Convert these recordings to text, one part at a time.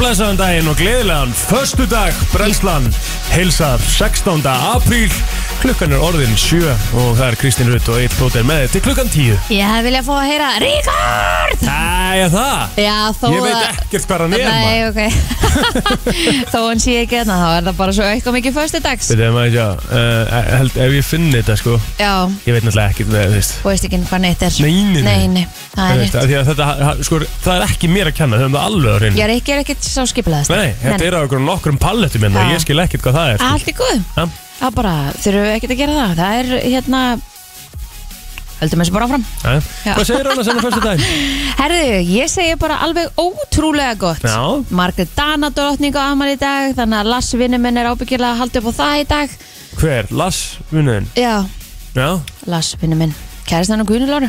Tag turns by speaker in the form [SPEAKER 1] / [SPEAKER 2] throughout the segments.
[SPEAKER 1] blessaðan daginn og gleðilegan Föstu dag, brennslan Heilsar 16. apríl Klukkan er orðin 7 Og það er Kristín Rutt og Eitt Bróter með þér til klukkan 10
[SPEAKER 2] Ég hef viljað fá að heyra Ríkard
[SPEAKER 1] Æja það
[SPEAKER 2] Já, þó
[SPEAKER 1] Ég veit
[SPEAKER 2] að-
[SPEAKER 1] ekkert hvað hann er
[SPEAKER 2] Nei,
[SPEAKER 1] maður.
[SPEAKER 2] ok Þó hann sé ekki hérna, þá er það bara svo eitthvað mikið Föstu dags
[SPEAKER 1] Veitum maður ekki að uh, held, Ef ég finn þetta sko
[SPEAKER 2] Já,
[SPEAKER 1] Ég veit náttúrulega ekkert með þú veist
[SPEAKER 2] þú veist ekki hvað neitt er
[SPEAKER 1] Nei, nei, nei.
[SPEAKER 2] Nei,
[SPEAKER 1] Þú
[SPEAKER 2] nei, það er
[SPEAKER 1] veist,
[SPEAKER 2] neitt
[SPEAKER 1] af því að Þetta, ha- ha- sko, það er ekki mér að kenna Þau höfum það alveg á hreinu
[SPEAKER 2] Já, Ríkki er ekkert sá skipilegast
[SPEAKER 1] Nei, þetta er á okkur nokkrum palletum hérna
[SPEAKER 2] Já.
[SPEAKER 1] Ég skil ekkert hvað það er sko.
[SPEAKER 2] Allt í góð
[SPEAKER 1] Ha?
[SPEAKER 2] Það bara, þurfum við ekkert að gera það Það er hérna Höldum þessu bara áfram
[SPEAKER 1] Jæja.
[SPEAKER 2] Já.
[SPEAKER 1] Eh? Hvað hérna segir hann að senna föstu dag?
[SPEAKER 2] Herðu, ég segi bara alveg ótrúlega gott
[SPEAKER 1] Já.
[SPEAKER 2] Margrét Dana dróttning á amal í dag Þannig að Lass vinnu minn er ábyggilega að halda upp á það í dag
[SPEAKER 1] Hver? Lass, vinuðinn?
[SPEAKER 2] Já,
[SPEAKER 1] Já,
[SPEAKER 2] Lass vinnu minn Kæristan og Guðnulóru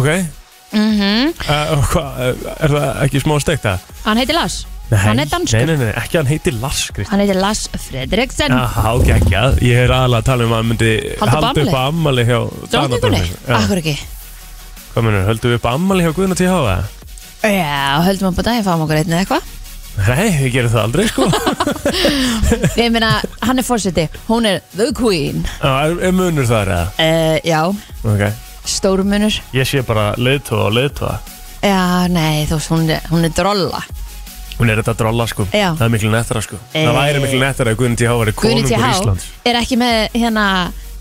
[SPEAKER 1] ok
[SPEAKER 2] mm -hmm.
[SPEAKER 1] uh, hva, uh, Er það ekki smá steikt það?
[SPEAKER 2] Hann heitir Lass Hann er danskur
[SPEAKER 1] Nei, nei, nei, ekki hann heitir Lars Kristi
[SPEAKER 2] Hann heitir Lass Fredriksen
[SPEAKER 1] Aha, ok, ekki að Ég er aðalega að tala um að hann myndi
[SPEAKER 2] Halda upp
[SPEAKER 1] halda upp á ammali hjá
[SPEAKER 2] Dróttningunni?
[SPEAKER 1] Já,
[SPEAKER 2] Akkur ekki
[SPEAKER 1] Hvað munur, höldum við upp á ammali hjá Guðna til hafa?
[SPEAKER 2] Já, höldum upp á daginn fáum okkur einn eða eitthvað
[SPEAKER 1] Nei, við gerum það aldrei sko
[SPEAKER 2] Ég meina, hann er fórseti Hún er the queen
[SPEAKER 1] Já, er, er munur þar eða?
[SPEAKER 2] uh, Já,
[SPEAKER 1] Ok
[SPEAKER 2] stórmunur
[SPEAKER 1] Ég sé bara leiðtóa og leiðtóa
[SPEAKER 2] Já, nei, þú veist, hún er, hún er drolla
[SPEAKER 1] Hún er þetta að drolla sko
[SPEAKER 2] Já.
[SPEAKER 1] Það er miklu nettara sko
[SPEAKER 2] Eh.
[SPEAKER 1] Það væri miklu nettara að Guðna til hafa er
[SPEAKER 2] Guðni
[SPEAKER 1] konungur
[SPEAKER 2] T.H.
[SPEAKER 1] Íslands
[SPEAKER 2] er ekki með hérna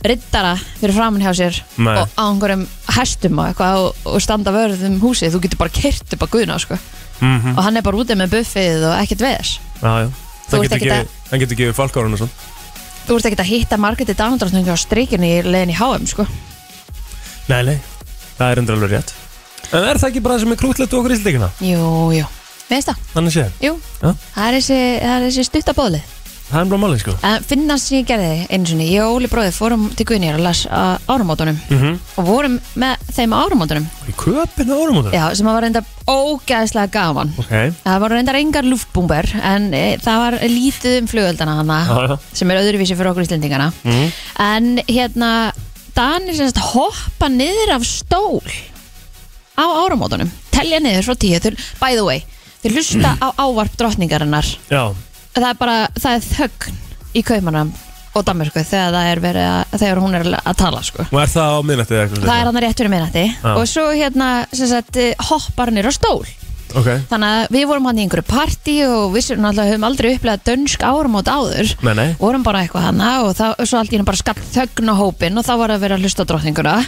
[SPEAKER 2] riddara fyrir framann hjá sér
[SPEAKER 1] Nei.
[SPEAKER 2] og á einhverjum hestum og eitthvað og, og standa vörð um húsið þú getur bara kert upp að Guðna sko.
[SPEAKER 1] mm
[SPEAKER 2] og hann er bara úti með buffið og ekkert veðs
[SPEAKER 1] Já, já
[SPEAKER 2] Þú
[SPEAKER 1] Hann
[SPEAKER 2] ert
[SPEAKER 1] getur
[SPEAKER 2] ekkert að-
[SPEAKER 1] gefið- Hann getur gefið falkárun og svona
[SPEAKER 2] þú ert ekkert að hitta Margreti Danandróttningu á streikinu í leiðin í HM sko.
[SPEAKER 1] Nei, nei, það er endur alveg rétt En er það ekki bara það sem er krútlegt okkur í slíkina?
[SPEAKER 2] jú, jú, veist það,
[SPEAKER 1] Þannig séð,
[SPEAKER 2] jú
[SPEAKER 1] Já.
[SPEAKER 2] það er þessi, það er þessi stuttabóðlið
[SPEAKER 1] það er bara málið sko
[SPEAKER 2] En finnast sem ég gerði einu sinni, ég og Óli bróði fórum til Guðnýjar og las á árumótunum
[SPEAKER 1] mm -hmm.
[SPEAKER 2] og vorum með þeim á árumótunum
[SPEAKER 1] Í köpinn á árum
[SPEAKER 2] Já, sem að var reynda ógæðslega gaman
[SPEAKER 1] Ok, já,
[SPEAKER 2] Það var reyndar engar luftbúmber en e, það var lítið um flugöldana hana
[SPEAKER 1] já
[SPEAKER 2] sem er öðruvísi fyrir okkur íslendingana
[SPEAKER 1] Mhm.
[SPEAKER 2] en hérna Danir semst hoppa niður af stól á áramótunum telja niður frá tíu þeir, by the way, þeir hlusta á ávarp drottningarinnar
[SPEAKER 1] Já,
[SPEAKER 2] það er bara, það er þögn í kaupmanum og Danmörku þegar, það er verið að, þegar hún er að tala sko.
[SPEAKER 1] og er það á minnættið eitthvað
[SPEAKER 2] það er hann rétt fyrir minnati
[SPEAKER 1] Já.
[SPEAKER 2] og svo hérna sem sagt, eh, hoppar niður á stól
[SPEAKER 1] Ok,
[SPEAKER 2] Þannig að við vorum hann í einhverju partí og við sem náttúrulega höfum aldrei upplegað dönsk áramót áður
[SPEAKER 1] nei, nei
[SPEAKER 2] vorum bara eitthvað hana og það, svo allt í henni bara skall þögn á hópin og þá var að vera að hlusta á drottninguna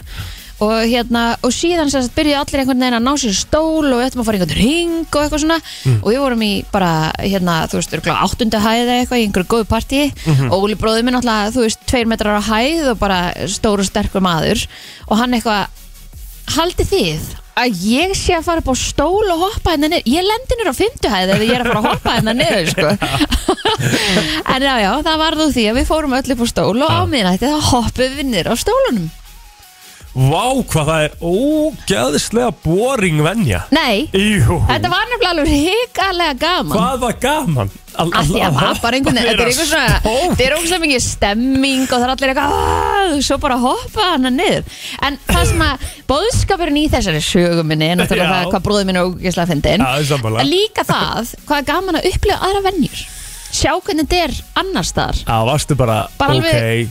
[SPEAKER 2] og hérna, og síðan sérst byrjuði allir einhvern veginn að ná sér stól og ættum að fara í einhvern ring og eitthvað svona
[SPEAKER 1] Mm.
[SPEAKER 2] og við vorum í bara, hérna, þú veist, örugglega áttundu hæð eða eitthvað í einhverju góðu partí
[SPEAKER 1] Mhm.
[SPEAKER 2] og Óli bróðið minn náttúrulega, þú veist, tveir metrar á hæð og bara stór og sterkur maður og hann eitthvað haldið þið að ég sé að fara upp á stól og hoppa hérna niður ég lendi niður á fymtuhæði eða ég er að fara að hoppa hérna niður sko. en já já, það varð úr því að við fórum öll upp á stól og á miðnætti þá hoppum við niður á stólunum
[SPEAKER 1] Vá, hvað það er ógeðslega boring venja
[SPEAKER 2] nei,
[SPEAKER 1] Jú,
[SPEAKER 2] þetta var nefnilega alveg hikalega gaman
[SPEAKER 1] hvað var gaman Al-
[SPEAKER 2] Allt í að maður bara einhvern veginn, þetta er
[SPEAKER 1] vera
[SPEAKER 2] einhvern svona,
[SPEAKER 1] stór.
[SPEAKER 2] þetta er ógustlega mikið stemming og það er allir eitthvað, "Ah", og svo bara hoppa hana niður. En það sem að bóðskapurinn í þessari söguminni er náttúrulega
[SPEAKER 1] Já.
[SPEAKER 2] það hvað bróðið minn er ógustlega fyndin.
[SPEAKER 1] Já, það er sammála.
[SPEAKER 2] En líka það, hvað er gaman að upplifa aðra venjur. Sjá hvernig þetta er annars staðar.
[SPEAKER 1] Já, varstu bara,
[SPEAKER 2] Bara
[SPEAKER 1] ok
[SPEAKER 2] alveg-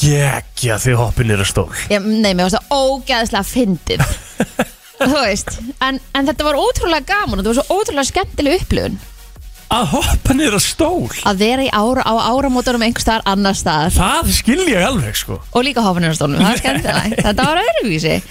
[SPEAKER 1] Gekja því hoppin er að stól
[SPEAKER 2] Já, nei, mér varst það ógæðslega fyndið. Þú veist, en, en þetta var ótrúlega gaman og þetta var svo ótrúlega skemmtileg upplifun
[SPEAKER 1] Að hoppa niður að stól
[SPEAKER 2] að vera í ára, á áramótunum einhvers staðar annars staðar.
[SPEAKER 1] Það skil ég alveg sko
[SPEAKER 2] og líka hofanurastólnum, það er skemmtilegt þetta var öðruvísi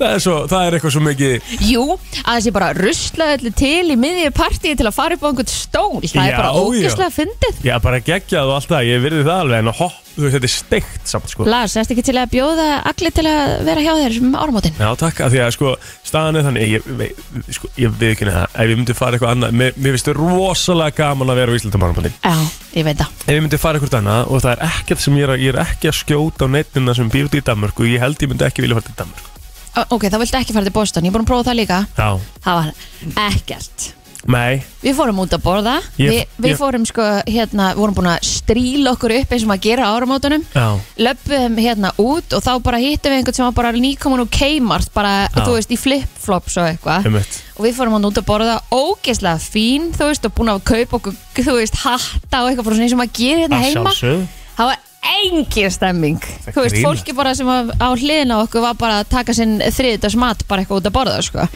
[SPEAKER 1] Það er, svo, það er eitthvað svo mikið
[SPEAKER 2] jú, að þessi bara rusla öllu til í miðju partíi til að fara upp á einhvern stól það
[SPEAKER 1] Já,
[SPEAKER 2] er bara
[SPEAKER 1] já.
[SPEAKER 2] ógjörslega fyndið
[SPEAKER 1] Já, bara geggjað og allt það, ég virði það alveg en að hopp, þú veist, þetta er steikt samt sko
[SPEAKER 2] Lars, erst ekki til að bjóða allir til að vera hjá þér um áramótin
[SPEAKER 1] Já, takk, af því að sko, staðan er þannig ég, ég, sko, ég við ekki neða, ef ég myndi fara eitthvað annað mér, mér finnst það rosalega gaman að vera á Íslandamannabandi
[SPEAKER 2] já, ég veit það
[SPEAKER 1] Ef ég myndi fara eitthvað annað og það er ekkert sem ég er, að- ég er ekki að skjóta á netnina sem býr út í Danmörku ég held ég myndi ekki vilja fara til Danmörku
[SPEAKER 2] Ó, ok, þá viltu ekki fara til Boston, ég er búin að prófa það líka
[SPEAKER 1] Já,
[SPEAKER 2] það var ekkert
[SPEAKER 1] nei,
[SPEAKER 2] Við fórum út að borða,
[SPEAKER 1] Ég-
[SPEAKER 2] við, við
[SPEAKER 1] ég-
[SPEAKER 2] fórum sko hérna, vorum búin að stríla okkur upp eins og maður gera á áramótunum
[SPEAKER 1] já,
[SPEAKER 2] löpum hérna út og þá bara hittum við einhvern sem var bara nýkomin úr Kmart bara,
[SPEAKER 1] Já.
[SPEAKER 2] þú veist, í flip-flops og eitthvað
[SPEAKER 1] einmitt
[SPEAKER 2] og við fórum hann út að borða ógeðslega fín, þú veist, og búin að kaupa okkur, þú veist, hatta og eitthvað frá svona eins og maður gerir hérna
[SPEAKER 1] Að
[SPEAKER 2] heima
[SPEAKER 1] sjálfsögðu.
[SPEAKER 2] það var engin stemming
[SPEAKER 1] Það
[SPEAKER 2] þú veist,
[SPEAKER 1] grínast.
[SPEAKER 2] fólki bara sem var á hliðina á okkur var bara að taka sinn þriðdags mat bara eitthvað út að borða, sko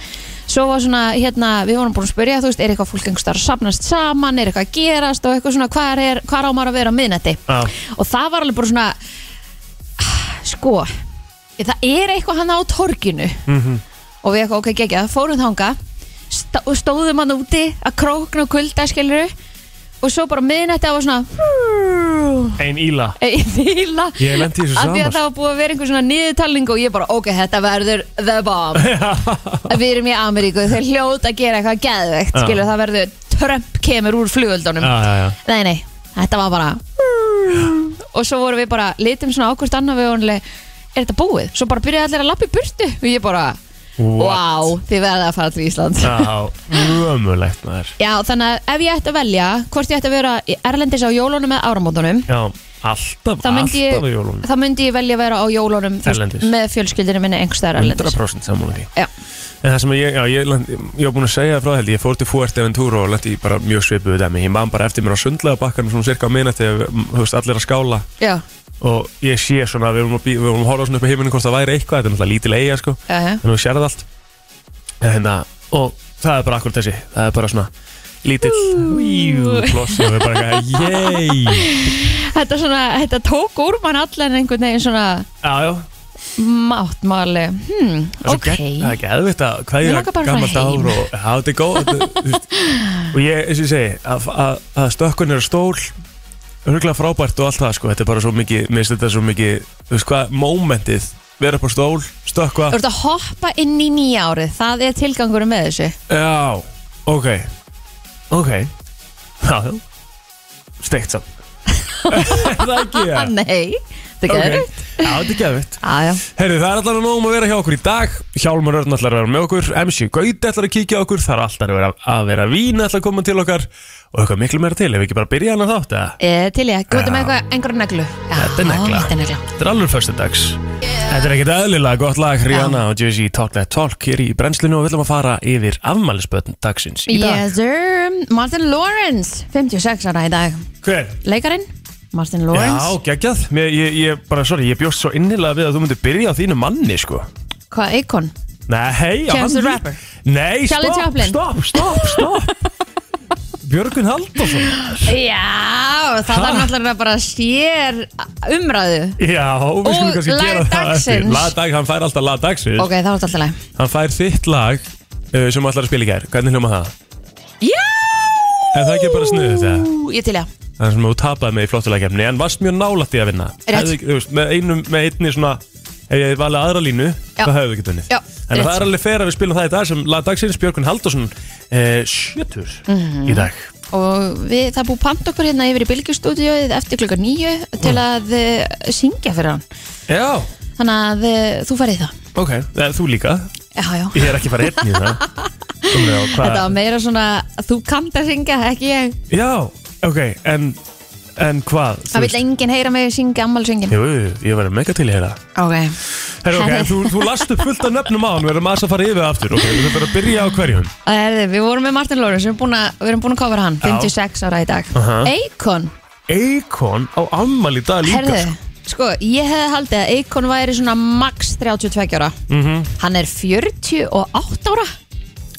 [SPEAKER 2] svo var svona, hérna, við vorum búin að spyrja þú veist, er eitthvað fólk einhverstaðar að sapnast saman er eitthvað að gerast og eitthvað svona, hvar, er, hvar á maður að vera á miðnætti
[SPEAKER 1] Já.
[SPEAKER 2] og það var alveg bara svona sko það er eitthvað hann á torginu
[SPEAKER 1] Mhm.
[SPEAKER 2] og við eitthvað, ok, gegja, fórum þanga stá, og stóðum hann úti að krókna og kulda, skilur og svo bara á miðnætti það var svona
[SPEAKER 1] Ein íla
[SPEAKER 2] í fíla
[SPEAKER 1] Ég lenti í þessu
[SPEAKER 2] Af því að
[SPEAKER 1] samar.
[SPEAKER 2] það var búið að vera einhver svona niðurtalning og ég bara, ok, þetta verður the bomb Að Við erum í Ameríku, þeir hljóta að gera eitthvað geðveikt
[SPEAKER 1] Já.
[SPEAKER 2] Skilur, það verður, Trump kemur úr flugöldunum
[SPEAKER 1] Já, já, já
[SPEAKER 2] Nei, nei, þetta var bara Og svo vorum við bara, litum svona ákvist annað við vonuleg Er þetta búið? Svo bara byrjaði allir að lappa í burtu Og ég bara,
[SPEAKER 1] What?
[SPEAKER 2] wow, þið verða að fara til Ísland
[SPEAKER 1] Já, ömulegt maður
[SPEAKER 2] Já, þannig að ef ég ætti að velja Hvort ég ætti að vera í erlendis á jólunum eða áramótunum
[SPEAKER 1] Já, alltaf,
[SPEAKER 2] þá myndi,
[SPEAKER 1] alltaf á
[SPEAKER 2] ég,
[SPEAKER 1] jólunum
[SPEAKER 2] þá myndi ég velja að vera á jólunum þú veist,
[SPEAKER 1] Erlendis.
[SPEAKER 2] með fjölskyldinu minni einhverstaðar erlendis
[SPEAKER 1] 100% saman því
[SPEAKER 2] Já.
[SPEAKER 1] En það sem ég, já, ég, lent- ég var búin að segja það frá held, ég fór til Fuerteventura og lendi í bara mjög svipuðu dæmi. Ég man bara eftir mér á sundlega bakkanum svona cirka á minnati þegar þú veist, allir að skála
[SPEAKER 2] Já,
[SPEAKER 1] og ég sé svona, við vorum að, bí, við vorum að horfa svona upp á heiminu hvort það væri eitthvað, þetta er náttúrulega lítil eiga sko,
[SPEAKER 2] já, já,
[SPEAKER 1] þannig að við sérði allt. En hérna, og það er bara akkurat þessi, það er bara svona lítill, íjú, klossi og við bara eitthvað, yey,
[SPEAKER 2] þetta, svona, þetta tók úr mann allan einhvern veginn svona
[SPEAKER 1] já, já,
[SPEAKER 2] máttmáli hmm,
[SPEAKER 1] Það er svo
[SPEAKER 2] Ok,
[SPEAKER 1] gegn- það er ekki eðvitt að hvað
[SPEAKER 2] Mig
[SPEAKER 1] ég
[SPEAKER 2] langar bara að
[SPEAKER 1] gammal
[SPEAKER 2] fara heim.
[SPEAKER 1] dár og já, þetta er góð þetta- þú veist. og ég, eins og ég segi að- að að stökkun er stól huglega frábært og allt það sko, þetta er bara svo mikið, mér finnst þetta svo mikið þú veist hvað, mómentið, vera upp á stól stökkva,
[SPEAKER 2] þú ert að hoppa inn í nýja árið Það er tilgangur með þessu
[SPEAKER 1] já, ok ok já, já steikt samt það er ekki,
[SPEAKER 2] ah,
[SPEAKER 1] já
[SPEAKER 2] Nei, þetta
[SPEAKER 1] Ok.
[SPEAKER 2] okay. gerir
[SPEAKER 1] já, þetta er geðvitt
[SPEAKER 2] ah, Já,
[SPEAKER 1] Herri, það er allavega nóg um að vera hjá okkur í dag Hjálmar Örn ætlar að vera með okkur MC Gaut ætlar að kíkja á okkur Það er alltaf að vera, að vera vín ætlar að koma til okkar Og eitthvað miklu meira til, ef við ekki bara byrja hann að þátt eða?
[SPEAKER 2] Eh, Til ég, gútum
[SPEAKER 1] Já.
[SPEAKER 2] með eitthvað, einhverju neglu Já,
[SPEAKER 1] Þetta er negla.
[SPEAKER 2] Þetta er negla
[SPEAKER 1] Þetta er alveg fyrstu dags Þetta er ekkit eðlilega gott lag Rihanna og Jay-Z Talk That Talk Hér í brennslinu og við ætlum að fara yfir afmælisbötn dagsins í dag
[SPEAKER 2] Yes sir, Martin Lawrence 56 ára í dag
[SPEAKER 1] Hver?
[SPEAKER 2] Leikarinn, Martin
[SPEAKER 1] Já,
[SPEAKER 2] Lawrence
[SPEAKER 1] geggjað Mér, ég, ég, bara, sorry, ég bjóst svo innilega við að þú myndir byrja á þínu manni, sko
[SPEAKER 2] Hvað, Eikon?
[SPEAKER 1] Nei,
[SPEAKER 2] Chance
[SPEAKER 1] hann-
[SPEAKER 2] the Rapper.
[SPEAKER 1] Nei,
[SPEAKER 2] Charlie
[SPEAKER 1] stopp,
[SPEAKER 2] Chaplin.
[SPEAKER 1] stopp, stopp, stopp Björgun Halldórsson
[SPEAKER 2] Já, það þarf náttúrulega bara sér umræðu
[SPEAKER 1] Já, við
[SPEAKER 2] Og
[SPEAKER 1] skulum kannski
[SPEAKER 2] lag
[SPEAKER 1] gera það
[SPEAKER 2] dagsins.
[SPEAKER 1] Lag dagsins, hann fær alltaf lag dagsins
[SPEAKER 2] Ok, það var alltaf leið
[SPEAKER 1] Hann fær þitt lag uh, sem allar að spila í gær Hvernig hljóma það?
[SPEAKER 2] Já
[SPEAKER 1] Er það ekki bara sniðugt, eða?
[SPEAKER 2] Ég til já
[SPEAKER 1] Það er sem þú tapaði með í flottulegkefni En varst mjög nálætt í að vinna
[SPEAKER 2] Rétt.
[SPEAKER 1] Hefði- þú veist, með, einum, með einni svona Ef ég valið aðra línu,
[SPEAKER 2] Já.
[SPEAKER 1] þá hefðu við ekki vunnið
[SPEAKER 2] Já,
[SPEAKER 1] En
[SPEAKER 2] rétt.
[SPEAKER 1] það er alveg fer að við spilum það í dag sem lag dagsins Björgun Halldórsson uh, Sjötur
[SPEAKER 2] Mhm.
[SPEAKER 1] í dag
[SPEAKER 2] Og við, það er búið pant okkur hérna yfir í Bilgjustúdíóið eftir klukka nýju til
[SPEAKER 1] Mm.
[SPEAKER 2] að uh, syngja fyrir hann
[SPEAKER 1] Já,
[SPEAKER 2] Þannig að uh, þú farið í það
[SPEAKER 1] ok, eh, þú líka
[SPEAKER 2] Já, já
[SPEAKER 1] Ég er ekki bara einn í það Komið á, hvað-
[SPEAKER 2] Þetta var meira svona, þú kannt að syngja, ekki ég
[SPEAKER 1] Já, ok, en, en hvað? þú
[SPEAKER 2] Það
[SPEAKER 1] veist-
[SPEAKER 2] vil enginn heyra mig syngja, ammálsyngin
[SPEAKER 1] Jú, jú, ég verði mega til í hérna
[SPEAKER 2] Ok
[SPEAKER 1] Herra, ok, en þú, þú last upp fullt af nöfnum á hann Við erum aðeins að fara yfir það aftur Ok, við þurfum að byrja á hverjum
[SPEAKER 2] Erði, Við vorum með Martin Lawrence, við erum búin að, við erum búin að kofra hann
[SPEAKER 1] Já.
[SPEAKER 2] 56 ára í dag
[SPEAKER 1] Aha.
[SPEAKER 2] Eikon
[SPEAKER 1] Eikon á ammali í dag líka
[SPEAKER 2] Herðu, sko, ég hefði haldið að Eikon væri svona max 32 ára
[SPEAKER 1] Mhm.
[SPEAKER 2] Hann er 48 ára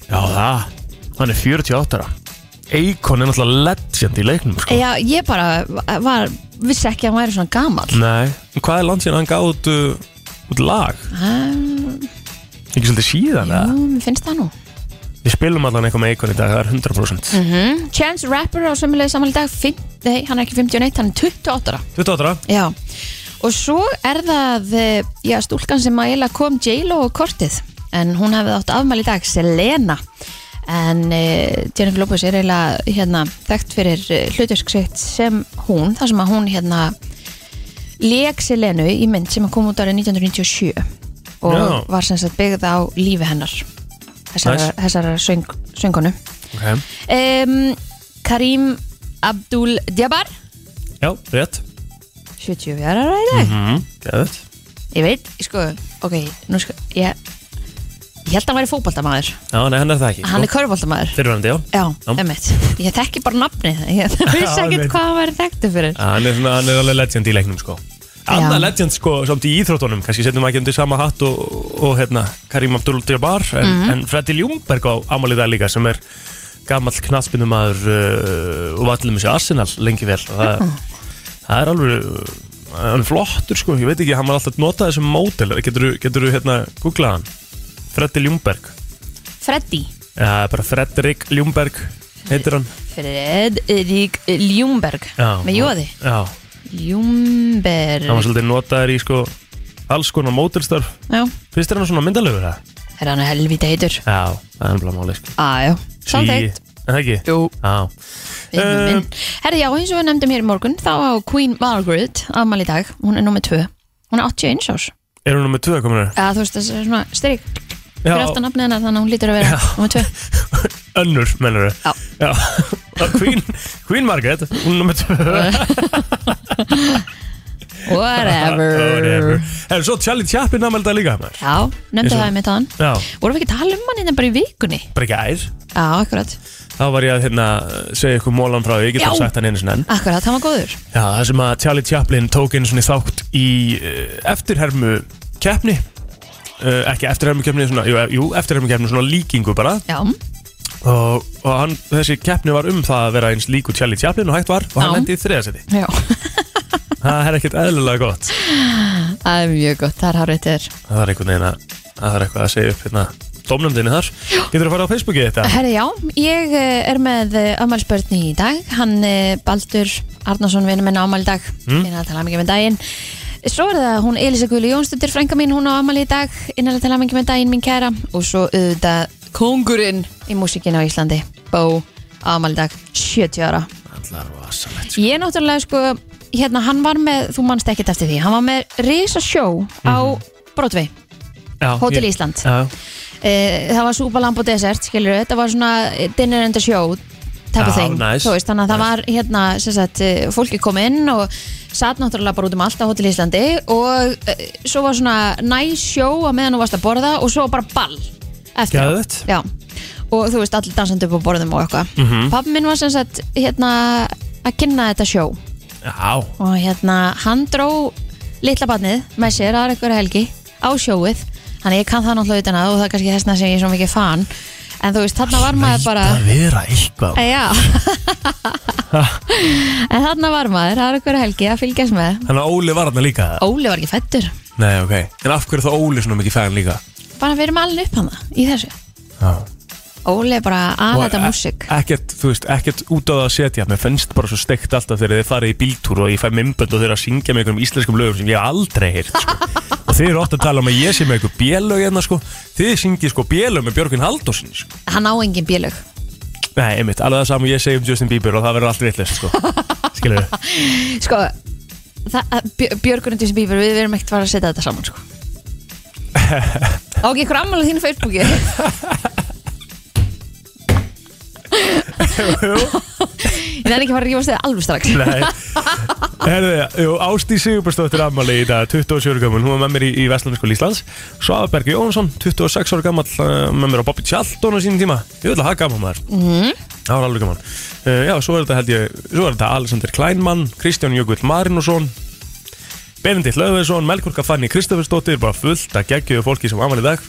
[SPEAKER 1] Já, það, hann er 48 ára Eikon er náttúrulega legend í leiknum sko.
[SPEAKER 2] Já, ég bara var, vissi ekki að hann væri svona gamall
[SPEAKER 1] Nei, sko. en hvað er land síðan hann gáð út, uh, út lag?
[SPEAKER 2] Hann,
[SPEAKER 1] Ekki svolítið síðan,
[SPEAKER 2] Jú,
[SPEAKER 1] eða?
[SPEAKER 2] mér finnst það nú
[SPEAKER 1] Við spilum allan eitthvað með Eikon í dag, það er 100%
[SPEAKER 2] mm. Chance Rapper á sömulegði samanlega dag fimm, Nei, hann er ekki 51, hann er 28 ára
[SPEAKER 1] 28 ára?
[SPEAKER 2] Já, og svo er það eh, já, stúlkan sem að eiginlega kom J-Lo og kortið en hún hefði átt afmæli í dag, Selena en uh, Jennifer Lopez er eiginlega hérna, þekkt fyrir uh, hlutverk sitt sem hún, þar sem að hún hérna leik Selenu í mynd sem kom út árið 1997 og
[SPEAKER 1] Já.
[SPEAKER 2] var sem sagt byggð á lífi hennar þessara,
[SPEAKER 1] Nice.
[SPEAKER 2] þessara söng, söngonu
[SPEAKER 1] Ok,
[SPEAKER 2] um, Karim Abdul Jabbar
[SPEAKER 1] já, rétt Mhm.
[SPEAKER 2] 74 ára í dag
[SPEAKER 1] mm, Geðvægt
[SPEAKER 2] Ég veit, sko, ok, nú sko, ég, ég ég held að hann væri fótboltamaður
[SPEAKER 1] Já, nei, hann er það ekki
[SPEAKER 2] Hann er körboltamaður
[SPEAKER 1] Fyrirvændi, já
[SPEAKER 2] Já,
[SPEAKER 1] Já.
[SPEAKER 2] emmitt Ég þekki bara nafnið Ég
[SPEAKER 1] Já,
[SPEAKER 2] vissi ekkert
[SPEAKER 1] einmitt.
[SPEAKER 2] hvað hann væri þekktu fyrir
[SPEAKER 1] Já, Hann er, svona, hann er alveg legend í leiknum sko Annað
[SPEAKER 2] Já.
[SPEAKER 1] legend sko, samt í íþróttunum kannski setjum maður ekki undir sama hatt og, og hérna, Karim Abdul-Jabbar en,
[SPEAKER 2] Mhm.
[SPEAKER 1] en Freddy Ljungberg á ámálið það líka sem er gamall knattspinnumæður uh, og var til þessi Arsenal lengi vel og
[SPEAKER 2] Mhm.
[SPEAKER 1] það, það er alveg uh, hann er flottur sko, ég veit ekki, hann var alltaf notað þessum mótel, getur þú hérna googlað hann, Freddy Ljungberg
[SPEAKER 2] Freddy
[SPEAKER 1] Já, bara Fredrik Ljungberg heitir hann
[SPEAKER 2] Fredrik Ljungberg
[SPEAKER 1] Já,
[SPEAKER 2] Með jóði
[SPEAKER 1] Já,
[SPEAKER 2] Ljungberg
[SPEAKER 1] hann var svolítið notaður í sko alls konar mótilstörf
[SPEAKER 2] Já,
[SPEAKER 1] Fyrst er hann svona myndalögur það?
[SPEAKER 2] er hann helvítið heitur
[SPEAKER 1] Já, það er nefnilega máli sko.
[SPEAKER 2] Á, já,
[SPEAKER 1] Í-
[SPEAKER 2] samþægt
[SPEAKER 1] Er það ekki?
[SPEAKER 2] Jú
[SPEAKER 1] Já,
[SPEAKER 2] Vinur
[SPEAKER 1] Eh,
[SPEAKER 2] minn. Herri, já, eins og við nefndum hér í morgun þá á Queen Margaret afmæli í dag, hún er nummið 2 hún er 81 árs
[SPEAKER 1] er hún nummið tvö komin hér?
[SPEAKER 2] eða þú veist, þessi er svona strik fyrir aftan nafnið hennar þannig að hún lítur að vera nummið 2
[SPEAKER 1] önnur mennur
[SPEAKER 2] Já.
[SPEAKER 1] Já, Og Queen, Queen Margaret, hún er nummið tvö
[SPEAKER 2] whatever
[SPEAKER 1] Er svo Charlie Chaplin aðmelda líka? maður.
[SPEAKER 2] já, nefndu
[SPEAKER 1] Eins og-
[SPEAKER 2] það með þann
[SPEAKER 1] Já,
[SPEAKER 2] vorum við ekki að tala um hann hérna bara í vikunni
[SPEAKER 1] bara ekki ær
[SPEAKER 2] já, akkurat,
[SPEAKER 1] Þá var ég að hérna, segja ykkur mólan frá því, ég get
[SPEAKER 2] Já.
[SPEAKER 1] bara sagt hann einu sinna enn
[SPEAKER 2] akkurat, hann var góður
[SPEAKER 1] Já, það sem að Charlie Chaplin tók einu svona þátt í uh, eftirhermu keppni uh, ekki eftirhermu keppni, svona, jú, jú eftirhermu keppni svona líkingu bara
[SPEAKER 2] já,
[SPEAKER 1] og, og hann, þessi keppni var um það að vera eins líku Charlie Chaplin og hægt var og hann
[SPEAKER 2] Já.
[SPEAKER 1] lendi í þriðasetti
[SPEAKER 2] já,
[SPEAKER 1] það er ekkert eðlilega gott
[SPEAKER 2] það er mjög gott það er hárið þér
[SPEAKER 1] það er einhvern veginn að það er eitthvað að segja upp hérna domnumdinni þar getur að fara á Facebooki þetta
[SPEAKER 2] Herri, já, ég eh, er með afmælspörni í dag, hann eh, Baldur Arnarsson vinnur minn á afmæli í dag mm. innanlega tala mikið með daginn Svo er það hún Elisa Guðli Jónsdóttir, frænka mín, hún á afmæli í dag innanlega tala mikið með daginn, mín kæra og svo auðvitað kongurinn í músikinu á Íslandi, Bó afmæli í dag, 70 ára
[SPEAKER 1] allar vasalegt
[SPEAKER 2] Ég náttúrulega sko, hérna hann var með, þú manst ekkert eftir því, hann var með risa sjó á Broadway, Hotel Ísland
[SPEAKER 1] Já,
[SPEAKER 2] Eh, það var súpa, lamb og dessert, skilur þetta var svona eh, dinner and a show type of
[SPEAKER 1] Já,
[SPEAKER 2] thing,
[SPEAKER 1] nice.
[SPEAKER 2] þú veist, þannig að það var hérna, sem sagt, eh, fólki kom inn og satt náttúrulega bara út um allt á Hotel Íslandi og uh, svo var svona nice show að meðan þú varst að borða og svo var bara ball eftir á.
[SPEAKER 1] Geðveikt.
[SPEAKER 2] Já, og þú veist, allir dansandi upp á borðum og eitthvað mm
[SPEAKER 1] Mhm.
[SPEAKER 2] Pappi minn var sem sagt, hérna að kynna þetta sjó
[SPEAKER 1] já,
[SPEAKER 2] og hérna, hann dró litla barnið með sér aðra ykkur helgi á sjóið, þannig ég kann það náttúrulega utan að og það er kannski þessna sem ég er svo mikið fan en þú veist, þarna var maður bara
[SPEAKER 1] það vera eitthvað
[SPEAKER 2] Eh, Já En þarna var maður, það er okkur helgi að fylgjast með
[SPEAKER 1] Þannig að Óli var þarna líka
[SPEAKER 2] Óli var ekki fættur
[SPEAKER 1] Nei, ok En af hverju er þá Óli svona mikið fæðan líka?
[SPEAKER 2] Bara við erum alveg upp hana í þessu
[SPEAKER 1] Já
[SPEAKER 2] Óli er bara að
[SPEAKER 1] Og
[SPEAKER 2] þetta
[SPEAKER 1] e-
[SPEAKER 2] músík
[SPEAKER 1] ekkert, þú veist, ekkert út á það að setja mér finnst bara svo steikt alltaf þegar þið farið í bíltúr og ég fæ mymbönd og þeir að syngja með einhverjum íslenskum lögum sem ég hef aldrei heyrt sko. og þeir eru ofta að tala um að ég sé með einhver bélög hérna sko, þið syngið sko bélög með Björgvin Haldósin sko.
[SPEAKER 2] Hann á engin bílug
[SPEAKER 1] nei, einmitt, alveg það saman ég segi um Justin Bieber og það verður allt vittlust sko. skilur við,
[SPEAKER 2] Sko, Björgur undir sem bífur Við erum ekkert fara að setja þetta saman sko. Á ekki ykkur ammælu þínu Facebooki Ég nefn ekki að fara að rífast þið alveg strax
[SPEAKER 1] nei Herðu, jú, Ástí Sigurbjörnsdóttir ammali í dag 27 ára gaman, hún var með mér í, í Vestlandskóli Íslands Svafabergi Jónsson, 26 ára gaman með mér á Bobby Tjaldón á sínum tíma ég vil að hafa gaman maður
[SPEAKER 2] Mhm.
[SPEAKER 1] Það var alveg gaman uh, Já, svo er þetta held ég Svo er þetta Alexander Kleinmann Kristján Jökull Marinusson Benedikt Löfveðsson Melkorka Fanny Kristofersdóttir Bara fullt að geggjöðu fólki sem amal í dag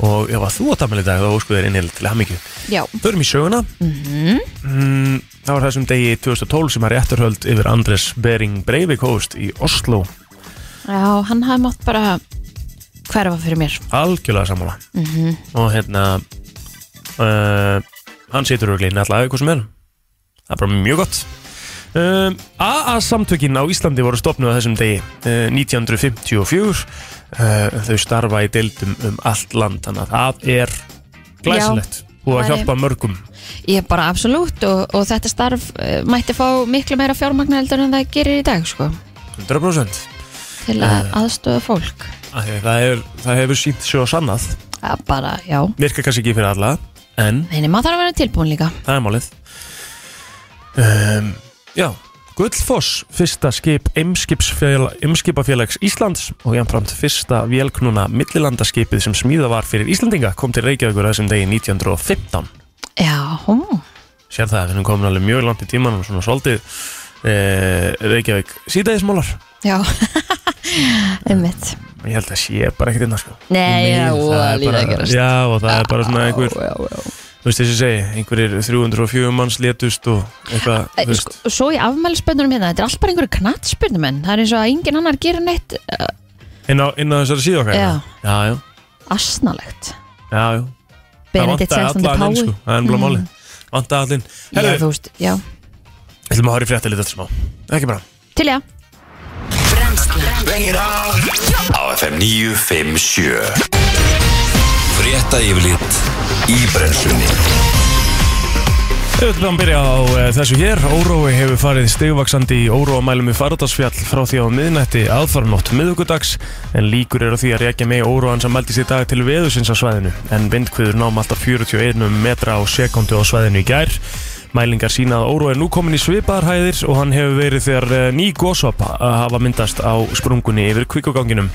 [SPEAKER 1] Og ef að þú átt amal í dag þá ósku þér innhjöld til hamingju
[SPEAKER 2] Já, Mhm.
[SPEAKER 1] Förum í söguna mm Það var þessum degi 2012 sem að rétturhöld yfir Andres Bering Breivik hófust í Oslo
[SPEAKER 2] já hann hafði mátt bara hverfa fyrir mér
[SPEAKER 1] algjörlega sammála
[SPEAKER 2] Mhm.
[SPEAKER 1] og hérna uh, hann situr auðvitað alltaf eitthvað sem er það er bara mjög gott um, AA samtökin á Íslandi voru stopnuð á þessum degi uh, 1954 uh, þau starfa í deildum um allt land þannig að það er glæsilegt og að
[SPEAKER 2] það er-
[SPEAKER 1] hjálpa mörgum
[SPEAKER 2] Ég bara absolutt og, og þetta starf uh, mætti fá miklu meira fjármagna heldur en það gerir í dag sko,
[SPEAKER 1] 100%
[SPEAKER 2] til að
[SPEAKER 1] Eh.
[SPEAKER 2] aðstofa fólk
[SPEAKER 1] Uh, Af því að það, er, það hefur sínt svo sannað
[SPEAKER 2] að bara, já,
[SPEAKER 1] virka kannski ekki fyrir alla en
[SPEAKER 2] neini, maður þarf að vera tilbúin líka
[SPEAKER 1] það er málið um, Ehm, Já, Gullfoss, fyrsta skip Eimskipafélags Íslands og jæmframt fyrsta vélknúna millilandaskipið sem smíða var fyrir Íslandinga kom til Reykjavíkur á þessum degi 1915
[SPEAKER 2] Já, hú.
[SPEAKER 1] Sér það, við erum komin alveg mjög langt í tímanum svona svolítið e, Reykjavík síðdæðismólar
[SPEAKER 2] já Einmitt
[SPEAKER 1] Ég held að sé bara ekkert innan sko
[SPEAKER 2] Nei, já, og
[SPEAKER 1] Það
[SPEAKER 2] það
[SPEAKER 1] er
[SPEAKER 2] líka
[SPEAKER 1] bara-
[SPEAKER 2] að gerast
[SPEAKER 1] Já, og það er bara svona einhver
[SPEAKER 2] Já, já, já.
[SPEAKER 1] Þú veist þess að segja, einhverir 304 manns letust og eitthvað,
[SPEAKER 2] Eh,
[SPEAKER 1] þú veist
[SPEAKER 2] sko, Svo í afmælisböndunum hérna, þetta er alltaf bara einhverju knattspöndum en það er eins og að enginn annar gerir neitt uh,
[SPEAKER 1] Inn á, inn á þessari síðu okkar
[SPEAKER 2] Já.
[SPEAKER 1] já, já,
[SPEAKER 2] asnalegt
[SPEAKER 1] já, já.
[SPEAKER 2] Benedikt XVI
[SPEAKER 1] alla
[SPEAKER 2] Pái
[SPEAKER 1] inn, sko. Það er ennbla máli Vantaði allin
[SPEAKER 2] Já,
[SPEAKER 1] Herru,
[SPEAKER 2] þú veist, já
[SPEAKER 1] við ætlum að horfa í frétta litið smá Ekki bara
[SPEAKER 2] Til já
[SPEAKER 3] Bengir á Á FM 957 Frétta yfirlit í brennslunni
[SPEAKER 1] Við ætlum að byrja á eh, þessu hér. Órói hefur farið stigvaksandi í óróamælum í Faradalsfjall frá því á miðnætti aðfarnótt miðugudags en líkur eru á því að rekja með óróan sem mældist í dag til veðusins á svæðinu en vindkviður nám alltaf 41 metra á sekundu á svæðinu í gær. Mælingar sína að Óró er nú komin í svipaðarhæðir og hann hefur verið þegar eh, ný gósop hafa myndast á sprungunni yfir kvikkoganginum.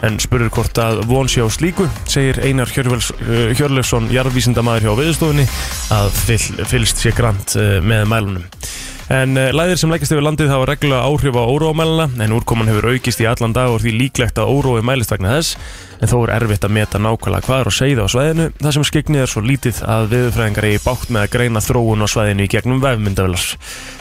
[SPEAKER 1] En spurur hvort að von sé á slíku, segir Einar Hjörvels- eh, Hjörleifsson, jarðvísindamæður hjá viðstofunni, að fyll- fylgst sé grant eh, með mælunum. En eh, læðir sem leggist yfir landið hafa reglulega áhrif á óróamæluna en úrkoman hefur aukist í allan dag og því líklegt að órói mælist vegna þess en þó er erfitt að meta nákvæmlega hvað er á segið á svæðinu þar sem skygnið er svo lítið að viðurfræðingar eigi bátt með að greina þróun á svæðinu í gegnum vefmyndavelar.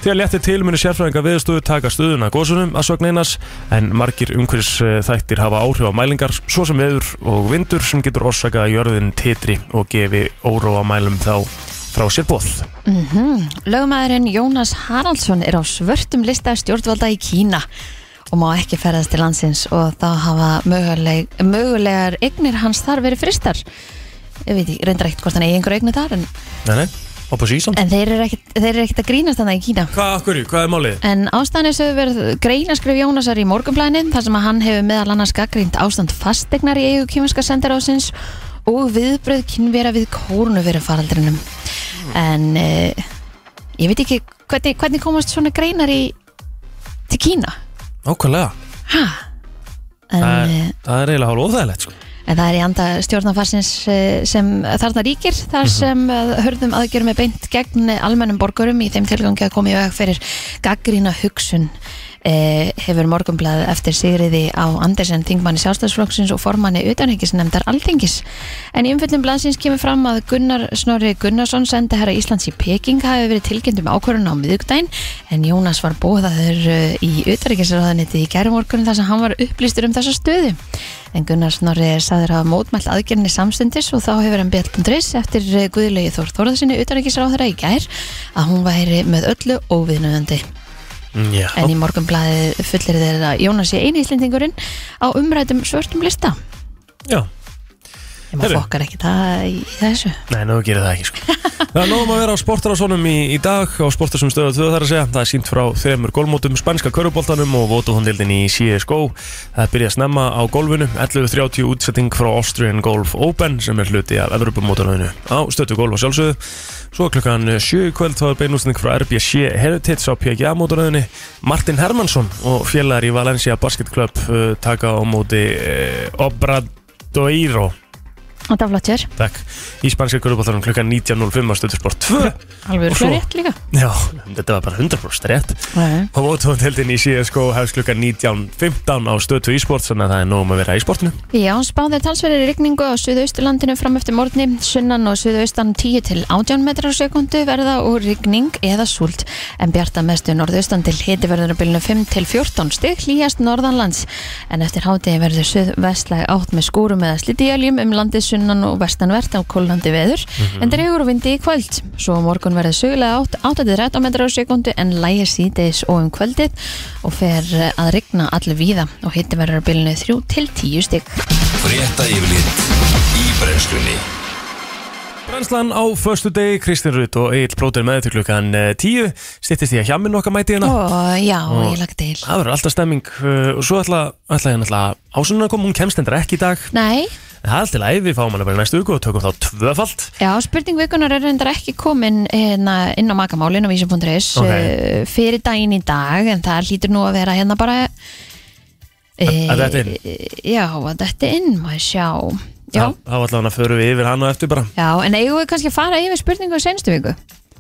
[SPEAKER 1] Þegar léttir til munu sérfræðingar viðstöðu taka stöðuna að gósunum að sögn einas en margir umhverfis þættir hafa áhrif á mælingar svo sem veður og vindur sem getur orsakað að jörðin titri og gefi óróamælum þá frá sér bóð.
[SPEAKER 2] Lögumæðurinn Mhm. Jónas Haraldsson er á svörtum lista stjórnvalda í Kína og má ekki ferðast til landsins og þá hafa möguleg, mögulegar eignir hans þar verið fristar ég veit ekki, reyndar ekkert hvort hann eigi einhver eignir þar en,
[SPEAKER 1] Nei, nei, og på síðan.
[SPEAKER 2] en þeir eru ekkert, þeir eru ekkert að grínast þannig í Kína
[SPEAKER 1] Hvað, okkur, hvað er málið?
[SPEAKER 2] En ástæðan þessu hefur verið greinaskrif Jónasar í morgunblænin þar sem að hann hefur meðal annars gaggrínt ástand fastegnar í eigu kýminska sendiráðsins og viðbröð kynvera við kórnuveru faraldrinum. En eh, ég veit ekki hvernig, hvernig komast svona greinar í til Kína.
[SPEAKER 1] Nákvæmlega,
[SPEAKER 2] Ha? En,
[SPEAKER 1] það er,
[SPEAKER 2] eh,
[SPEAKER 1] það er eiginlega hálf óþægilegt sko.
[SPEAKER 2] en það er í anda stjórnafarsins sem þarna ríkir þar sem að hörðum aðgjörum er beint gegn eh, almennum borgurum í þeim tilgangi að koma í veg fyrir gaggrína hugsun eh, hefur morgunblæðið eftir sigriði á Andersen þingmanni sjálfstæðsflokksins og formanni utanhengisnefndar Alþingis. En í umfyllum blaðsins kemur fram að Gunnar Snorri Gunnarsson sendi herra Íslands í Peking hafi verið tilkynnt um ákvörðun á miðugdæn en Jónas var bóðaður eh, í utanhengisraðanitið í gerumorgunum þar sem hann var upplýstur um þessa stöðu. En Gunnar Snorri er sagður hafa mótmælt aðgerðinni samstundis og þá hefur hann bjall.ris eftir eh, Guðlaugi Þór Þórðarsinni utanhengisráðara í gær að hún væri með öllu óviðnöðandi.
[SPEAKER 1] Já,
[SPEAKER 2] En í morgunblæði fullir þeirra Jónas sé eini íslendingurinn á umrætum svörtum lista.
[SPEAKER 1] já.
[SPEAKER 2] Ég maður
[SPEAKER 1] Heyrðu.
[SPEAKER 2] fokkar ekki það í þessu.
[SPEAKER 1] Nei, nú gerir það ekki sko. Það er nógum að vera á sportarásónum í, í dag á sportarsum stöðu tvöðu þar að segja Það er sínt frá þremur gólmótum, spænska köruboltanum og votufondildin í CSGO Það byrja að snemma á gólfinu 11.30 útsetting frá Austrian Golf Open sem er hluti af Evropamótaröðinu á stötu gólf og sjálfsögðu Svo klukkan 7 í kvöld þá er beinúsning frá RBC Heritage á PGA-mótaröðinu Martin Hermansson og félagar í Valencia Basket Club uh, taka á móti uh, Obradoiro
[SPEAKER 2] Þetta er flott hér.
[SPEAKER 1] Takk. Í spænska körubóltarum klukkan 19.05 á Stöðsport 2.
[SPEAKER 2] Alveg
[SPEAKER 1] Og svo-
[SPEAKER 2] örugglega rétt líka.
[SPEAKER 1] Já, þetta var bara 100% rétt. Og vótofandheldin í CSGO hefst klukkan 19.15 á Stöð 2 e-sport, þannig að það er nóg um að vera í sportinu.
[SPEAKER 2] Já, spáðir talsverðir rigningu á suðausturlandinu fram eftir morgni, sunnan og suðaustan 10 til 18 metrar á sekundu verða og rigning eða súld. En bjarta mestu norðaustan til hiti verður að bylnu 5 til 14 stig hlýjast norðanlands. En eftir hádegi verður suðvestlæg átt með skúrum eða slitiðjæljum um landið sunnan og vestanvert á kólandi veður. En dregur og vindi í kvöld. Svo á morgun verður sögulega átt 8-13 metrar á sekundu en lægir síðdeis og um kvöldið og fer eh, að rigna allir víða og hitti verður á bylnu 3 til 10 stygg.
[SPEAKER 3] Frétta yfirlit í brennslunni
[SPEAKER 1] Brennslan á förstu degi, Kristinn Rutt og Egil Blóter með til klukkan eh, 10 Stittist í að hjá minn okkar mæti hérna
[SPEAKER 2] Ó, já,
[SPEAKER 1] Og-
[SPEAKER 2] ég lagt til
[SPEAKER 1] Það verður alltaf stemming uh, og svo ætla, ætla ég náttúrulega ásunna að koma, hún kemst endur ekki í dag
[SPEAKER 2] Nei,
[SPEAKER 1] en það er alltaf læfi, fáum hana bara í næstu viku og tökum þá tvöfalt
[SPEAKER 2] já, spurning vikunar er reyndar ekki komin hérna, inn á makamálin á vísum.is
[SPEAKER 1] Ok.
[SPEAKER 2] okay. eh, fyrir daginn í dag en það hlýtur nú að vera hérna bara e,
[SPEAKER 1] að þetta inn?
[SPEAKER 2] Já, að þetta inn, maður sjá Já,
[SPEAKER 1] Þá- Þá ætla hann að förum við yfir hann og eftir bara
[SPEAKER 2] já en eigum við kannski að fara yfir spurningu á senstu viku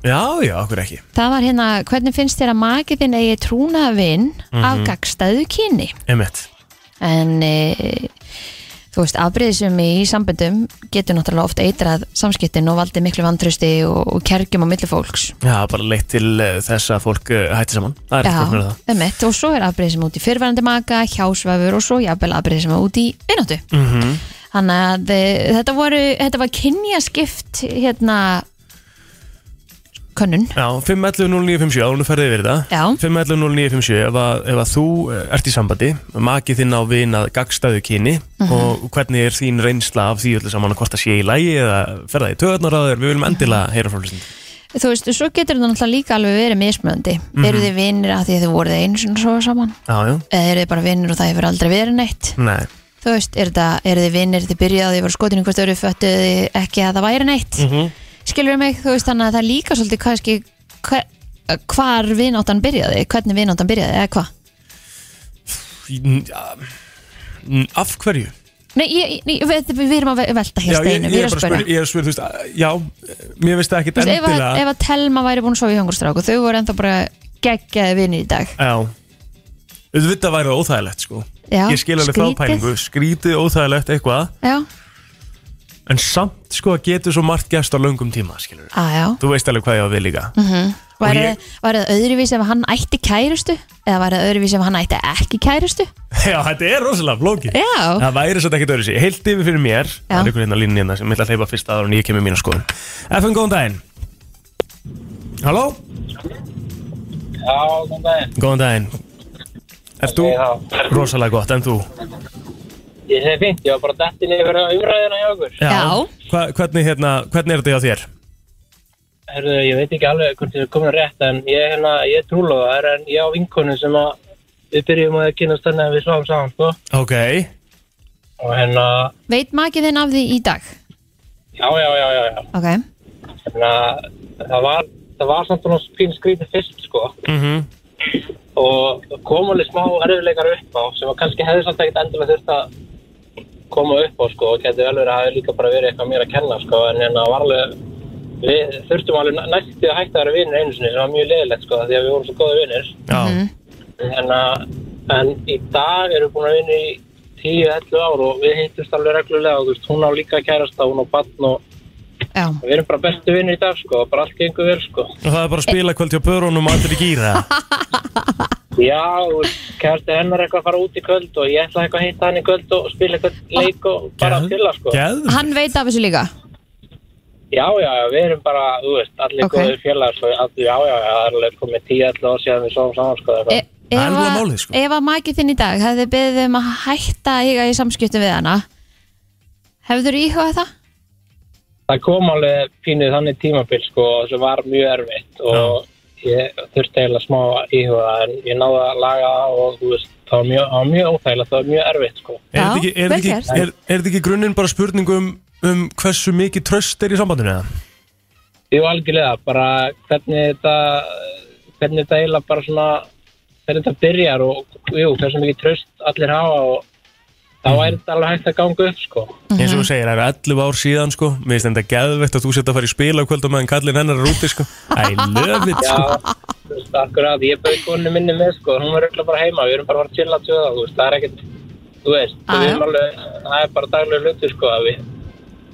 [SPEAKER 1] Já, já, okkur ekki
[SPEAKER 2] Það var hérna, hvernig finnst þér að makið þinn eigi trúnaðvinn mm
[SPEAKER 1] Mhm.
[SPEAKER 2] af gagstæðu kyni?
[SPEAKER 1] Einmitt
[SPEAKER 2] en e, þú veist, afbreyðisum í samböndum getur náttúrulega oft eitrað samskiptin og valdið miklu vandrusti og, og kergjum á milli fólks
[SPEAKER 1] Já, bara leitt til uh, þess að fólk uh, hætti saman Það er ekki fyrir það
[SPEAKER 2] emitt, og svo er afbreyðisum út í fyrrverandi maka, hjásvefur og svo jafnvel afbreyðisum út í eináttu
[SPEAKER 1] mm -hmm.
[SPEAKER 2] þannig að e, þetta, voru, þetta var kynjaskipt hérna könnun
[SPEAKER 1] Já, 5.11.09.57, ánum ferðið yfir þetta
[SPEAKER 2] Já.
[SPEAKER 1] 5.11.09.57, ef, að- ef að þú eh, ert í sambandi, makið þinn á vin að gagstæðu kyni
[SPEAKER 2] Mhm.
[SPEAKER 1] og hvernig er þín reynsla af því öllu saman og hvort það sé í lægi eða ferða í töðarnar á þér, við viljum
[SPEAKER 2] Mhm.
[SPEAKER 1] endilega heyra frá hlustinu
[SPEAKER 2] þú veist, svo getur þetta náttúrulega líka alveg verið mismunandi
[SPEAKER 1] Mhm.
[SPEAKER 2] eru þið vinir að því að þið voruð einu sinni svo saman
[SPEAKER 1] Já, já,
[SPEAKER 2] eða eru þið bara vinir og það hefur aldrei verið neitt
[SPEAKER 1] nei,
[SPEAKER 2] þú veist, er, þetta, er þið vinnir, þið byrjaði, þið voru skotinu hvort öru föttu þið ekki að það væri neitt mm
[SPEAKER 1] Mhm.
[SPEAKER 2] skilur mig, þú veist, þannig að það er líka svolítið kannski hver, hvar vináttan byrjaði, hvernig vináttan byrjaði eða hvað?
[SPEAKER 1] N- ja, n- af hverju?
[SPEAKER 2] Nei, ég, ég, ég, við, við erum að ve- velta hér
[SPEAKER 1] Já, ég,
[SPEAKER 2] steinu,
[SPEAKER 1] ég
[SPEAKER 2] við
[SPEAKER 1] er
[SPEAKER 2] erum
[SPEAKER 1] bara
[SPEAKER 2] að spyrja
[SPEAKER 1] spyr, ég er að spyr, þú veist, að- já, mér veist það
[SPEAKER 2] Þú
[SPEAKER 1] ekkit
[SPEAKER 2] veist, ef,
[SPEAKER 1] endilega
[SPEAKER 2] að, ef að Telma væri búin að sofa í hungurstráku þau voru ennþá bara geggjaði vinni í dag
[SPEAKER 1] Já Þetta væri það óþægilegt sko
[SPEAKER 2] Já,
[SPEAKER 1] Ég skil alveg
[SPEAKER 2] skrítið.
[SPEAKER 1] þápælingu, skrítið óþægilegt eitthvað
[SPEAKER 2] Já,
[SPEAKER 1] En samt sko að getur svo margt gæst á löngum tíma skilur
[SPEAKER 2] að Ah, já
[SPEAKER 1] Þú veist alveg hvað ég á við líka
[SPEAKER 2] Mhm. Var,
[SPEAKER 1] ég-
[SPEAKER 2] ég... var það öðruvísi ef hann ætti kærustu eða var það öðruvísi ef hann ætti ekki kærustu
[SPEAKER 1] Já, þetta er rosalega flókið
[SPEAKER 2] Já,
[SPEAKER 1] Það væri svolítið ekkert öðru sér Heilt yfir fyrir mér Það er ykkur hérna línni hérna sem ég ætla að hleypa fyrst aðra en ég kemur mínu skoðun FM, góðan daginn Halló,
[SPEAKER 4] Já, góðan daginn.
[SPEAKER 1] góðan daginn Ert þú?
[SPEAKER 4] Já.
[SPEAKER 1] Rosalega gott, en þú?
[SPEAKER 4] Ég segi fint, ég var bara dettin yfir á umræðina hjá okkur.
[SPEAKER 2] Já.
[SPEAKER 1] Hva, hvernig, hérna, hvernig er þetta hjá þér?
[SPEAKER 4] Herðu, ég veit ekki alveg hvort þið er komin rétt, en ég, er hérna, ég er trúlóðar, en ég á vinkonu sem að við byrjum að kynast þannig að við sláum saman, sko.
[SPEAKER 1] Ok,
[SPEAKER 4] Og hérna,
[SPEAKER 2] veit makið þinn af því í dag
[SPEAKER 4] já, já, já, já, já.
[SPEAKER 2] Ok,
[SPEAKER 4] Hérna, það var, það var samt svona fín skrítið fyrst, sko.
[SPEAKER 1] mm
[SPEAKER 4] Og það kom alveg smá erfiðleikar upp á, sem að kannski hefði samt ekkert endilega þurft að koma upp á, sko. Og geti vel verið að það hefði líka bara verið eitthvað mér að kenna, sko. En hérna, var alveg, við þurftum alveg næ- næstu að hætta að vera vinnir einu sinni, sem var mjög leðilegt, sko, því að við vorum svo góða vinnir.
[SPEAKER 1] já
[SPEAKER 5] Mhm.
[SPEAKER 4] en, að, en í dag erum við búin að vinna í 10-11 ár og við hittumst alveg reglulega og þú veist, hún á líka kærasta, hún á barn og
[SPEAKER 2] já
[SPEAKER 4] við erum bara bestu vinni í dag sko, og bara allt gengur vel sko.
[SPEAKER 1] Og það er bara að spila kvöldi á börunum og allir í gýra
[SPEAKER 4] Já, og kærasti hennar eitthvað að fara út í kvöld og ég ætla eitthvað að hitta hann í kvöld og spila eitthvað leik og bara að spila sko.
[SPEAKER 1] Ah, Geð?
[SPEAKER 2] Hann veit af þessu líka
[SPEAKER 4] Já, já, já, við erum bara, þú veist, allir
[SPEAKER 2] Ok.
[SPEAKER 4] góðir félagar sko, allir, já, já, já, það er alveg komið 10-11 ár síðan við sáum saman sko.
[SPEAKER 2] e,
[SPEAKER 1] Það
[SPEAKER 4] eitthvað.
[SPEAKER 1] er
[SPEAKER 2] ef
[SPEAKER 1] nefnilega
[SPEAKER 2] að-
[SPEAKER 1] málið, sko.
[SPEAKER 2] Ef að makið þinn í dag hefði beðið um að hætta að eiga í samskiptum við hana Hefður íhugað það?
[SPEAKER 4] það kom alveg pínuð þannig tímabil sko sem var mjög erfitt og ég þurfti eiginlega smá að íhuga en ég náði að laga það og þú veist, það var mjög, það var mjög óþægilegt, það var mjög erfitt sko.
[SPEAKER 1] Er þetta ekki, er
[SPEAKER 2] vel
[SPEAKER 1] þetta ekki,
[SPEAKER 2] gert.
[SPEAKER 1] er, er þetta ekki grunninn bara spurning um, um hversu mikið tröst er í sambandinu eða?
[SPEAKER 4] Ég var algjörlega bara hvernig þetta, hvernig þetta eiginlega bara svona, hvernig þetta byrjar og jú, hversu mikið tröst allir hafa og þá er þetta alveg hægt að ganga upp sko.
[SPEAKER 1] Mhm.
[SPEAKER 2] Mhm.
[SPEAKER 1] Eins og þú segir, það eru 11 ár síðan sko Mér finnst þetta geðvegt að þú setja að fara í spila kvöldum meðan kallin hennar er úti sko I love it sko
[SPEAKER 4] Já, þú veist, akkurat, ég bauði konu minni með, sko, hún var öll bara heima, við erum bara að fara að chilla til það, þú veist, það er ekkert, þú veist,
[SPEAKER 2] Já,
[SPEAKER 1] Ah,
[SPEAKER 4] við
[SPEAKER 2] já.
[SPEAKER 4] erum alveg, það er bara daglegur hlutur, sko, að við,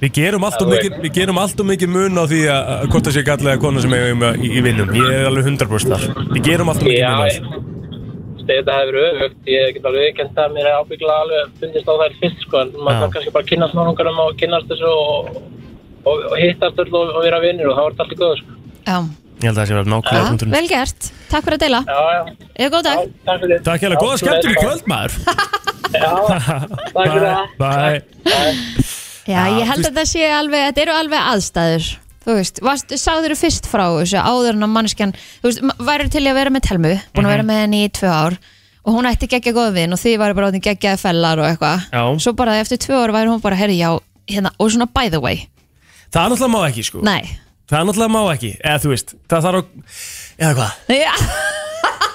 [SPEAKER 1] Við gerum allt og
[SPEAKER 4] Já,
[SPEAKER 1] mikið, við gerum allt og mikið mun á því að að hvort það sé kallega kona sem eigum í, í vinnum Ég er alveg 100% þar Við gerum allt og mikið
[SPEAKER 4] já,
[SPEAKER 1] mun á
[SPEAKER 4] ég-
[SPEAKER 1] því
[SPEAKER 4] þú veist, ef þetta hefur verið öfugt, ég get alveg viðkend að mér er ábygglega alveg fundist á þær fyrst, sko, en
[SPEAKER 1] Já.
[SPEAKER 4] maður þarf kannski bara um að kynast mánungarum og kynast þessu og, og, og hittast öll og, og vera vinnir og það var þetta allir góð, sko.
[SPEAKER 2] Já,
[SPEAKER 1] Ég held að það sé verið nákvæmlega
[SPEAKER 2] já
[SPEAKER 1] punkturinn
[SPEAKER 2] vel gert Takk fyrir að deila
[SPEAKER 4] Já, já,
[SPEAKER 2] Eða góð
[SPEAKER 4] já,
[SPEAKER 2] dag
[SPEAKER 4] takk fyrir.
[SPEAKER 1] Takk hérlega, góða
[SPEAKER 4] Já,
[SPEAKER 1] skemmtur í kvöld maður
[SPEAKER 4] Já, takk fyrir það.
[SPEAKER 1] Bye, bye.
[SPEAKER 2] Já, ég held að þetta sé alveg, þetta eru alveg aðstæður Þú veist, varst, sáður þú fyrst frá þessu áður en að manneskjan Þú veist, værið til í að vera með telmu Búin að vera með henni í tvö ár Og hún ætti geggja góð vin og því væri bara áttið geggjaði fellar og eitthvað
[SPEAKER 1] Já.
[SPEAKER 2] Svo bara eftir tvö ár væri hún bara, herri, já, hérna Og svona by the way,
[SPEAKER 1] Það er náttúrulega má ekki sko
[SPEAKER 2] nei
[SPEAKER 1] Það er náttúrulega má ekki Eða þú veist, það þarf að Eða hvað
[SPEAKER 2] Já,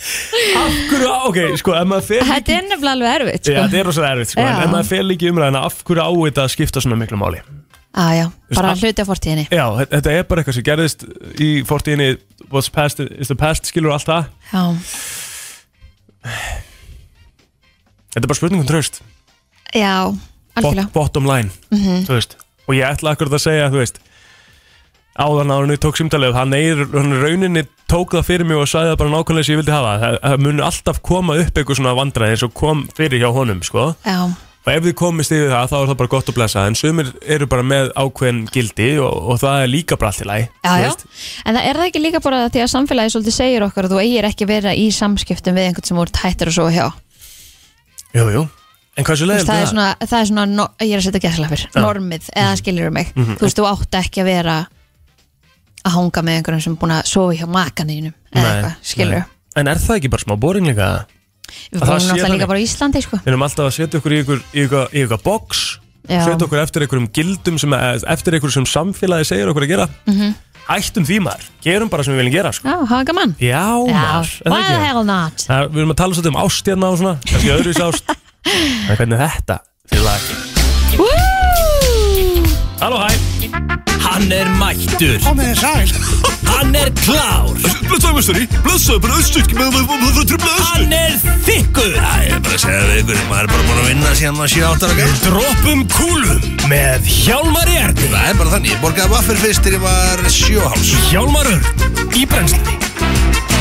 [SPEAKER 1] Hverju, á- ok, sko, ef maður fel
[SPEAKER 2] þetta er nefnilega alveg
[SPEAKER 1] Já,
[SPEAKER 2] erfitt, sko
[SPEAKER 1] þetta er rosalega erfitt sko, en
[SPEAKER 2] Já.
[SPEAKER 1] ef maður fel ekki umræðina af hverju á þetta að skipta svona miklu máli
[SPEAKER 2] Á, Ah, já, bara
[SPEAKER 1] Þú
[SPEAKER 2] hluti á fortíðinni
[SPEAKER 1] Já, þe- þetta er bara eitthvað sem gerðist í fortíðinni What's past is the past, skilur allt það
[SPEAKER 2] Já,
[SPEAKER 1] Þetta er bara um spurningum tröst
[SPEAKER 2] já, algjörlega Mhm.
[SPEAKER 1] Bot- Bottom line, þú veist Og ég ætla akkur að segja, þú veist Áðan ára henni tók símtalið Hann er, hann rauninni tók það fyrir mig og sagði það bara nákvæmlega sem ég vildi hafa Það, það mun alltaf koma upp eitthvað svona vandræði eins og kom fyrir hjá honum, sko
[SPEAKER 2] Já,
[SPEAKER 1] og ef þið komist yfir það þá er það bara gott að blessa en sumir eru bara með ákveðin gildi og, og það er líka bara allt í lagi
[SPEAKER 2] já,
[SPEAKER 1] þú
[SPEAKER 2] já
[SPEAKER 1] veist.
[SPEAKER 2] En það er það ekki líka bara því að samfélagi svolítið segir okkar að þú eigir ekki vera í samskiptum við einhvern sem úr tættir og svo hjá
[SPEAKER 1] Jú, jú. en hversu
[SPEAKER 2] Þú
[SPEAKER 1] leiðilegt
[SPEAKER 2] veist, það
[SPEAKER 1] er
[SPEAKER 2] er svona, það er svona no, ég er að setja gæslafir, normið
[SPEAKER 1] Mhm.
[SPEAKER 2] eða skilur mig, þú veist, þú átt ekki að vera að hanga með einhverjum sem er búin að sofa hjá makaninu eða
[SPEAKER 1] Nei,
[SPEAKER 2] eitthvað, skilur
[SPEAKER 1] nei. en er það ekki bara smá boring líka Það
[SPEAKER 2] við búum
[SPEAKER 1] sé
[SPEAKER 2] náttúrulega
[SPEAKER 1] þannig.
[SPEAKER 2] líka bara í Íslandi sko.
[SPEAKER 1] við erum alltaf að setja okkur í ykkur, í ykkur, í ykkur box
[SPEAKER 2] Já.
[SPEAKER 1] setja okkur eftir einhverjum gildum sem, eh, eftir einhverjum sem samfélagi segir okkur að gera -hmm. hættum því maður, gerum bara sem við viljum gera sko.
[SPEAKER 2] Mhm. já, haga mann
[SPEAKER 1] já,
[SPEAKER 2] já,
[SPEAKER 1] maður, er það
[SPEAKER 2] why
[SPEAKER 1] ekki?
[SPEAKER 2] the hell not
[SPEAKER 1] Það, er- við erum að tala svolítið um ástjarna og svona kannski öðru ást en hvernig er þetta til lag
[SPEAKER 2] Woo!
[SPEAKER 1] Halló, hæ
[SPEAKER 3] Hann er mættur
[SPEAKER 6] Komið þið sæl
[SPEAKER 3] Hann er klár
[SPEAKER 6] Blöðsæmestari, blöðsæmestari, blöðsæmestari, blöðsæmestari, blöðsæmestari
[SPEAKER 3] Hann er þykkur
[SPEAKER 6] Ég er bara að segja það ykkur, maður er bara búin að vinna síðan að 7-8 ára gæl
[SPEAKER 3] Droppum kúlum Með Hjálmar Jörn
[SPEAKER 6] Það er bara þannig, ég borgaði vaffir fyrst til ég var 7 háls
[SPEAKER 3] Hjálmar Örn Í brennslunni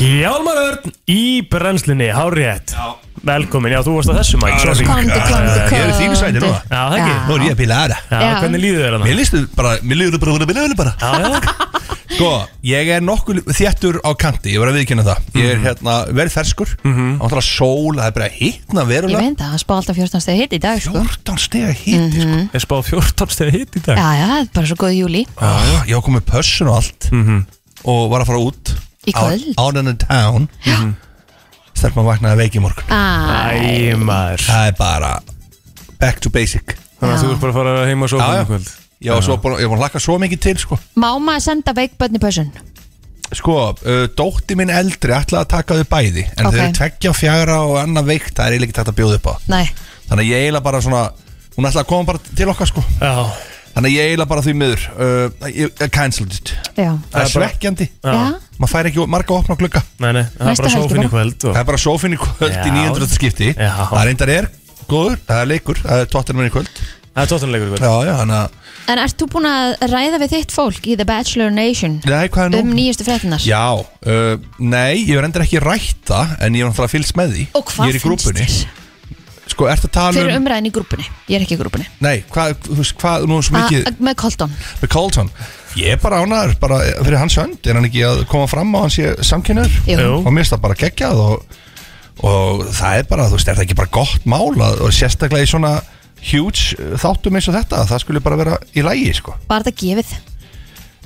[SPEAKER 1] Hjálmar Örn í brennslinni, hárétt Velkomin, já þú varst á þessu mæk sorry.
[SPEAKER 2] komdu, komdu,
[SPEAKER 1] Já,
[SPEAKER 6] Ég er í þínu sæti
[SPEAKER 2] komdu.
[SPEAKER 6] núna.
[SPEAKER 1] Já, það ekki.
[SPEAKER 2] Já.
[SPEAKER 6] Nú er ég að píla aðra
[SPEAKER 1] Já,
[SPEAKER 2] Já.
[SPEAKER 1] hvernig líður þér hana?
[SPEAKER 6] Mér listu bara, mér liður bara, mér liður bara
[SPEAKER 1] Já,
[SPEAKER 6] Sko, ég er nokkuð þjættur á kanti, ég var að viðkynna það Ég
[SPEAKER 1] Mhm.
[SPEAKER 6] er hérna, verð ferskur, átala sól, það er bara hittna
[SPEAKER 2] ég
[SPEAKER 6] verulega
[SPEAKER 2] veit það, hann spá alltaf 14 stegi hitt í dag sko. Mhm.
[SPEAKER 6] 14 stiga hitti, sko
[SPEAKER 1] já, ég spáð 14 stegi hitt í dag
[SPEAKER 2] já, já, það er bara svo góð júli
[SPEAKER 6] Já, Ég var komið pössun og allt
[SPEAKER 1] Mhm.
[SPEAKER 6] Og var að fara út
[SPEAKER 2] Í kvöld?
[SPEAKER 6] Out, out in the town Stelma vaknaði veik í morgun
[SPEAKER 2] ah,
[SPEAKER 1] Æ, maður
[SPEAKER 6] Það er bara back to basic
[SPEAKER 1] Þannig að þú ert bara að fara heima og sofa
[SPEAKER 6] Já,
[SPEAKER 1] um
[SPEAKER 6] já.
[SPEAKER 1] kvöld
[SPEAKER 6] Já, og svo búin, ég var að laka svo mikið til sko
[SPEAKER 2] má maður senda veikbönni pössun
[SPEAKER 6] Sko, uh, dótti minn eldri ætlaði að taka þau bæði En
[SPEAKER 2] Ok.
[SPEAKER 6] þau eru tveggja og fjagra og annað veikt Það er eiginlega ekki þetta að bjóða upp á
[SPEAKER 2] nei,
[SPEAKER 6] Þannig að ég eiginlega bara svona Hún ætlaði að koma bara til okkar sko
[SPEAKER 1] Já,
[SPEAKER 6] Þannig að ég eiginlega bara því miður uh, ég- ég Cancelled it
[SPEAKER 2] já,
[SPEAKER 6] Það
[SPEAKER 1] er
[SPEAKER 6] er
[SPEAKER 1] bara-
[SPEAKER 6] svekkjandi
[SPEAKER 1] Já.
[SPEAKER 2] já.
[SPEAKER 6] Maður fær ekki marga opna glugga
[SPEAKER 1] nei, nei, það er
[SPEAKER 2] Næsta
[SPEAKER 1] bara
[SPEAKER 2] helgi
[SPEAKER 1] sófin í
[SPEAKER 2] bara.
[SPEAKER 1] kvöld og...
[SPEAKER 6] Það er bara sófin í kvöld í
[SPEAKER 1] Já.
[SPEAKER 6] 900 skipti
[SPEAKER 1] Já.
[SPEAKER 6] Það reyndar er góður, það er leikur Það er tóttir í kvöld Já,
[SPEAKER 1] Það er tóttanleikur í kvöld
[SPEAKER 6] já, hann að
[SPEAKER 2] En ert þú búin að ræða við þitt fólk í The Bachelor Nation
[SPEAKER 6] Nei, hvað er nú?
[SPEAKER 2] um nýjustu fréttinar?
[SPEAKER 6] Já, uh, nei, ég er reyndar ekki rætt það En ég er náttúrulega fylgst með því
[SPEAKER 2] Og hvað
[SPEAKER 6] Ég er í
[SPEAKER 2] finnst
[SPEAKER 6] grúpunni
[SPEAKER 2] þér?
[SPEAKER 6] Sko, ertu að tala
[SPEAKER 2] Fyrir
[SPEAKER 6] um
[SPEAKER 2] umræðin í grúpunni, ég er ekki í grúpunni
[SPEAKER 6] Nei, hvað, þú veist, hvað, nú er svo mikið
[SPEAKER 2] A- Ah, Með Colton
[SPEAKER 6] Með Colton Ég er bara ánæður, bara fyrir hans hönd Er hann ekki að koma fram á hans ég samkynur?
[SPEAKER 2] Jú.
[SPEAKER 6] Og mér finnst það bara geggjað og, og það er bara, þú veist, er það ekki bara gott mál að, Og sérstaklega í svona huge uh, þáttum eins og þetta Það skulle bara vera í lægi, sko
[SPEAKER 2] Var þetta gefið?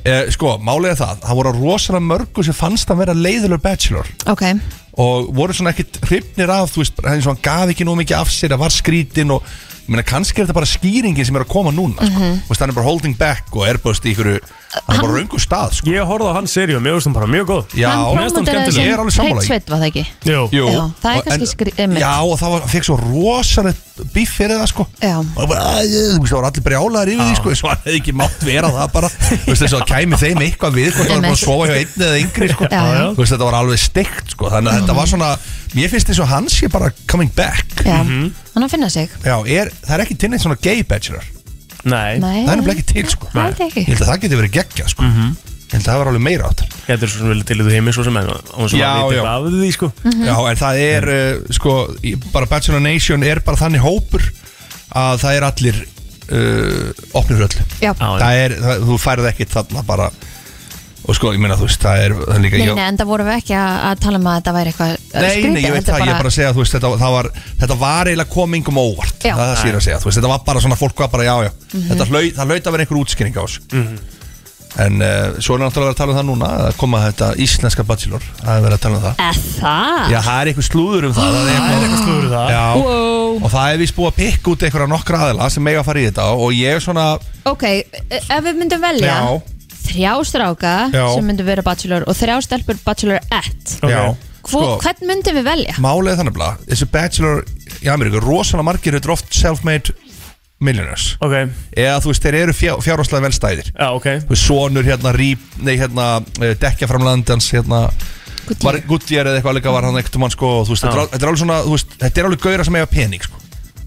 [SPEAKER 6] Eh, sko, málið er það, það voru rosalega mörgu sem fannst að vera leiðilegur bachelor
[SPEAKER 2] Ok,
[SPEAKER 6] og voru svona ekkit hrifnir af, þú veist, bara eins og hann gaf ekki nóg mikið af sér, það var skrítin og ég meina, kannski er þetta bara skýringin sem er að koma núna,
[SPEAKER 2] Mhm.
[SPEAKER 6] sko, þú veist, hann er bara holding back og er bara í ykkur, hann er bara raungu stað, sko,
[SPEAKER 1] Ég horfði á hans seríu, mér veist hún bara mjög góð
[SPEAKER 6] já,
[SPEAKER 2] hann
[SPEAKER 1] mér finnst hún
[SPEAKER 2] promoteraði
[SPEAKER 1] skemmtileg.
[SPEAKER 6] Ég er alveg sammála
[SPEAKER 2] Hreinn
[SPEAKER 6] í.
[SPEAKER 2] sveit var það ekki
[SPEAKER 1] Jú,
[SPEAKER 6] jú,
[SPEAKER 2] Já, það er
[SPEAKER 6] og-
[SPEAKER 2] kannski skrí- einmitt.
[SPEAKER 6] já, og það var, fekk svo rosalega bíf fyrir það, sko,
[SPEAKER 2] Já.
[SPEAKER 6] og það bara, æ, þú veist, það var allir brjálaðar yfir því, sko, eins og hann hefði ekki mátt vera það bara, þú veist, þess að kæmi þeim eitthvað við, hvort það var bara að
[SPEAKER 2] Einmitt.
[SPEAKER 6] sofa hjá einni eða yngri, sko,
[SPEAKER 2] Já, já.
[SPEAKER 6] þú veist, þetta var alveg steikt, sko, þannig að þetta var svona, mér finnst eins og hans sé bara coming back,
[SPEAKER 2] Já,
[SPEAKER 1] Mhm.
[SPEAKER 2] hann að finna sig
[SPEAKER 6] Já, er, það er ekki til neitt svona gay bachelor
[SPEAKER 1] nei,
[SPEAKER 2] Nei,
[SPEAKER 6] Það er nefnilega ekki til sko
[SPEAKER 2] Það er þetta
[SPEAKER 6] Ég
[SPEAKER 2] ekki
[SPEAKER 6] held að það geti verið geggja sko
[SPEAKER 1] Mhm.
[SPEAKER 6] Ég held að það var alveg meira áttar
[SPEAKER 1] þetta er svo sem vilja til í þú heimi svo sem en hún sem
[SPEAKER 6] Já,
[SPEAKER 1] að vita
[SPEAKER 6] já. Mhm.
[SPEAKER 1] eitthvað af því sko
[SPEAKER 6] Já, en það er uh, sko í- Bara Bachelor Nation er bara þannig hópur Að það er allir uh, Opnir öllu
[SPEAKER 2] Já,
[SPEAKER 1] Já,
[SPEAKER 6] það er, það, Þú færð ekkit þarna bara og sko, ég meina þú veist, það er, það er líka
[SPEAKER 2] Nei,
[SPEAKER 6] ég-
[SPEAKER 2] nei, en það vorum við ekki að, að tala um að þetta væri eitthvað eh,
[SPEAKER 6] Nei,
[SPEAKER 2] skrítið
[SPEAKER 6] nei, ég veit
[SPEAKER 2] þetta
[SPEAKER 6] það, ég er bara að segja, þú veist, þetta, það var, þetta var eiginlega komingum óvart,
[SPEAKER 2] Já. Mhm.
[SPEAKER 6] það er það sér að segja, þú veist, þetta var bara svona, fólk var bara, já, já, þetta hlaut, það hlaut að vera einhver útskýring á þessu. En uh, svo er náttúrulega verið að tala um það núna, að koma þetta íslenska bachelor, það er verið að tala um það.
[SPEAKER 2] Eh, Það?
[SPEAKER 6] Já, það er eitthvað slúður um það, það er eitthvað,
[SPEAKER 1] Eitthvað slúður það
[SPEAKER 6] já,
[SPEAKER 2] Wow.
[SPEAKER 6] og það er vist búið að pikka út einhverja nokkra aðila sem eiga að fara í þetta og ég er svona,
[SPEAKER 2] Ok, eh, ef við myndum velja
[SPEAKER 6] Já.
[SPEAKER 2] þrjá stráka
[SPEAKER 6] Já.
[SPEAKER 2] sem myndum vera bachelor og þrjá stelpur bachelorette
[SPEAKER 1] Ok.
[SPEAKER 6] já, sko.
[SPEAKER 2] Hvo, hvern myndum við velja?
[SPEAKER 6] Málið er þannig að þessi bachelor í Ameríku, rosalega margir eru oft self-made millionaires
[SPEAKER 1] Ok,
[SPEAKER 6] eða þú veist, þeir eru fjá, fjárháslega velstæðir
[SPEAKER 1] já, ok
[SPEAKER 6] Þú veist, sonur hérna, rýp, nei hérna dekja framlandans, hérna
[SPEAKER 2] Gutti.
[SPEAKER 6] var Goodyear eða eitthvað alveg var hann ekkert um hann sko, og þú veist, þetta er al- þetta er alveg svona, þú veist, þetta er alveg gauðra sem eiga pening, sko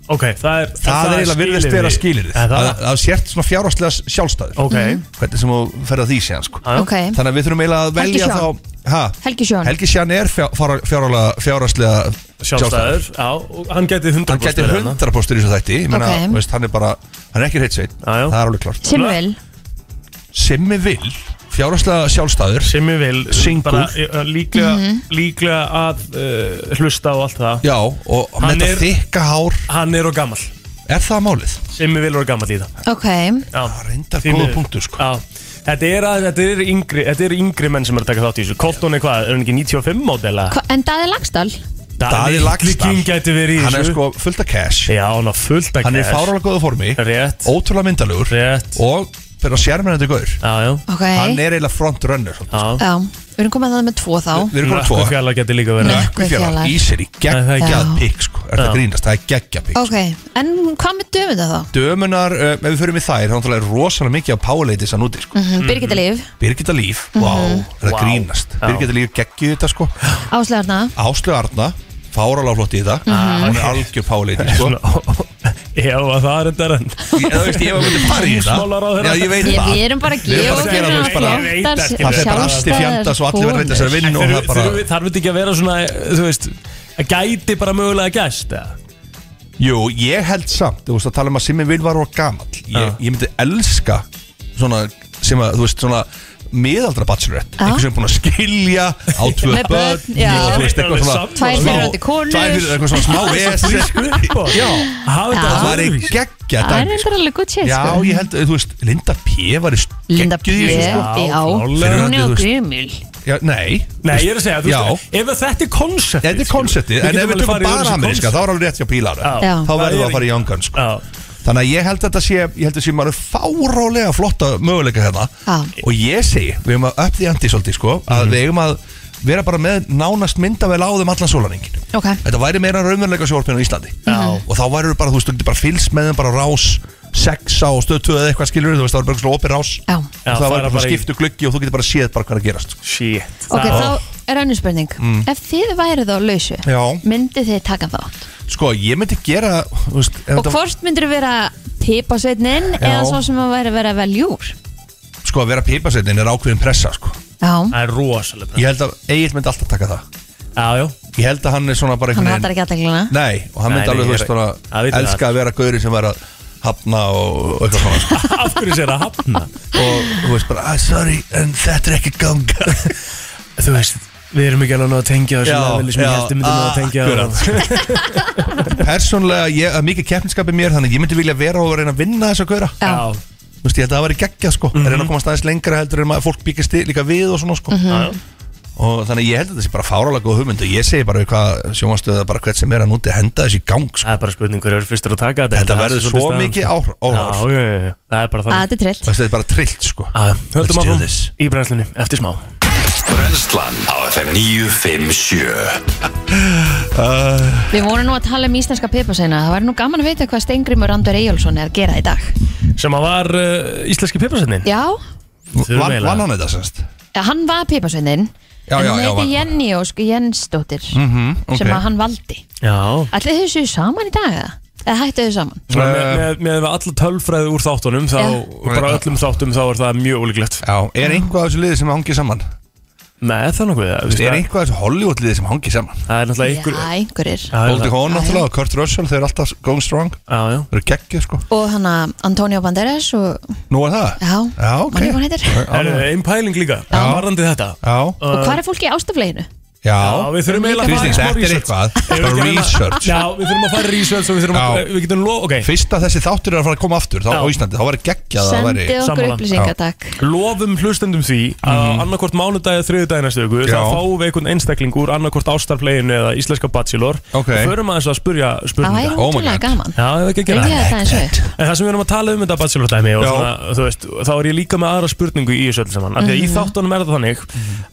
[SPEAKER 1] Ok, það er
[SPEAKER 6] það er eiginlega virðist vera skilir
[SPEAKER 1] Er
[SPEAKER 6] þið
[SPEAKER 1] það?
[SPEAKER 6] að það sért svona fjárháslega sjálfstæður Mhm.
[SPEAKER 1] Ok, Ah,
[SPEAKER 6] hvernig sem þú ferð að því séðan, sko
[SPEAKER 1] Já.
[SPEAKER 2] Ok,
[SPEAKER 6] þannig að við þurfum eiginlega að
[SPEAKER 2] Helgi
[SPEAKER 6] velja
[SPEAKER 2] Sjón.
[SPEAKER 6] þá ha?
[SPEAKER 2] Helgi Sjón.
[SPEAKER 6] Helgi Sján er fjárháslega sjálfstæður
[SPEAKER 1] sjálfstæður Já, og hann geti 100%
[SPEAKER 6] hann gæti
[SPEAKER 1] verið hérna. þarna.
[SPEAKER 6] 100 postur í þessu þætti ég meina,
[SPEAKER 2] Ok.
[SPEAKER 6] þú veist, hann er bara, hann er ekki reitt sveit
[SPEAKER 1] Já, já.
[SPEAKER 6] það er alveg klart
[SPEAKER 2] Simvil
[SPEAKER 6] Simmi vil, fjárháslega sjálfstæður
[SPEAKER 1] sem ég vil
[SPEAKER 6] Single.
[SPEAKER 1] bara, uh, líklega,
[SPEAKER 2] Mhm.
[SPEAKER 1] líklega að uh, hlusta á allt það
[SPEAKER 6] Já, og
[SPEAKER 1] Hann
[SPEAKER 6] með
[SPEAKER 1] er-
[SPEAKER 6] þetta þykka hár
[SPEAKER 1] hann er og gammal
[SPEAKER 6] Er það málið?
[SPEAKER 1] sem ég vil og gammal í það
[SPEAKER 2] Ok,
[SPEAKER 1] já,
[SPEAKER 6] Ah, reyndar
[SPEAKER 1] Því
[SPEAKER 6] góður
[SPEAKER 1] miður.
[SPEAKER 6] punktur, sko.
[SPEAKER 1] já. Þetta, er að, þetta, er yngri, þetta er yngri menn sem er að taka þátt í þessu Colton er hvað, er hann ekki 95 módela?
[SPEAKER 2] Hva, en Daði Lagstall?
[SPEAKER 6] Hm? Daði Laxdal.
[SPEAKER 1] King gæti verið í
[SPEAKER 6] Hann er
[SPEAKER 1] þessu
[SPEAKER 6] sko fullt af cash
[SPEAKER 1] Já, hann er fullt að
[SPEAKER 6] Hann er í fárálega góðu formi
[SPEAKER 1] Rétt,
[SPEAKER 6] Ótrúlega myndalugur
[SPEAKER 1] rétt
[SPEAKER 6] Og fyrir að sérmennandi gaur
[SPEAKER 1] Já, já,
[SPEAKER 2] Ok,
[SPEAKER 6] Hann er eiginlega frontrunner sko.
[SPEAKER 1] já
[SPEAKER 2] já, við erum komið að það með tvo þá
[SPEAKER 6] Við erum komin tvo
[SPEAKER 1] Nökkufjallar gæti líka verið
[SPEAKER 2] Nei.
[SPEAKER 6] Nökkufjallar
[SPEAKER 2] Nökkvifjallar.
[SPEAKER 6] Ísir í
[SPEAKER 1] Nei, það er ekki-
[SPEAKER 6] geggjað
[SPEAKER 2] Já.
[SPEAKER 6] pikk sko Er það
[SPEAKER 1] Já.
[SPEAKER 6] grínast? Það er geggjað pikk sko.
[SPEAKER 2] Ok, en hvað með döfum það þá?
[SPEAKER 6] Dömunar, uh, ef við förum í þær Þá náttúrulega er rosalega mikið á páleiti sann úti sko
[SPEAKER 2] Mm. Birgitta Líf,
[SPEAKER 6] Birgitta Líf
[SPEAKER 2] Mhm.
[SPEAKER 6] Vá, er það
[SPEAKER 1] Vá.
[SPEAKER 6] grínast
[SPEAKER 1] Já.
[SPEAKER 6] Birgitta Líf geggjuð í þetta sko
[SPEAKER 2] Áslegarna
[SPEAKER 6] Áslu Arna Fárálega flott í þetta
[SPEAKER 2] Mhm.
[SPEAKER 6] Hún
[SPEAKER 2] Ah,
[SPEAKER 6] er algjör páleiti sko
[SPEAKER 1] Svona, Já, að það er þetta renn
[SPEAKER 6] Ég- eða, þú veist, ég var myndið farið í þetta
[SPEAKER 1] Dómsmálaráðherra.
[SPEAKER 6] Já, ég veit
[SPEAKER 2] Ég-
[SPEAKER 6] það
[SPEAKER 2] Við erum bara að
[SPEAKER 6] Við
[SPEAKER 2] gefa
[SPEAKER 6] erum bara að gera
[SPEAKER 2] okkur
[SPEAKER 6] þú veist bara-
[SPEAKER 2] flottar,
[SPEAKER 1] Ég veit ekki.
[SPEAKER 6] Það fer bara allt í
[SPEAKER 2] sjálfstæðar
[SPEAKER 6] fjandans og allir verða reyndar sér að vinna og það er
[SPEAKER 1] Þurfum-
[SPEAKER 6] bara
[SPEAKER 1] þurfum- Þarf þetta ekki að vera svona, þú veist að gæti bara mögulega gæst eða?
[SPEAKER 6] Jú, ég held samt, þú veist að tala um að Simmi Vil var og gamall
[SPEAKER 1] Já.
[SPEAKER 2] Ah.
[SPEAKER 6] ég, ég myndi elska svona, sem að, þú veist, svona miðaldra bachelorette,
[SPEAKER 2] Já.
[SPEAKER 6] einhver sem er búin að skilja á tvö
[SPEAKER 2] Ah. Með börn,
[SPEAKER 6] börn
[SPEAKER 2] já.
[SPEAKER 6] og þú veist, eitthvað svona
[SPEAKER 2] Tvær
[SPEAKER 6] smá-
[SPEAKER 2] fyrrverandi konur.
[SPEAKER 6] tvær fyrir eitthvað svona smá vesen, sko. Já,
[SPEAKER 1] Hafa
[SPEAKER 2] Já.
[SPEAKER 1] þetta
[SPEAKER 6] það var
[SPEAKER 1] öðruvísi?
[SPEAKER 6] ekki geggja
[SPEAKER 2] Það er reyndar alveg gutt sér
[SPEAKER 6] Já,
[SPEAKER 2] sko
[SPEAKER 6] ég held, þú veist, Linda P var í
[SPEAKER 2] Linda P,
[SPEAKER 6] geggjuð í þessu, sko.
[SPEAKER 2] já,
[SPEAKER 1] klárlega.
[SPEAKER 2] hún
[SPEAKER 6] Þú
[SPEAKER 2] er á
[SPEAKER 6] veist-
[SPEAKER 2] grímul
[SPEAKER 6] Já, nei,
[SPEAKER 1] Nei, ég er að segja, þú veist,
[SPEAKER 6] Já.
[SPEAKER 1] ef að þetta er konseptið
[SPEAKER 6] þetta er
[SPEAKER 1] skilur,
[SPEAKER 6] konceptið, en
[SPEAKER 1] getum
[SPEAKER 6] ef við
[SPEAKER 1] alveg
[SPEAKER 6] tökum
[SPEAKER 1] farið í
[SPEAKER 6] bara
[SPEAKER 1] öðruvísi
[SPEAKER 6] ameríska, þá
[SPEAKER 1] konsept.
[SPEAKER 6] er alveg rétt hjá pílar
[SPEAKER 1] Já.
[SPEAKER 6] þá verður það að fara í Young Guns, sko
[SPEAKER 1] Já,
[SPEAKER 6] Þannig að ég held að þetta sé, ég held að sé maður fárálega flotta möguleika hérna
[SPEAKER 2] Já.
[SPEAKER 6] og ég segi, við erum að upp því andi svolítið sko, að
[SPEAKER 1] Mhm.
[SPEAKER 6] við eigum að vera bara með nánast myndavel á þeim allan sólaningin
[SPEAKER 2] Ok,
[SPEAKER 6] Þetta væri meira raunveruleika sjóarpinu á Íslandi
[SPEAKER 1] Já.
[SPEAKER 6] og þá væri bara, þú veist, þú getur bara fylst með þeim bara á rás, sexa og stöðtöð eða eitthvað skilur, þú veist, það var bara svona opið rás
[SPEAKER 2] já
[SPEAKER 1] Já,
[SPEAKER 6] og það
[SPEAKER 1] fara
[SPEAKER 6] væri bara
[SPEAKER 1] bara í-
[SPEAKER 6] skiptu gluggi og þú getur bara séð bara hvað er að gerast sko.
[SPEAKER 1] shit
[SPEAKER 2] Ok,
[SPEAKER 1] Það-
[SPEAKER 2] þá er önnur spurning Ef þið værið á lausu
[SPEAKER 6] Mm. Já.
[SPEAKER 2] Myndið þið taka þátt?
[SPEAKER 6] Sko, ég myndi gera, þú veist, ef
[SPEAKER 2] Og
[SPEAKER 6] þetta-
[SPEAKER 2] hvort myndir þið vera tipasveitnin
[SPEAKER 6] Já.
[SPEAKER 2] Eða svo sem að væri að vera veljúr
[SPEAKER 6] sko, að vera pipasettin er ákveðin pressa sko.
[SPEAKER 2] Já,
[SPEAKER 1] Það er rosalega
[SPEAKER 6] Ég held að Egil myndi alltaf taka það
[SPEAKER 1] Já, já
[SPEAKER 6] Ég held að hann er svona bara
[SPEAKER 2] hann
[SPEAKER 6] einhvern
[SPEAKER 2] hattar ekki aðteglina
[SPEAKER 6] Nei, og hann
[SPEAKER 1] Nei,
[SPEAKER 6] myndi
[SPEAKER 1] nei,
[SPEAKER 6] alveg,
[SPEAKER 1] ég
[SPEAKER 6] þú
[SPEAKER 1] er-
[SPEAKER 6] veist, svona
[SPEAKER 1] Það vitum við
[SPEAKER 6] elska að vera gauri sem er að hafna og, og eitthvað svona sko.
[SPEAKER 1] Af hverju sér að hafna?
[SPEAKER 6] og þú veist bara, ah, sorry, en þetta er ekki ganga
[SPEAKER 1] Þú veist, við erum ekki alveg að ná að tengja þessu
[SPEAKER 6] Já,
[SPEAKER 1] leveli sem ég
[SPEAKER 6] já,
[SPEAKER 1] held við myndum ná að tengja
[SPEAKER 6] akkurat. Persónlega, ég, það er mikið keppniskap í mér þannig að ég myndi vilja vera og reyna að vinna þess að gauðra
[SPEAKER 2] Já.
[SPEAKER 1] Já,
[SPEAKER 6] Þú veist, ég held að það væri geggjað, sko
[SPEAKER 1] Mhm.
[SPEAKER 6] mm reyna að komast aðeins lengra heldur en maður fólk byggist í- líka við og svona, sko
[SPEAKER 1] já,
[SPEAKER 6] og þannig að ég held að þetta sé bara fárálega góð hugmynd og ég segi bara við hvað sjónvastuða bara hvert sem er að núti henda þessi gang, sko
[SPEAKER 1] það er bara spurning hverju er fyrstur að taka þetta
[SPEAKER 6] Þetta
[SPEAKER 1] Það er
[SPEAKER 6] verður
[SPEAKER 1] svolítið
[SPEAKER 6] svo
[SPEAKER 1] staðan,
[SPEAKER 6] mikið
[SPEAKER 1] sko.
[SPEAKER 6] áhr- áhrif.
[SPEAKER 1] Já, já, já, já, það er bara
[SPEAKER 2] Að
[SPEAKER 1] þannig
[SPEAKER 2] þetta er trillt
[SPEAKER 6] Þú veist, Þetta er bara trillt, sko
[SPEAKER 1] Já, Höldum
[SPEAKER 6] Let's do
[SPEAKER 1] áfram
[SPEAKER 6] this.
[SPEAKER 1] í brennslunni eftir smá
[SPEAKER 7] Brennslan á FM 957
[SPEAKER 2] Við vorum nú að tala um íslenska pipaseina Það væri nú gaman að vita hvað Steingrimur Andor Eyjálsson er að gera í dag
[SPEAKER 1] sem að var uh, íslenski piparsendin
[SPEAKER 2] Já,
[SPEAKER 1] Þurfum
[SPEAKER 6] Vann
[SPEAKER 1] eiginlega.
[SPEAKER 6] vann hann þetta, semst
[SPEAKER 2] eh, hann var pipaseinin
[SPEAKER 6] Já,
[SPEAKER 2] En
[SPEAKER 6] já,
[SPEAKER 2] hún
[SPEAKER 6] já, var- Mhm,
[SPEAKER 2] heiti Jenny Ósk Jensdóttir Sem að hann valdi
[SPEAKER 1] Já,
[SPEAKER 2] Ætlið þau séu saman í dag eða? Eða hættu þau saman?
[SPEAKER 1] Svona með, með, með alla tölfræði úr þáttunum þá,
[SPEAKER 2] Já.
[SPEAKER 1] bara öllum þáttum þá er það mjög ólíklegt
[SPEAKER 6] Já, er einhvað af þessu liði sem hangið saman?
[SPEAKER 1] Nei, það er nokkuð það veist,
[SPEAKER 6] Þú veist, er
[SPEAKER 1] það-
[SPEAKER 6] einhvað þessu Hollywood-liði sem hangi saman
[SPEAKER 1] Það er náttúrulega einhver
[SPEAKER 2] Já, einhverjir
[SPEAKER 1] Það er
[SPEAKER 6] Goldie
[SPEAKER 1] það-
[SPEAKER 6] Hawn náttúrulega og Kurt Russell, þeir eru alltaf going strong
[SPEAKER 1] Já, já
[SPEAKER 6] Þeir eru geggið sko
[SPEAKER 2] Og hann að Antonio Banderas og
[SPEAKER 6] Nú er það?
[SPEAKER 2] Já,
[SPEAKER 6] Já, ok
[SPEAKER 2] manni hvað hann heitir.
[SPEAKER 1] Það er einn pæling líka Varðandi þetta
[SPEAKER 6] Já,
[SPEAKER 2] Og hvað er fólki í ástafleginu?
[SPEAKER 6] já
[SPEAKER 1] Já, við þurfum eiginlega
[SPEAKER 6] Kristín,
[SPEAKER 1] smá
[SPEAKER 6] þetta er
[SPEAKER 1] research.
[SPEAKER 6] eitthvað
[SPEAKER 1] Ef við
[SPEAKER 6] Bara
[SPEAKER 1] gerum það-
[SPEAKER 6] research
[SPEAKER 1] Já, við þurfum að fara í research og við þurfum að
[SPEAKER 6] Já.
[SPEAKER 1] Við getum lof, ok
[SPEAKER 6] Fyrst að þessi þáttur er að fara að koma aftur þá
[SPEAKER 1] Já.
[SPEAKER 6] á Íslandi, þá væri geggjað að það væri
[SPEAKER 2] Sendi okkur
[SPEAKER 1] Sammála.
[SPEAKER 2] upplýsingar, takk
[SPEAKER 1] Lofum hlustendum því að mm. annarkvort mánudagi eða þriðudagi næstu viku þá
[SPEAKER 6] Já.
[SPEAKER 1] fáum við einhvern einstakling úr annarkvort ástarfleginu eða íslenska bachelor og
[SPEAKER 6] Ok.
[SPEAKER 1] förum aðeins að spurja
[SPEAKER 2] Það væri
[SPEAKER 1] spurninga
[SPEAKER 6] Oh my
[SPEAKER 2] ótrúlega
[SPEAKER 6] God.
[SPEAKER 2] gaman
[SPEAKER 1] Já, það er ekki að gera
[SPEAKER 2] Reyndi ég þetta eins og
[SPEAKER 1] En það sem við erum að tala um þetta bachelor dæmi og
[SPEAKER 6] Já.
[SPEAKER 1] svona, þú veist, þá er ég líka með aðra spurningu í þessu öll saman, af því að
[SPEAKER 2] Mhm.
[SPEAKER 1] í þáttunum er það þannig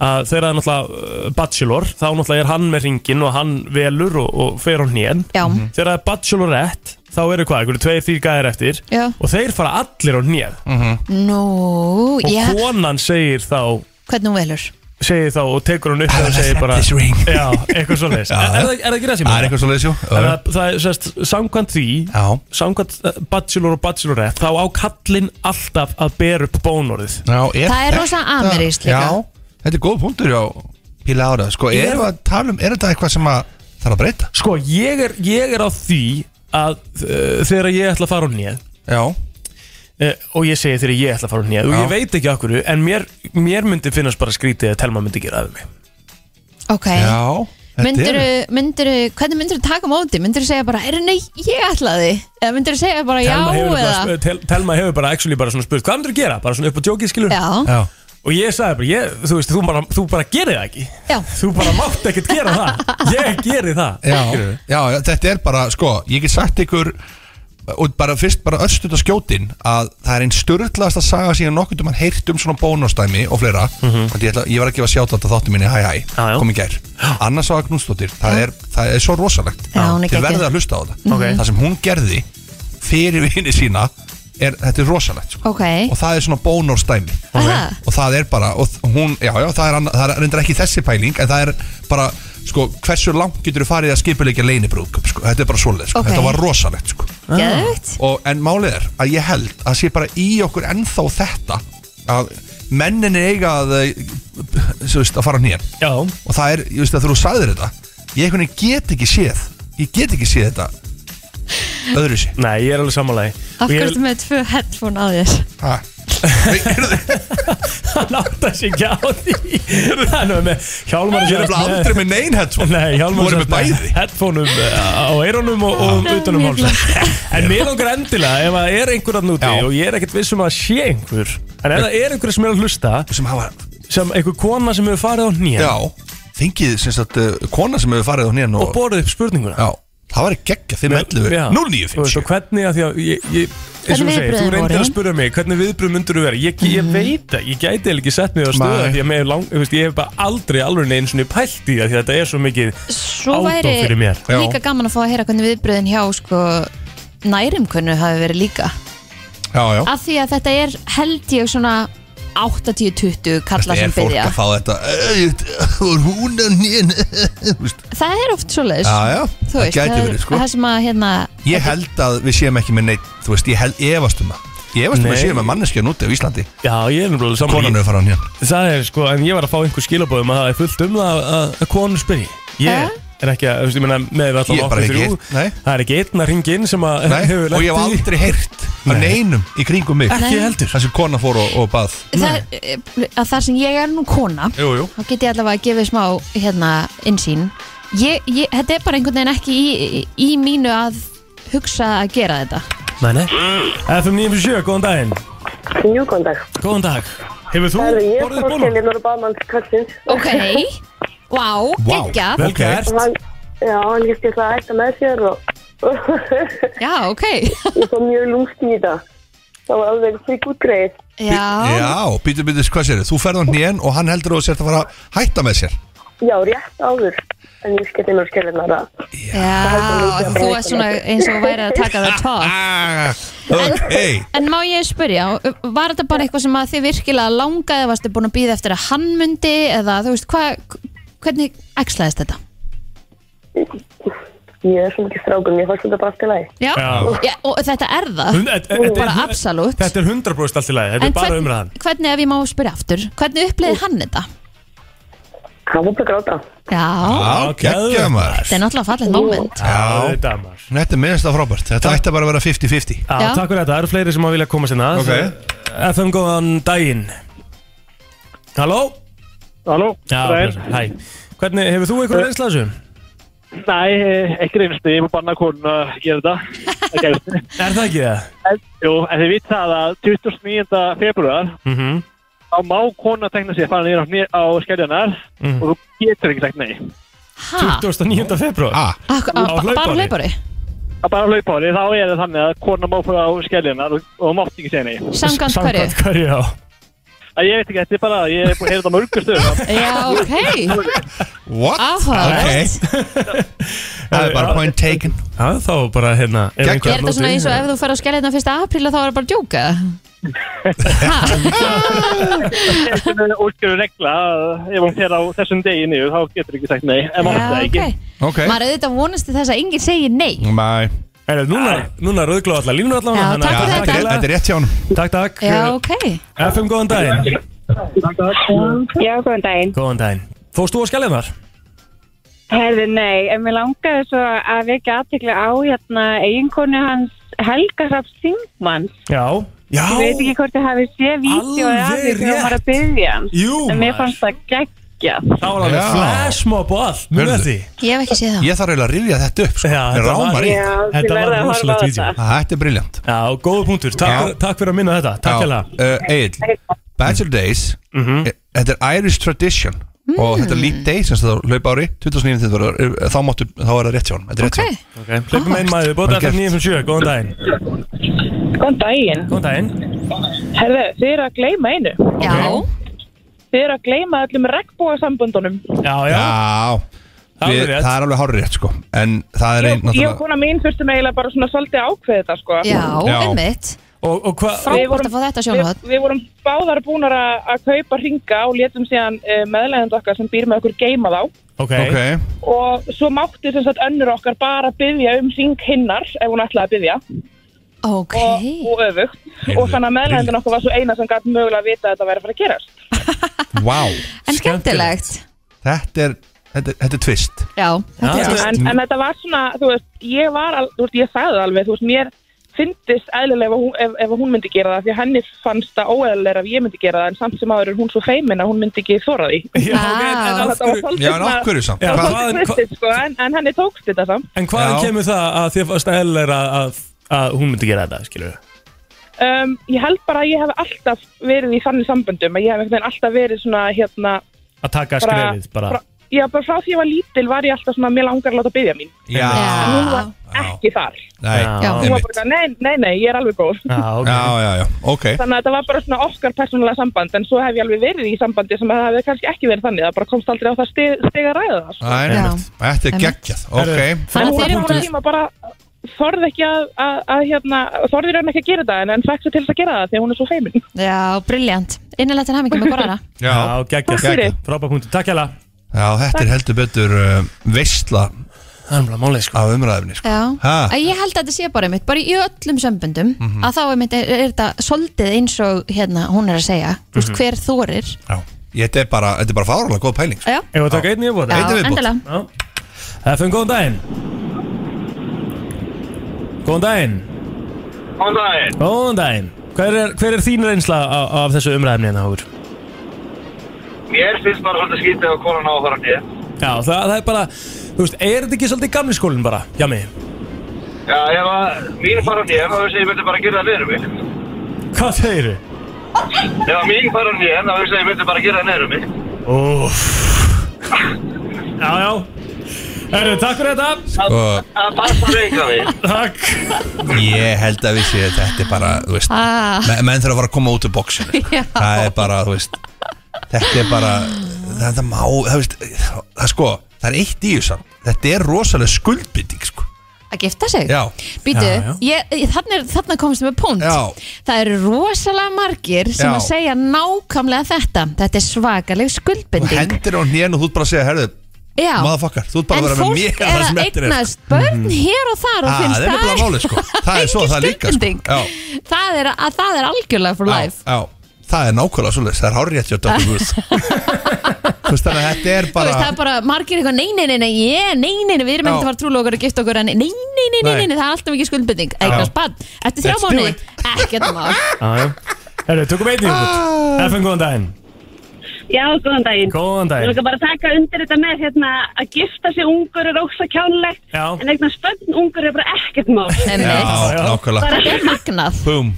[SPEAKER 1] að þegar það er náttúrulega uh, bachelor, þá náttúrulega er hann með ringin og hann velur og, og fer á hnén
[SPEAKER 2] Já,
[SPEAKER 6] Mhm.
[SPEAKER 1] þegar það er bachelorette, þá eru hvað, einhverju tveir, þýr gæðir eftir
[SPEAKER 2] já
[SPEAKER 1] og þeir fara allir á hnén
[SPEAKER 6] Mhm.
[SPEAKER 2] Nú,
[SPEAKER 1] og
[SPEAKER 2] já,
[SPEAKER 1] konan segir þá
[SPEAKER 2] hvernig hún velur?
[SPEAKER 1] segir þá og tekur hann upp og segir bara
[SPEAKER 6] ring
[SPEAKER 1] Já, eitthvað svo leiðis
[SPEAKER 6] Já,
[SPEAKER 1] Er er það er það ekki það sem
[SPEAKER 6] Það er eitthvað svo leiðisjú
[SPEAKER 1] Það er- það er sérst, samkvæmt því
[SPEAKER 6] Já,
[SPEAKER 1] Samkvæmt eh, bachelor og bachelorette Þá á kallinn alltaf að bera upp bónorðið
[SPEAKER 6] Já, er
[SPEAKER 2] Það er
[SPEAKER 6] þetta-
[SPEAKER 2] rosa amerískt líka.
[SPEAKER 6] Já, þetta er góð punktur já, Píla ára Sko,
[SPEAKER 1] Er-
[SPEAKER 6] erum við að tala um, er þetta eitthvað sem að þarf að breyta?
[SPEAKER 1] Sko, ég er, ég er á því að uh, þegar ég ætla að fara á nýð
[SPEAKER 6] Já,
[SPEAKER 1] uh, og ég segi þegar ég ætla að fara á nýð og
[SPEAKER 6] Já.
[SPEAKER 1] ég veit ekki okkur en mér, mér myndi finnast bara skrítið að Telma myndi gera af mig
[SPEAKER 2] Ok
[SPEAKER 6] já þetta
[SPEAKER 2] Myndirðu,
[SPEAKER 6] er-
[SPEAKER 2] myndirðu, hvernig myndirðu taka á móti? Myndirðu segja bara, er nei, ég ætlaði Eða myndirðu segja bara, já,
[SPEAKER 1] Telma hefur,
[SPEAKER 2] eða
[SPEAKER 1] bara, tel, Telma hefur bara actually bara svona spurt hvað myndir að gera, bara svona upp á djókið skilur
[SPEAKER 2] Já,
[SPEAKER 6] Já,
[SPEAKER 1] og ég sagði bara, ég, þú veist, þú bara, þú bara gerir það ekki
[SPEAKER 2] já,
[SPEAKER 1] Þú bara mátt ekkert gera það Ég geri það
[SPEAKER 6] já,
[SPEAKER 1] Skilurðu?
[SPEAKER 6] já, þetta er bara, sko, ég get sagt ykkur og bara fyrst bara östut á skjótin að það er einn störðlaðasta saga síðan nokkuð um hann heyrt um svona bónustæmi og fleira mm ég, ætla, ég var ekki að sjáta þetta þáttu minni hæ hæ,
[SPEAKER 1] Mhm. Já, já.
[SPEAKER 6] kom í gær Anna Saga Knúsdóttir, það, er- það er svo rosalegt
[SPEAKER 2] Já, hún
[SPEAKER 6] Þið
[SPEAKER 2] er geggjuð.
[SPEAKER 6] verðið að hlusta á þetta
[SPEAKER 1] Ok.
[SPEAKER 6] það sem hún gerði fyrir vini sína er, þetta er rosalegt sko.
[SPEAKER 2] ok
[SPEAKER 6] og það er svona bónustæmi
[SPEAKER 2] Aha.
[SPEAKER 6] og það er bara og þ- hún, já, já, það er, anna, það er reyndar ekki þessi pæling en það er bara, sko, hversu langt getur þú farið að skipulegja leinibrúk sko. þetta er bara svoleið, sko.
[SPEAKER 2] Ok. Ah.
[SPEAKER 6] þetta var rosalegt sko.
[SPEAKER 2] Geðvegt
[SPEAKER 6] og, en málið er að ég held að sé bara í okkur ennþá þetta að mennin er eiga að, eh, þú veist, að fara nýjan
[SPEAKER 1] Já,
[SPEAKER 6] og það er, ég veist að þú sagðir þetta ég einhvern veginn get ekki séð ég get ekki séð þetta öðru sér
[SPEAKER 1] nei, ég er alveg samanlega
[SPEAKER 2] Af hverju ertu með tvö headphone á þér?
[SPEAKER 1] Hann átt að sé ekki á því Það er nú með Hjálmar
[SPEAKER 6] ég er nefnilega aldrei með neyn headphone
[SPEAKER 1] Nei,
[SPEAKER 6] Þú
[SPEAKER 1] Hjálmar
[SPEAKER 6] voru
[SPEAKER 1] satt
[SPEAKER 6] með bæði
[SPEAKER 1] Headphoneum eh, á eyrunum og, um og utanum hálsa En mér langar endilega Ef það er einhver að núti
[SPEAKER 6] Já.
[SPEAKER 1] Og ég er ekkert viss um að það sé einhver En ef það er einhver sem er að hlusta
[SPEAKER 6] sem hafa,
[SPEAKER 1] Sem einhver kona sem hefur farið á nýja
[SPEAKER 6] já, fengið sem sagt, uh, kona sem hefur farið á nýjan
[SPEAKER 1] Og
[SPEAKER 6] og,
[SPEAKER 1] borðið upp spurninguna
[SPEAKER 6] já, það var geggja, þið meldið við
[SPEAKER 1] Já. Þú veist, og
[SPEAKER 6] 0950
[SPEAKER 1] hvernig að því að ég, ég, eins og
[SPEAKER 2] Hvernig
[SPEAKER 1] þú segir, þú
[SPEAKER 2] viðbrögðin
[SPEAKER 1] reyndir að
[SPEAKER 2] voru? Mhm.
[SPEAKER 1] spyrja mig hvernig viðbröð myndur þú vera, ég, ég veit að ég gæti eiginlega ekki sett mig á stöða
[SPEAKER 6] Nei.
[SPEAKER 1] því að mig er lang, þú veist, ég hef bara aldrei alveg neins svona pælt í það því að þetta er svo mikið
[SPEAKER 2] Svo
[SPEAKER 1] Outdoor
[SPEAKER 2] væri
[SPEAKER 1] fyrir mér.
[SPEAKER 6] Já.
[SPEAKER 2] líka gaman að fá að heyra hvernig viðbröðin hjá sko, nærumkunnu hafi verið líka
[SPEAKER 6] já, já,
[SPEAKER 2] Af því að þetta er held ég svona 80-20 kalla
[SPEAKER 6] er
[SPEAKER 2] sem
[SPEAKER 6] fólk
[SPEAKER 2] byrja
[SPEAKER 6] að fá þetta "Ey, þú er hún á nýjan
[SPEAKER 2] Það er oft svoleiðis
[SPEAKER 6] já, já,
[SPEAKER 2] Þú
[SPEAKER 6] það
[SPEAKER 2] veist,
[SPEAKER 6] gæti
[SPEAKER 2] það, er-
[SPEAKER 6] verið sko.
[SPEAKER 2] það sem að hérna
[SPEAKER 6] ég held að við séum ekki með neitt þú veist, ég held efast um það ég efast um að
[SPEAKER 1] Nei.
[SPEAKER 6] við séum með manneskja núti á Íslandi
[SPEAKER 1] Já, ég er náttúrulega
[SPEAKER 6] konan
[SPEAKER 1] saman
[SPEAKER 6] hefur farið á nýjan
[SPEAKER 1] Það er sko, en ég var að fá einhver skilabóðum að það er fullt um það að, að konu spyrji
[SPEAKER 2] Ha?
[SPEAKER 1] Ég er ekki að, þú veist, ég meina með við
[SPEAKER 6] Ég
[SPEAKER 1] allan
[SPEAKER 6] er bara
[SPEAKER 1] okkur
[SPEAKER 6] ekki
[SPEAKER 1] þrjú
[SPEAKER 6] einn, nei.
[SPEAKER 1] Það er ekki einn að ringa inn sem að
[SPEAKER 6] Nei,
[SPEAKER 1] hefur
[SPEAKER 6] og ég hef
[SPEAKER 1] lent í-
[SPEAKER 6] aldrei heyrt af neinum í kringum mig
[SPEAKER 1] Ekki heldur
[SPEAKER 6] þar sem kona fór og, og bað
[SPEAKER 2] það, er- að þar sem ég er nú kona
[SPEAKER 6] jú, jú.
[SPEAKER 2] þá get ég allavega að gefa smá hérna, innsýn ég, ég, þetta er bara einhvern veginn ekki í, í mínu að hugsa að gera þetta
[SPEAKER 1] Nei, nei FM 957, góðan daginn
[SPEAKER 8] Jú, góðan dag.
[SPEAKER 1] Góðan dag Hefur þú
[SPEAKER 8] Það er ég
[SPEAKER 1] borðið
[SPEAKER 8] fór til
[SPEAKER 1] bónum?
[SPEAKER 8] hérna og bað mann kassins.
[SPEAKER 2] ok, vá, wow,
[SPEAKER 6] Vá.
[SPEAKER 2] geggja
[SPEAKER 1] Vel
[SPEAKER 6] Ok.
[SPEAKER 1] gert
[SPEAKER 8] Og hann, já, hann hérst ég það að ætta með sér og ég
[SPEAKER 2] já, ok
[SPEAKER 8] fór mjög lúmst í þetta. Það var alveg fyrir gútt greið.
[SPEAKER 2] já,
[SPEAKER 6] Já, býtu, býtu, hvað sér Þú ferð á hnén og hann heldur að þú sért að fara að hætta með sér
[SPEAKER 8] Já, rétt áður. En ég skellti mér skellinnar að.
[SPEAKER 2] já þú er svona eins og væri að taka það tók
[SPEAKER 6] ah, Ok
[SPEAKER 2] En má ég spyrja, var þetta bara eitthvað sem að þið virkilega langaði, varstu búin að býða eftir að hann myndi eða þú veist, hvað, hvernig æxlaðist þetta?
[SPEAKER 8] Ég er svo mikið strákum, ég fannst þetta bara allt í lagi.
[SPEAKER 2] Já,
[SPEAKER 1] Já.
[SPEAKER 2] Já og þetta er það,
[SPEAKER 1] Hund- þetta- þetta er-
[SPEAKER 2] bara absolutt.
[SPEAKER 1] Þetta er 100% allt í lagi, þetta
[SPEAKER 2] En
[SPEAKER 1] er bara
[SPEAKER 2] hvern-
[SPEAKER 1] umræðan
[SPEAKER 2] Hvernig, ef ég má spyrja aftur, hvernig uppleiði hann þetta?
[SPEAKER 8] hann var bara að gráta.
[SPEAKER 2] Já,
[SPEAKER 6] Já, geggja maður
[SPEAKER 2] þetta er náttúrulega fallið moment
[SPEAKER 1] Já,
[SPEAKER 6] Já,
[SPEAKER 1] þetta er maður
[SPEAKER 6] þetta er minnst að frábært Þetta ætti bara að vera 50-50
[SPEAKER 1] Já,
[SPEAKER 2] Já.
[SPEAKER 1] takk fyrir þetta, það eru fleiri sem að vilja koma sinna
[SPEAKER 6] Ok.
[SPEAKER 1] FM, góðan daginn Halló?
[SPEAKER 9] Halló?
[SPEAKER 1] Já,
[SPEAKER 9] Nei,
[SPEAKER 1] blessaður. hæ Hvernig, hefur þú einhverjum reynsla af þessu?
[SPEAKER 9] nei eh, ekki reynstu, ég má banna konun að gera þetta. Það gerist.
[SPEAKER 1] Er það ekki það?
[SPEAKER 9] En- Jú, en þið vit það að 29. februar
[SPEAKER 1] Mm
[SPEAKER 6] Mhm.
[SPEAKER 1] -hmm.
[SPEAKER 9] þá má kona tekna sér að fara niður á, hné- á skeljanar
[SPEAKER 1] Mm.
[SPEAKER 9] og þú getur ekki sagt nei.
[SPEAKER 2] Ha,
[SPEAKER 1] 29. februar
[SPEAKER 6] Ah,
[SPEAKER 2] Ak- á-
[SPEAKER 1] á hlaupári.
[SPEAKER 2] bara á hlaupari
[SPEAKER 9] Að bara hlaupa á því, þá er það þannig að kona má fara á skeljanar og, og mátt ekki segja nei.
[SPEAKER 2] Samkvæmt hverju?
[SPEAKER 1] Samkvæmt hverju, já
[SPEAKER 9] Að ég veit ekki, þetta er bara, ég er búin að heyra þetta mörgur stöðum.
[SPEAKER 2] Já, ok,
[SPEAKER 6] what?
[SPEAKER 2] Ah, áhugavert
[SPEAKER 6] Það er bara point taken
[SPEAKER 1] Já, þá bara hérna ef
[SPEAKER 6] Geggjað.
[SPEAKER 1] einhver
[SPEAKER 2] Er þetta
[SPEAKER 1] notar
[SPEAKER 2] svona eins og
[SPEAKER 1] í-
[SPEAKER 2] ef þú fer á skelliðna hérna fyrsta apríla þá er það bara að djóka? Ha?
[SPEAKER 9] Þetta er útgjörðu regla að ef hún fer á þessum degi niður, þá getur ekki sagt nei, en mátt
[SPEAKER 2] Já,
[SPEAKER 9] það
[SPEAKER 2] ok
[SPEAKER 9] ekki.
[SPEAKER 6] Ok
[SPEAKER 2] Maður auðvitað vonast til þess að enginn segir nei
[SPEAKER 6] Mæ
[SPEAKER 1] Er þetta núna, núna rauðglóð allar línur allar
[SPEAKER 2] Já,
[SPEAKER 6] Já,
[SPEAKER 2] Takk fyrir
[SPEAKER 6] þetta
[SPEAKER 2] þetta.
[SPEAKER 6] er- þetta er rétt hjá hann
[SPEAKER 1] Takk, takk
[SPEAKER 2] Já, ok
[SPEAKER 1] FM, góðan daginn
[SPEAKER 8] Já, góðan daginn.
[SPEAKER 1] Góðan daginn Fórst þú á skelljarnar?
[SPEAKER 8] Herði, nei, en mér langaði svo að vekja aðtikli á hérna eiginkonu hans Helga Raps Singmans.
[SPEAKER 1] Já Já
[SPEAKER 8] Ég veit ekki hvort þið hafið séð vídeo af því
[SPEAKER 1] Alveg
[SPEAKER 8] þegar hún var að byggja hann.
[SPEAKER 1] Jú,
[SPEAKER 8] En mér
[SPEAKER 1] maður
[SPEAKER 8] fannst það geggjað.
[SPEAKER 1] Það var alveg
[SPEAKER 6] Já.
[SPEAKER 1] flashmob og allt Mjög
[SPEAKER 6] Hörðu.
[SPEAKER 1] því
[SPEAKER 2] Ég hef ekki séð það
[SPEAKER 6] Ég þarf eiginlega að rifja þetta upp sko.
[SPEAKER 1] Já,
[SPEAKER 6] Mér
[SPEAKER 1] þetta var-
[SPEAKER 6] rámar í
[SPEAKER 8] Já,
[SPEAKER 1] Þetta
[SPEAKER 8] þið
[SPEAKER 1] var
[SPEAKER 8] verða að horfa á
[SPEAKER 1] rosalegt vídeó.
[SPEAKER 8] þetta.
[SPEAKER 6] Ah, Þetta er briljant
[SPEAKER 1] Já, góða punktur Takk,
[SPEAKER 6] Já.
[SPEAKER 1] takk fyrir að minna þetta Takk Mhm. hella
[SPEAKER 6] Egil, Bachelor Days e- Þetta er Irish Tradition
[SPEAKER 8] Mm.
[SPEAKER 6] Og þetta er Leap Day sem það hlaupa ári 2009 þetta var- e, þá, máttu, þá er það rétt hjá hann Þetta er rétt
[SPEAKER 2] Ok,
[SPEAKER 6] hjá hann
[SPEAKER 1] Hleypum einn maður Bóta
[SPEAKER 6] Vel gert.
[SPEAKER 1] FM 957 Góðan daginn
[SPEAKER 8] Góðan daginn.
[SPEAKER 1] Góðan daginn
[SPEAKER 8] Herði, þið eru að gleyma einu.
[SPEAKER 2] já
[SPEAKER 8] Þið eru að gleyma öllum regnbúasambundunum.
[SPEAKER 1] Já, já
[SPEAKER 6] Já,
[SPEAKER 1] Alveg
[SPEAKER 6] við,
[SPEAKER 1] rétt.
[SPEAKER 6] það er alveg hárið rétt sko En það er einn
[SPEAKER 8] Ég, ég og
[SPEAKER 6] náttúrulega
[SPEAKER 8] kona mín þurftum eiginlega bara svona svolítið að ákveða þetta sko.
[SPEAKER 2] Já,
[SPEAKER 6] Já.
[SPEAKER 2] einmitt
[SPEAKER 1] Og, og hvað
[SPEAKER 8] Við
[SPEAKER 2] Frábært
[SPEAKER 8] vorum-
[SPEAKER 2] að fá þetta
[SPEAKER 8] Við,
[SPEAKER 2] sjónahot
[SPEAKER 8] við vorum báðar búnar að að kaupa ringa og létum síðan uh, meðlegend okkar sem býr með okkur geima þá
[SPEAKER 1] Ok,
[SPEAKER 6] Ok,
[SPEAKER 8] og svo mátti sem sagt önnur okkar bara byggja um ring hinnar ef hún ætlaði að byggja
[SPEAKER 2] Ok,
[SPEAKER 8] og, og öfugt og þannig að meðlegendin okkar var svo eina sem gæti mögulega að vita að þetta væri að fara að gerast
[SPEAKER 6] wow
[SPEAKER 2] en skemmtilegt
[SPEAKER 6] Þetta er, þetta er, þetta er tvist
[SPEAKER 2] Já, þetta
[SPEAKER 1] Já.
[SPEAKER 2] er
[SPEAKER 8] en, en þetta var svona, þú veist, ég var al, þú veist, ég sagði það alveg, þú veist, mér fyndist eðlilega ef, hún- ef, ef hún myndi gera það því að henni fannst það óeðlilega ef ég myndi gera það en samt sem áður er hún svo feimin að hún myndi ekki þóra því
[SPEAKER 1] Já, ok, en
[SPEAKER 2] Vá.
[SPEAKER 1] af
[SPEAKER 8] Þetta var
[SPEAKER 1] hverju-
[SPEAKER 8] svolítið
[SPEAKER 6] Já, en
[SPEAKER 8] svona-
[SPEAKER 6] af hverju samt?
[SPEAKER 1] Já,
[SPEAKER 6] Hvað-
[SPEAKER 1] hvað-
[SPEAKER 8] Svolítið kristið, sko, en, en henni tókst þetta samt
[SPEAKER 1] En hvaðan
[SPEAKER 6] Já.
[SPEAKER 1] kemur það að þér fannst eðlilega að, að hún myndi gera þetta, skilur við?
[SPEAKER 8] um, Ég held bara að ég hef alltaf verið í þannig samböndum að ég hef einhvern veginn alltaf verið svona hérna,
[SPEAKER 1] Að taka skrefið bara
[SPEAKER 8] frá, Já, bara frá því ég var lítil var ég alltaf svona mér langar að láta byggja mín
[SPEAKER 6] Já,
[SPEAKER 8] Hún
[SPEAKER 2] Já,
[SPEAKER 8] var ekki þar
[SPEAKER 6] nei,
[SPEAKER 1] Já.
[SPEAKER 6] einmitt.
[SPEAKER 8] Hún var bara, nei, nei, nei, ég er alveg góð
[SPEAKER 1] Já, ok
[SPEAKER 6] Já, já, já, ok
[SPEAKER 8] Þannig að þetta var bara svona okkar persónulega samband en svo hef ég alveg verið í sambandi sem að það hefði kannski ekki verið þannig það bara komst aldrei á það stig, stig að ræða það sko.
[SPEAKER 6] Æ,
[SPEAKER 2] Já.
[SPEAKER 6] einmitt. Þetta er
[SPEAKER 2] Einmitt.
[SPEAKER 6] geggjað, ok
[SPEAKER 8] En
[SPEAKER 2] þannig að
[SPEAKER 8] hún
[SPEAKER 2] þeir
[SPEAKER 8] var
[SPEAKER 2] eru
[SPEAKER 8] svona
[SPEAKER 2] búin
[SPEAKER 8] tíma bara þorði ekki að, að, að hérna, þorði raun ekki að gera það en, en fekk sér til þess að gera það því að hún er svo feimin
[SPEAKER 2] Já, briljant Innilega til hamingi með borðana
[SPEAKER 6] Já,
[SPEAKER 1] Já, geggja,
[SPEAKER 8] Takk fyrir.
[SPEAKER 1] Frábæk punktur, takk hella
[SPEAKER 6] já þetta er heldur betur uh, veistla
[SPEAKER 1] Það er mjög málið, sko
[SPEAKER 6] af umræðinni sko.
[SPEAKER 2] Já,
[SPEAKER 6] Ha? Mhm.
[SPEAKER 2] að ég held að þetta sé bara einmitt bara í öllum sömbundum að þá einmitt er, er þetta soldið eins og hérna hún er að segja, þú
[SPEAKER 6] Mhm.
[SPEAKER 2] veist hver þorir
[SPEAKER 6] Já. Ég- Þetta er bara, þetta er bara fárlega góð pæling sko.
[SPEAKER 2] Já,
[SPEAKER 1] Ef að taka einn í voru
[SPEAKER 2] já,
[SPEAKER 6] Eitthvað viðbót.
[SPEAKER 2] endilega
[SPEAKER 1] FM, góðan daginn Góðan daginn
[SPEAKER 4] Góðan daginn.
[SPEAKER 1] Góðan daginn Hver er, hver er þín reynsla af, af þessu umræðinni hérna, Háur?
[SPEAKER 4] Mér finnst bara svolítið skítið að konan á að fara nýð.
[SPEAKER 1] Já, það, það er bara Þú veist, er þetta ekki svolítið gamli skólinn bara? Já, mig
[SPEAKER 4] Já, ef að mín fara nýð, þá veist ég myndi bara gera það neyrum mig.
[SPEAKER 1] Hvað segir þau?
[SPEAKER 4] Ef að mín fara nýð, þá veist ég myndi bara gera það neyrum mig.
[SPEAKER 1] Óf Já, já Herru, takk fyrir þetta
[SPEAKER 6] Og
[SPEAKER 4] Það passa mig ekki að því.
[SPEAKER 1] Takk
[SPEAKER 6] Ég held að við séum að þetta er bara þú veist,
[SPEAKER 2] Ah.
[SPEAKER 6] me- menn þurfa að fara að koma út úr bóksinu sko.
[SPEAKER 2] Já.
[SPEAKER 6] Það er bara, þú veist Þetta er bara Þetta má, það veist Það sko, það er eitt í þessan Þetta er rosalega skuldbytting sko.
[SPEAKER 2] að gifta sig
[SPEAKER 6] Já.
[SPEAKER 2] Býtu,
[SPEAKER 1] Já, já.
[SPEAKER 2] ég- ég- þarna, er- þarna komst við með punkt
[SPEAKER 6] Já.
[SPEAKER 2] Það eru rosalega margir sem
[SPEAKER 6] Já.
[SPEAKER 2] að segja nákvæmlega þetta Þetta er svakaleg
[SPEAKER 6] Þú
[SPEAKER 2] skuldbinding
[SPEAKER 6] hendir á hnén og þú ert bara að segja Herðu,
[SPEAKER 2] Já,
[SPEAKER 6] motherfucker, þú ert bara
[SPEAKER 2] en
[SPEAKER 6] að vera
[SPEAKER 2] fólk
[SPEAKER 6] með mér
[SPEAKER 2] er
[SPEAKER 6] það sem
[SPEAKER 2] að
[SPEAKER 6] eftir er, sko.
[SPEAKER 2] eignast börn hér og þar og
[SPEAKER 6] Ah,
[SPEAKER 2] finnst
[SPEAKER 6] það er nefnilega málið, sko. Það er svo,
[SPEAKER 2] engin
[SPEAKER 6] það er líka, sko.
[SPEAKER 2] skuldbinding.
[SPEAKER 6] Já.
[SPEAKER 2] Það er, að, það er algjörlega for
[SPEAKER 6] Já,
[SPEAKER 2] life
[SPEAKER 6] já. það er nákvæmlega svolítið, það er hárið hjá Dr. Ruth Þú veist þannig að þetta er
[SPEAKER 2] Þú veist,
[SPEAKER 6] bara
[SPEAKER 2] það er bara margir eitthvað, nei, nei, nei, nei, yeah, nei, nei, nei, við erum
[SPEAKER 6] Já.
[SPEAKER 2] ekkert að fara trúlega okkur að gifta okkur en nei, nei, nei, nei, nei,
[SPEAKER 6] Nei.
[SPEAKER 2] nei, það er alltaf mikið skuldbending
[SPEAKER 6] Já.
[SPEAKER 2] eitthvað spann, eftir þrjá
[SPEAKER 6] Let's do
[SPEAKER 2] mánu
[SPEAKER 6] it.
[SPEAKER 2] ekkert mál
[SPEAKER 1] Jájá Herru, tökum einnig út FN, góðan daginn
[SPEAKER 10] Já, góðan daginn.
[SPEAKER 1] Góðan
[SPEAKER 10] Ég vil
[SPEAKER 1] daginn
[SPEAKER 10] bara taka undir þetta með hérna að gifta sig ungur er ógst að kjánlegt
[SPEAKER 1] Já.
[SPEAKER 10] en eignan spönn ungur er bara ekkert mál.
[SPEAKER 2] Einmitt.
[SPEAKER 6] Já,
[SPEAKER 1] Já.
[SPEAKER 6] nákvæmlega
[SPEAKER 10] Bara,
[SPEAKER 2] Það er magnað
[SPEAKER 6] Búm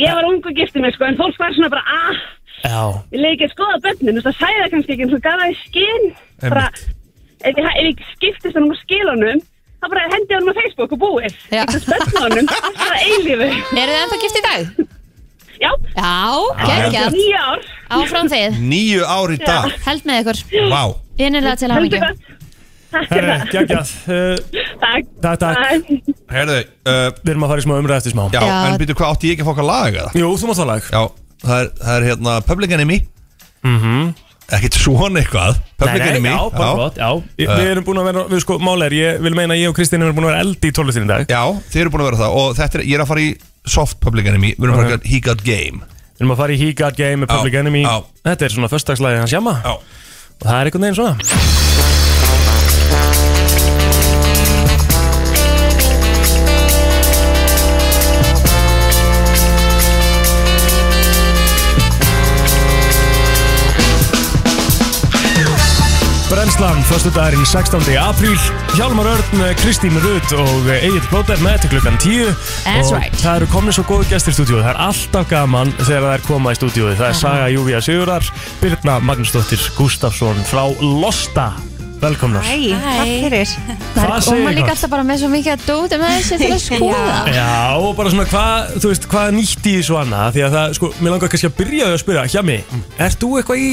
[SPEAKER 10] ég var ungu giftið mig sko en fólk var svona bara að
[SPEAKER 1] Já
[SPEAKER 10] ég leik ekki að skoða bönnin þú veist það sæði það kannski ekki en svo gaf það í skinn bara ef ég, ef ég skiptist hann úr skilunum þá bara hendi hann á Facebook og búið.
[SPEAKER 2] Já.
[SPEAKER 10] Eitthvað spönn honum, það er eilífi.
[SPEAKER 2] Eru þið ennþá gift í dag?
[SPEAKER 10] Já,
[SPEAKER 2] Já, geggjart,
[SPEAKER 10] nýja ár.
[SPEAKER 2] áfram þið
[SPEAKER 6] Níu ár í dag
[SPEAKER 2] Held með ykkur,
[SPEAKER 6] Vá
[SPEAKER 2] innilega til
[SPEAKER 10] Heldur
[SPEAKER 2] hamingju
[SPEAKER 10] gott. Takk fyrir
[SPEAKER 1] Herru,
[SPEAKER 10] það.
[SPEAKER 1] geggjað Uh,
[SPEAKER 10] Takk.
[SPEAKER 1] Takk, takk
[SPEAKER 10] Bye.
[SPEAKER 6] Herðu, uh,
[SPEAKER 1] Við erum að fara í smá umræð eftir smá
[SPEAKER 6] já,
[SPEAKER 2] Já.
[SPEAKER 6] en býtu hvað átti ég ekki að fá okkar lag eða?
[SPEAKER 1] Jú, þú mátt þá lag
[SPEAKER 6] Já, það er, það er hérna Public Enemy mm -hmm. Ekkert svona eitthvað Public
[SPEAKER 1] Mhm. Nei, nei,
[SPEAKER 6] Enemy
[SPEAKER 1] Já, bara gott, já Ég-
[SPEAKER 6] Uh.
[SPEAKER 1] Við erum búin að vera, við sko, mála er Ég vil meina að ég og Kristín erum búin að vera eldi í tónlistin í dag
[SPEAKER 6] Já, þið eru búin að vera það Og þetta er, ég er að fara í soft Public Enemy Við erum að fara í He Got Game
[SPEAKER 1] Við erum að fara í He Got Game með Public
[SPEAKER 6] Já,
[SPEAKER 1] Enemy
[SPEAKER 6] já.
[SPEAKER 1] Þetta er svona föstagslæði hans jamma
[SPEAKER 6] Já
[SPEAKER 1] Og það er einhvern veginn svona Brennslan, förstu dagurinn 16. apríl Hjálmar Örn, Kristín Rut og Egil Blóter með til klukkan 10
[SPEAKER 2] That's
[SPEAKER 1] Og
[SPEAKER 2] right.
[SPEAKER 1] það eru komni svo góðu gestir í stúdíu Það er alltaf gaman þegar það er koma í stúdíu Það er Saga Júvía Sigurar, Birna Magnúsdóttir Gustafsson frá Losta Velkomnar
[SPEAKER 11] Æ, takk fyrir
[SPEAKER 1] Hvað
[SPEAKER 2] Og
[SPEAKER 1] segir
[SPEAKER 2] maður líka
[SPEAKER 1] ykkur?
[SPEAKER 2] alltaf bara með svo mikið að dóti með þessi til að skoða
[SPEAKER 1] Já, og bara svona hvað, þú veist, hvað nýtt í þessu annað Því að það, sko, mér langar kannski að byrja á því að spyrja Hjami, ert þú eitthvað í,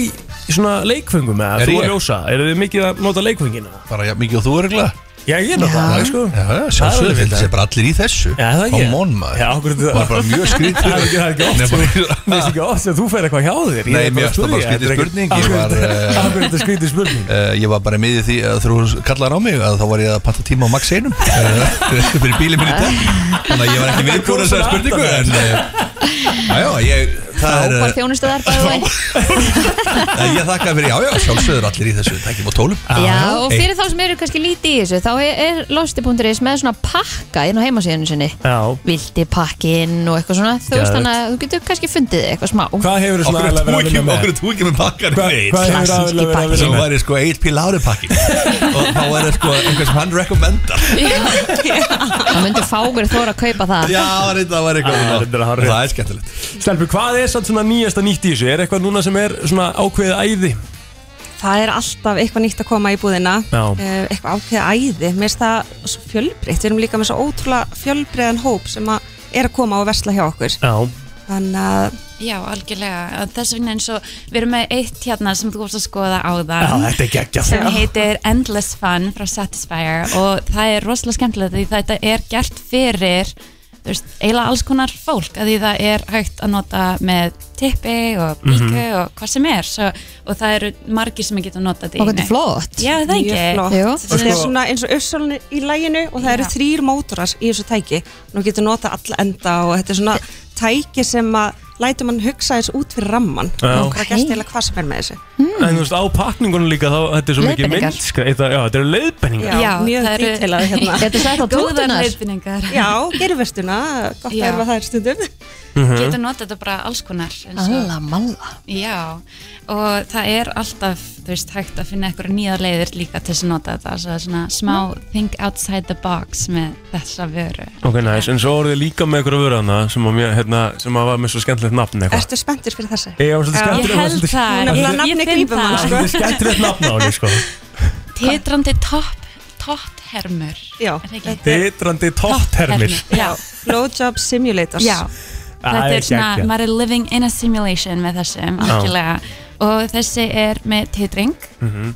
[SPEAKER 1] í svona leikfengum eða
[SPEAKER 6] Er
[SPEAKER 1] þú að
[SPEAKER 6] ég?
[SPEAKER 1] ljósa? Eru þið mikið að nota leikfengina?
[SPEAKER 6] Bara ja, mikið og þú eru glæð
[SPEAKER 1] Já, ég nota það, sko
[SPEAKER 6] Já,
[SPEAKER 1] Það er
[SPEAKER 6] sjálfsögðu,
[SPEAKER 1] alveg
[SPEAKER 6] við
[SPEAKER 1] fínt.
[SPEAKER 6] þessi bara allir í þessu
[SPEAKER 1] Já, það ekki
[SPEAKER 6] Come on, maður
[SPEAKER 1] Já, okkur er þetta
[SPEAKER 6] Það var bara mjög
[SPEAKER 1] Það
[SPEAKER 6] skrítið
[SPEAKER 1] er ekki- það er ekki oft,
[SPEAKER 6] Nei,
[SPEAKER 1] sko.
[SPEAKER 6] bara-
[SPEAKER 1] Mér finnst ekki oft sem þú fer eitthvað hjá þér
[SPEAKER 6] Nei, mér finnst það bara skrítið spurning, ég var, eh,
[SPEAKER 1] Akkur þetta skrítið spurning
[SPEAKER 6] Uh, ég var bara með í því að þú kallar á mig að þá var ég að panta tíma á Max einum uh, fyrir bílið minni í dag þannig að ég var ekki viðbúin að segja spurningu en uh, já, ég það er,
[SPEAKER 2] Hópar þjónustu þar bæði veginn
[SPEAKER 6] uh, ég þakka fyrir, já, já, sjálfsögur allir í þessu tækjum og tólum
[SPEAKER 2] Já, og fyrir þá sem eru kannski lítið í þessu þá er, er losti.is með svona pakka inn á heimasíðunum sinni
[SPEAKER 1] Já,
[SPEAKER 2] vildi pakkinn og eitthvað svona þú veist
[SPEAKER 1] Geðvegt.
[SPEAKER 2] þannig að þú getur kannski fundið eitthvað smá
[SPEAKER 1] hvað hefur þú svona
[SPEAKER 6] okkur
[SPEAKER 1] aðalega
[SPEAKER 6] er þú
[SPEAKER 1] verið að
[SPEAKER 6] ekki,
[SPEAKER 1] vinna með?
[SPEAKER 6] okkur er þú ekki með pakkar
[SPEAKER 1] Hvað hvað hefur
[SPEAKER 2] Klassíski
[SPEAKER 1] aðalega verið að
[SPEAKER 2] pakki.
[SPEAKER 1] vinna
[SPEAKER 6] sem
[SPEAKER 1] með?
[SPEAKER 6] væri sko eitt píl ári pakki og þá er það sko einhver sem hann rekomendar
[SPEAKER 2] það myndi fágur þóra að kaupa það
[SPEAKER 6] já, það var
[SPEAKER 1] Ah,
[SPEAKER 6] eitthvað
[SPEAKER 1] reyndar að hafa rétt.
[SPEAKER 6] það er skemmtilegt
[SPEAKER 1] Stelpur, hvað er samt svona nýjasta nýtt í þessu? Er eitthvað núna sem er svona ákveðið æði?
[SPEAKER 11] Það er alltaf eitthvað nýtt að koma í búðina
[SPEAKER 1] Já.
[SPEAKER 11] Eh, eitthvað ákveðið æði mér finnst það svo fjölbreytt, við erum líka með svo ótrúlega fjölbreyðan hóp sem að er að koma og versla hjá okkur
[SPEAKER 1] Já,
[SPEAKER 11] þannig að,
[SPEAKER 12] Já, algjörlega. Þess vegna eins og við erum með eitt hérna sem þú vorst að skoða á það
[SPEAKER 1] þetta er geggjað
[SPEAKER 12] sem heitir Endless Fun frá Satisfyer og það er rosalega skemmtilegt því þetta er gert fyrir þú veist, eiginlega alls konar fólk að því það er hægt að nota með tippi
[SPEAKER 1] Mhm.
[SPEAKER 12] og bíku og hvað sem er svo, og það eru margir sem getur notað í
[SPEAKER 2] og þetta
[SPEAKER 12] einu.
[SPEAKER 2] er flott
[SPEAKER 12] Já, það
[SPEAKER 11] mjög
[SPEAKER 12] ekki.
[SPEAKER 11] flott
[SPEAKER 2] Jú.
[SPEAKER 11] þetta er svona eins og uppsálun í læginu og það eru
[SPEAKER 12] Já.
[SPEAKER 11] þrýr mótorar í þessu tæki nú getur nota alla enda og þetta er svona tæki sem að lætur mann hugsa þess út fyrir ramman
[SPEAKER 1] Já.
[SPEAKER 11] og bara gert eiginlega hvað sem er með þessu
[SPEAKER 1] En þú veist, á pakningunum líka þá, þetta er svo mikið
[SPEAKER 2] Leiðbeiningar.
[SPEAKER 1] myndskra Þetta já, þetta eru leiðbenningar
[SPEAKER 11] Já,
[SPEAKER 12] Já,
[SPEAKER 11] mjög
[SPEAKER 12] það eru-
[SPEAKER 11] dítilað hérna
[SPEAKER 2] Þetta sætt á
[SPEAKER 12] Góðar
[SPEAKER 2] tótunar
[SPEAKER 12] leifinningar.
[SPEAKER 11] Já, gerurvertuna, gott
[SPEAKER 12] Já.
[SPEAKER 11] að erfa það er stundum
[SPEAKER 12] Getur notað þetta bara alls konar. eins og-
[SPEAKER 2] Alla malla
[SPEAKER 12] Já, og það er alltaf, þú veist, hægt að finna einhverja nýja leiðir líka til þess að nota þetta, svo það er svona smá
[SPEAKER 11] Mm.
[SPEAKER 12] think outside the box með þessa vöru.
[SPEAKER 1] Ok, næs, en svo voruð þið líka með einhverja vöruðana sem, að mér, hérna, sem að var með svo skemmtilegt nafn eitthvað
[SPEAKER 11] Ertu spenntur fyrir þessu?
[SPEAKER 1] Ég var svolítið
[SPEAKER 11] Já.
[SPEAKER 12] Ég
[SPEAKER 1] skemmtilegt
[SPEAKER 12] held það,
[SPEAKER 11] Nefnilega
[SPEAKER 12] ég,
[SPEAKER 11] nafnið
[SPEAKER 12] ég finn
[SPEAKER 11] grípur mann,
[SPEAKER 12] það.
[SPEAKER 11] sko.
[SPEAKER 1] Þetta er skemmtilegt nafn á henni, sko
[SPEAKER 12] Titrandi topp, topphermur.
[SPEAKER 11] Já,
[SPEAKER 12] Er það ekki?
[SPEAKER 1] Titrandi topphermir
[SPEAKER 12] Já,
[SPEAKER 11] Blowjob simulators
[SPEAKER 12] já. Þetta
[SPEAKER 1] Æ,
[SPEAKER 12] er svona,
[SPEAKER 1] geggjað.
[SPEAKER 12] maður er living in a simulation með þessum, algjörlega. Og þessi er með titring,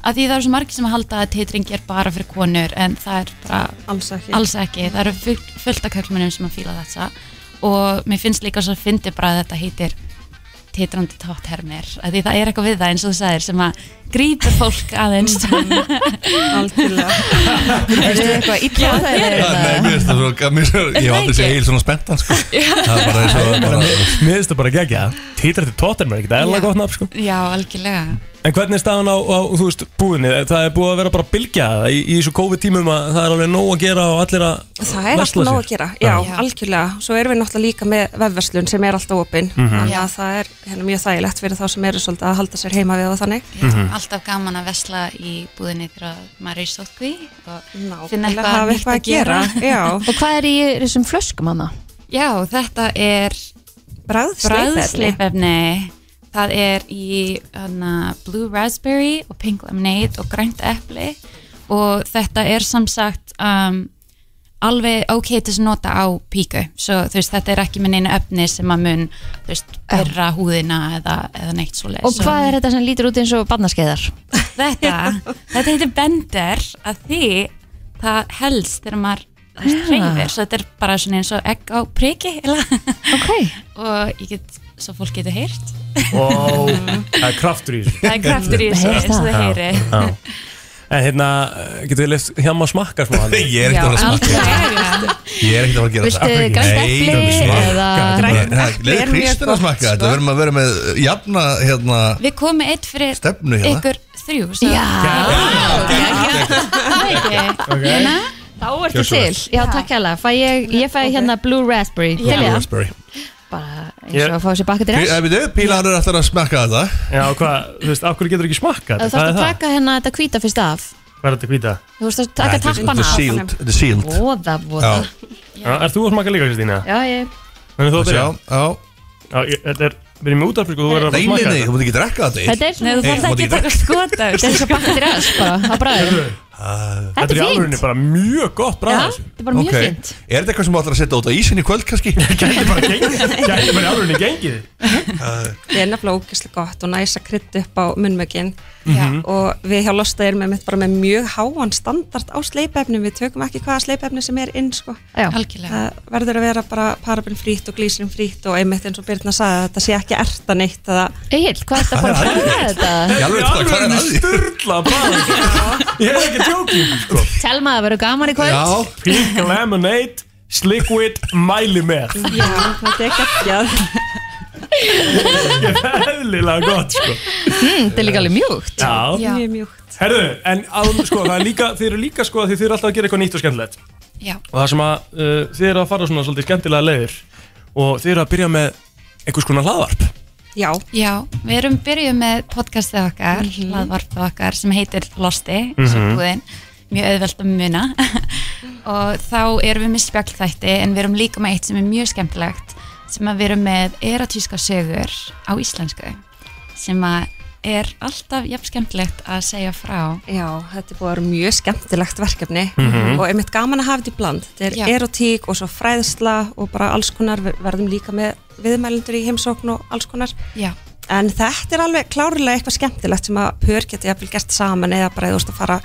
[SPEAKER 12] af því það eru svo margir sem að halda að titring er bara fyrir konur, en það er bara
[SPEAKER 11] alls ekki
[SPEAKER 12] alls ekki, það eru full- fullt af kallmennum sem að fíla þetta og mér finnst líka svo að fyndi bara að þetta heitir titrandi tótthermir af því það er eitthvað við það eins og þú sagðir sem að grípur fólk aðeins
[SPEAKER 11] Algjörlega.
[SPEAKER 2] Er þið eitthvað illa á þeir
[SPEAKER 6] Já, Nei, mér finnst það svo, mér finnst það, ég hef aldrei
[SPEAKER 12] ekki?
[SPEAKER 6] segið heil svona spenntan sko. Það er bara eins og bara,
[SPEAKER 1] Mér finnst það bara gegja Títrætti Tottenham er ekkert eðla
[SPEAKER 12] Já.
[SPEAKER 1] gott nafn sko
[SPEAKER 12] Já, algjörlega
[SPEAKER 1] En hvernig er staðan á, á þú veist, búðinni? Það er búið að vera bara að bylgja það í, í þessu COVID-tímum að það er alveg nóg að gera og allir að
[SPEAKER 11] Það er alltaf
[SPEAKER 1] versla
[SPEAKER 11] nóg
[SPEAKER 1] sér.
[SPEAKER 11] að gera, já, algjörlega. Svo erum við náttúrulega líka með vefverslun sem er alltaf opinn.
[SPEAKER 1] Mhm.
[SPEAKER 11] Þannig
[SPEAKER 12] Já.
[SPEAKER 11] að það er hérna, mjög þægilegt fyrir þá sem eru svolítið að halda sér heima við og þannig.
[SPEAKER 12] Mhm. Alltaf gaman að vesla í búðinni þegar maður er í sótkví og finna
[SPEAKER 11] Nákvæmlega, hafa
[SPEAKER 12] eitthvað nýtt
[SPEAKER 11] eitthvað
[SPEAKER 12] að
[SPEAKER 11] að
[SPEAKER 12] gera.
[SPEAKER 11] gera, já.
[SPEAKER 2] Og hvað er í þessum flöskum hana?
[SPEAKER 12] Já, þetta er
[SPEAKER 11] Bragðsleipefni.
[SPEAKER 12] bragðsleipefni. Það er í hana, blue raspberry og pink lemonade og grænt epli og þetta er samsagt um, alveg ok til að nota á píku svo þú veist þetta er ekki með neina öfni sem að mun þú veist perra húðina eða, eða neitt svoleið
[SPEAKER 2] Og hvað er þetta sem lítur út eins og barnaskeiðar?
[SPEAKER 12] þetta? þetta heitir bender að því það helst þegar maður þú veist,
[SPEAKER 2] Ah.
[SPEAKER 12] hreyfir svo þetta er bara svona eins og egg á priki okay. og ég get svo fólk getur heyrt
[SPEAKER 1] Ó, það er kraftur í þessu
[SPEAKER 12] Það er kraftur í þessu,
[SPEAKER 2] Það heyrist
[SPEAKER 12] eins og það
[SPEAKER 1] Já,
[SPEAKER 12] heyri.
[SPEAKER 1] já. En hérna, getur þið lefst hjá maður að smakka smá hann?
[SPEAKER 6] Ég er ekkert að fara að smakka. Ég er ekkert að fara að gera
[SPEAKER 2] Viltu
[SPEAKER 6] það
[SPEAKER 2] grænt epli eða- Grænt epli
[SPEAKER 6] Leður
[SPEAKER 2] er mjög
[SPEAKER 6] Kristina
[SPEAKER 2] gott,
[SPEAKER 6] að smakka
[SPEAKER 2] sko.
[SPEAKER 6] þetta Við erum að vera með uh, jafna hérna
[SPEAKER 12] Við komum eitt fyrir
[SPEAKER 6] Stefnu hérna.
[SPEAKER 12] ykkur þrjú svo. Já, já, já
[SPEAKER 2] Hérna, Þá
[SPEAKER 6] Gjörðu
[SPEAKER 2] ertu
[SPEAKER 6] svo vel.
[SPEAKER 2] til, já takk hérlega Fæ ég, ég fæ hérna Blue Raspberry
[SPEAKER 6] Blue
[SPEAKER 2] Til ég það,
[SPEAKER 6] Raspberry
[SPEAKER 2] eins og að fá sér bakka til
[SPEAKER 6] Pí- eh,
[SPEAKER 2] þess
[SPEAKER 6] veitu, Pílar er alltaf að smakka þetta
[SPEAKER 1] Já, hvað, þú veist, af hverju getur ekki smakka
[SPEAKER 2] Þú þarfst að taka hérna þetta hvíta fyrst af
[SPEAKER 1] Hvað er þetta hvita?
[SPEAKER 2] Þú veist að taka tappan af
[SPEAKER 6] Þetta er síld
[SPEAKER 2] Voða, voða
[SPEAKER 1] Já, Er þú að smakka líka, Kristína?
[SPEAKER 2] Já, ég
[SPEAKER 1] Þannig þú að byrja?
[SPEAKER 6] Já, já
[SPEAKER 1] Já, ég- þetta er, við erum í útarfrið og þú verður að fá
[SPEAKER 6] Nei,
[SPEAKER 1] að
[SPEAKER 6] nei,
[SPEAKER 1] smakka
[SPEAKER 6] nei, þú mútt ekki drekka þetta
[SPEAKER 2] Þetta er svona
[SPEAKER 12] Nei, þú þarft ekki að taka skot af
[SPEAKER 2] Þetta er svo bakka til þess bara, á bræðum
[SPEAKER 1] Þetta er í
[SPEAKER 2] fínt.
[SPEAKER 1] alvörinni bara mjög gott
[SPEAKER 2] Já,
[SPEAKER 1] bræð
[SPEAKER 2] þetta er bara mjög
[SPEAKER 6] uh, Ok.
[SPEAKER 2] fínt
[SPEAKER 6] Er þetta eitthvað sem þú ætlar að setja út á ísinn í kvöld kannski?
[SPEAKER 1] Gæti bara gengið Gæti bara í alvörinni gengið
[SPEAKER 6] Uh,
[SPEAKER 11] Það er nefnilega ógeðslega gott og næs að krytta upp á munnmökin. Og við hjá Losta erum með bara með mjög háan standard á sleipefnum. Við tökum ekki hvaða sleipefni sem er inn, sko.
[SPEAKER 2] Já.
[SPEAKER 12] Algjörlega.
[SPEAKER 11] Það verður að vera bara paraben frýtt og glísirinn frýtt og einmitt eins og Birna sagði að þetta sé ekki erta neitt. eða-
[SPEAKER 2] Egil, hvað ertu að fara að fara þetta?
[SPEAKER 6] Ég alveg þetta, hvað er að því?
[SPEAKER 1] Sturla bræð Ég er ekki tjókið sko.
[SPEAKER 2] Telma að vera gaman í kvöld
[SPEAKER 6] Já,
[SPEAKER 1] Pink Lemonade Sliquid Mæli með
[SPEAKER 11] Já, þetta er geggjað.
[SPEAKER 1] Ég er eðlilega gott sko.
[SPEAKER 2] Mm, Þetta er líka alveg mjúkt
[SPEAKER 1] Já
[SPEAKER 11] Mjög mjúkt.
[SPEAKER 1] Herðu, en að, sko, það er líka, þið eru líka sko, því þið eru alltaf að gera eitthvað nýtt og skemmtilegt
[SPEAKER 12] Já,
[SPEAKER 1] og það sem að uh, þið eru að fara svona svolítið skemmtilega leiðir og þið eru að byrja með einhvers konar hlaðvarp
[SPEAKER 11] Já,
[SPEAKER 12] já, við erum byrjuð með podcastið okkar, mm hlaðvarpið okkar sem heitir Losti, mm
[SPEAKER 1] Mhm.
[SPEAKER 12] búðin, mjög auðvelt að muna og þá erum við með spjallþætti en við erum líka með eitt sem er mjög skemmtilegt sem að við erum með eratíska sögur á íslensku sem að er alltaf jafn skemmtilegt að segja frá
[SPEAKER 11] já, þetta er búið að vera mjög skemmtilegt verkefni
[SPEAKER 2] Mhm.
[SPEAKER 11] og einmitt gaman að hafa þetta í bland. Þetta er
[SPEAKER 12] Já.
[SPEAKER 11] erotík og svo fræðsla og bara alls konar, við verðum líka með viðmælendur í heimsókn og alls konar.
[SPEAKER 12] Já,
[SPEAKER 11] En þetta er alveg klárlega eitthvað skemmtilegt sem að pör geti jafnvel gert saman eða bara þú veist að fara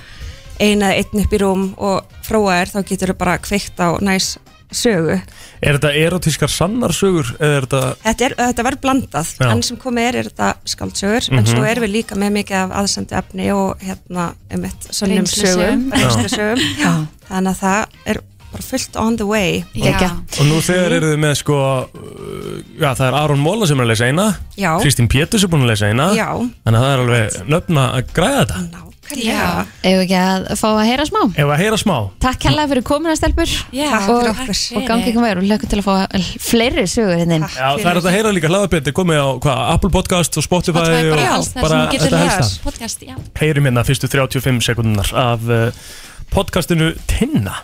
[SPEAKER 11] eina eða einn upp í rúm og fróa þér, þá getur þau bara kveikt á næs sögu.
[SPEAKER 1] Er þetta erotískar sannarsögur eða er þetta
[SPEAKER 11] Þetta, er, þetta verður blandað,
[SPEAKER 1] Já.
[SPEAKER 11] enn sem komið er er þetta skáldsögur, en
[SPEAKER 1] Mhm.
[SPEAKER 11] svo erum við líka með mikið af aðsendu efni og hérna um eitt sönnum sögum,
[SPEAKER 12] Reynslusögum. Já.
[SPEAKER 11] reynslusögum þannig að það er bara fullt on the way
[SPEAKER 12] já,
[SPEAKER 1] Og nú þegar eru þið með sko uh, Já, það er Aron Móla sem er að lesa eina
[SPEAKER 11] Já.
[SPEAKER 1] Kristín Péturs er búin að lesa eina
[SPEAKER 11] Já.
[SPEAKER 1] Þannig að það er alveg nöfna að græða þetta
[SPEAKER 11] Já.
[SPEAKER 2] Ef ekki að fá að heyra smá
[SPEAKER 1] Ef að heyra smá
[SPEAKER 2] Takk hérlega fyrir komuna stelpur
[SPEAKER 12] Já,
[SPEAKER 2] og,
[SPEAKER 11] takk fyrir.
[SPEAKER 2] og gangi ykkur vegar og lökum til að fá fleiri sögur hérna inn
[SPEAKER 1] Já, það er hægt að heyra líka hlaðarbyrði komið á hva, Apple Podcast og Spotify,
[SPEAKER 12] það er
[SPEAKER 1] og
[SPEAKER 12] bara alls þar sem þú getur
[SPEAKER 1] þetta helst
[SPEAKER 12] hlæðast
[SPEAKER 1] það.
[SPEAKER 12] podcast, já
[SPEAKER 1] Heyrum hérna fyrstu 35 sekundunar af uh, podcastinu Tinna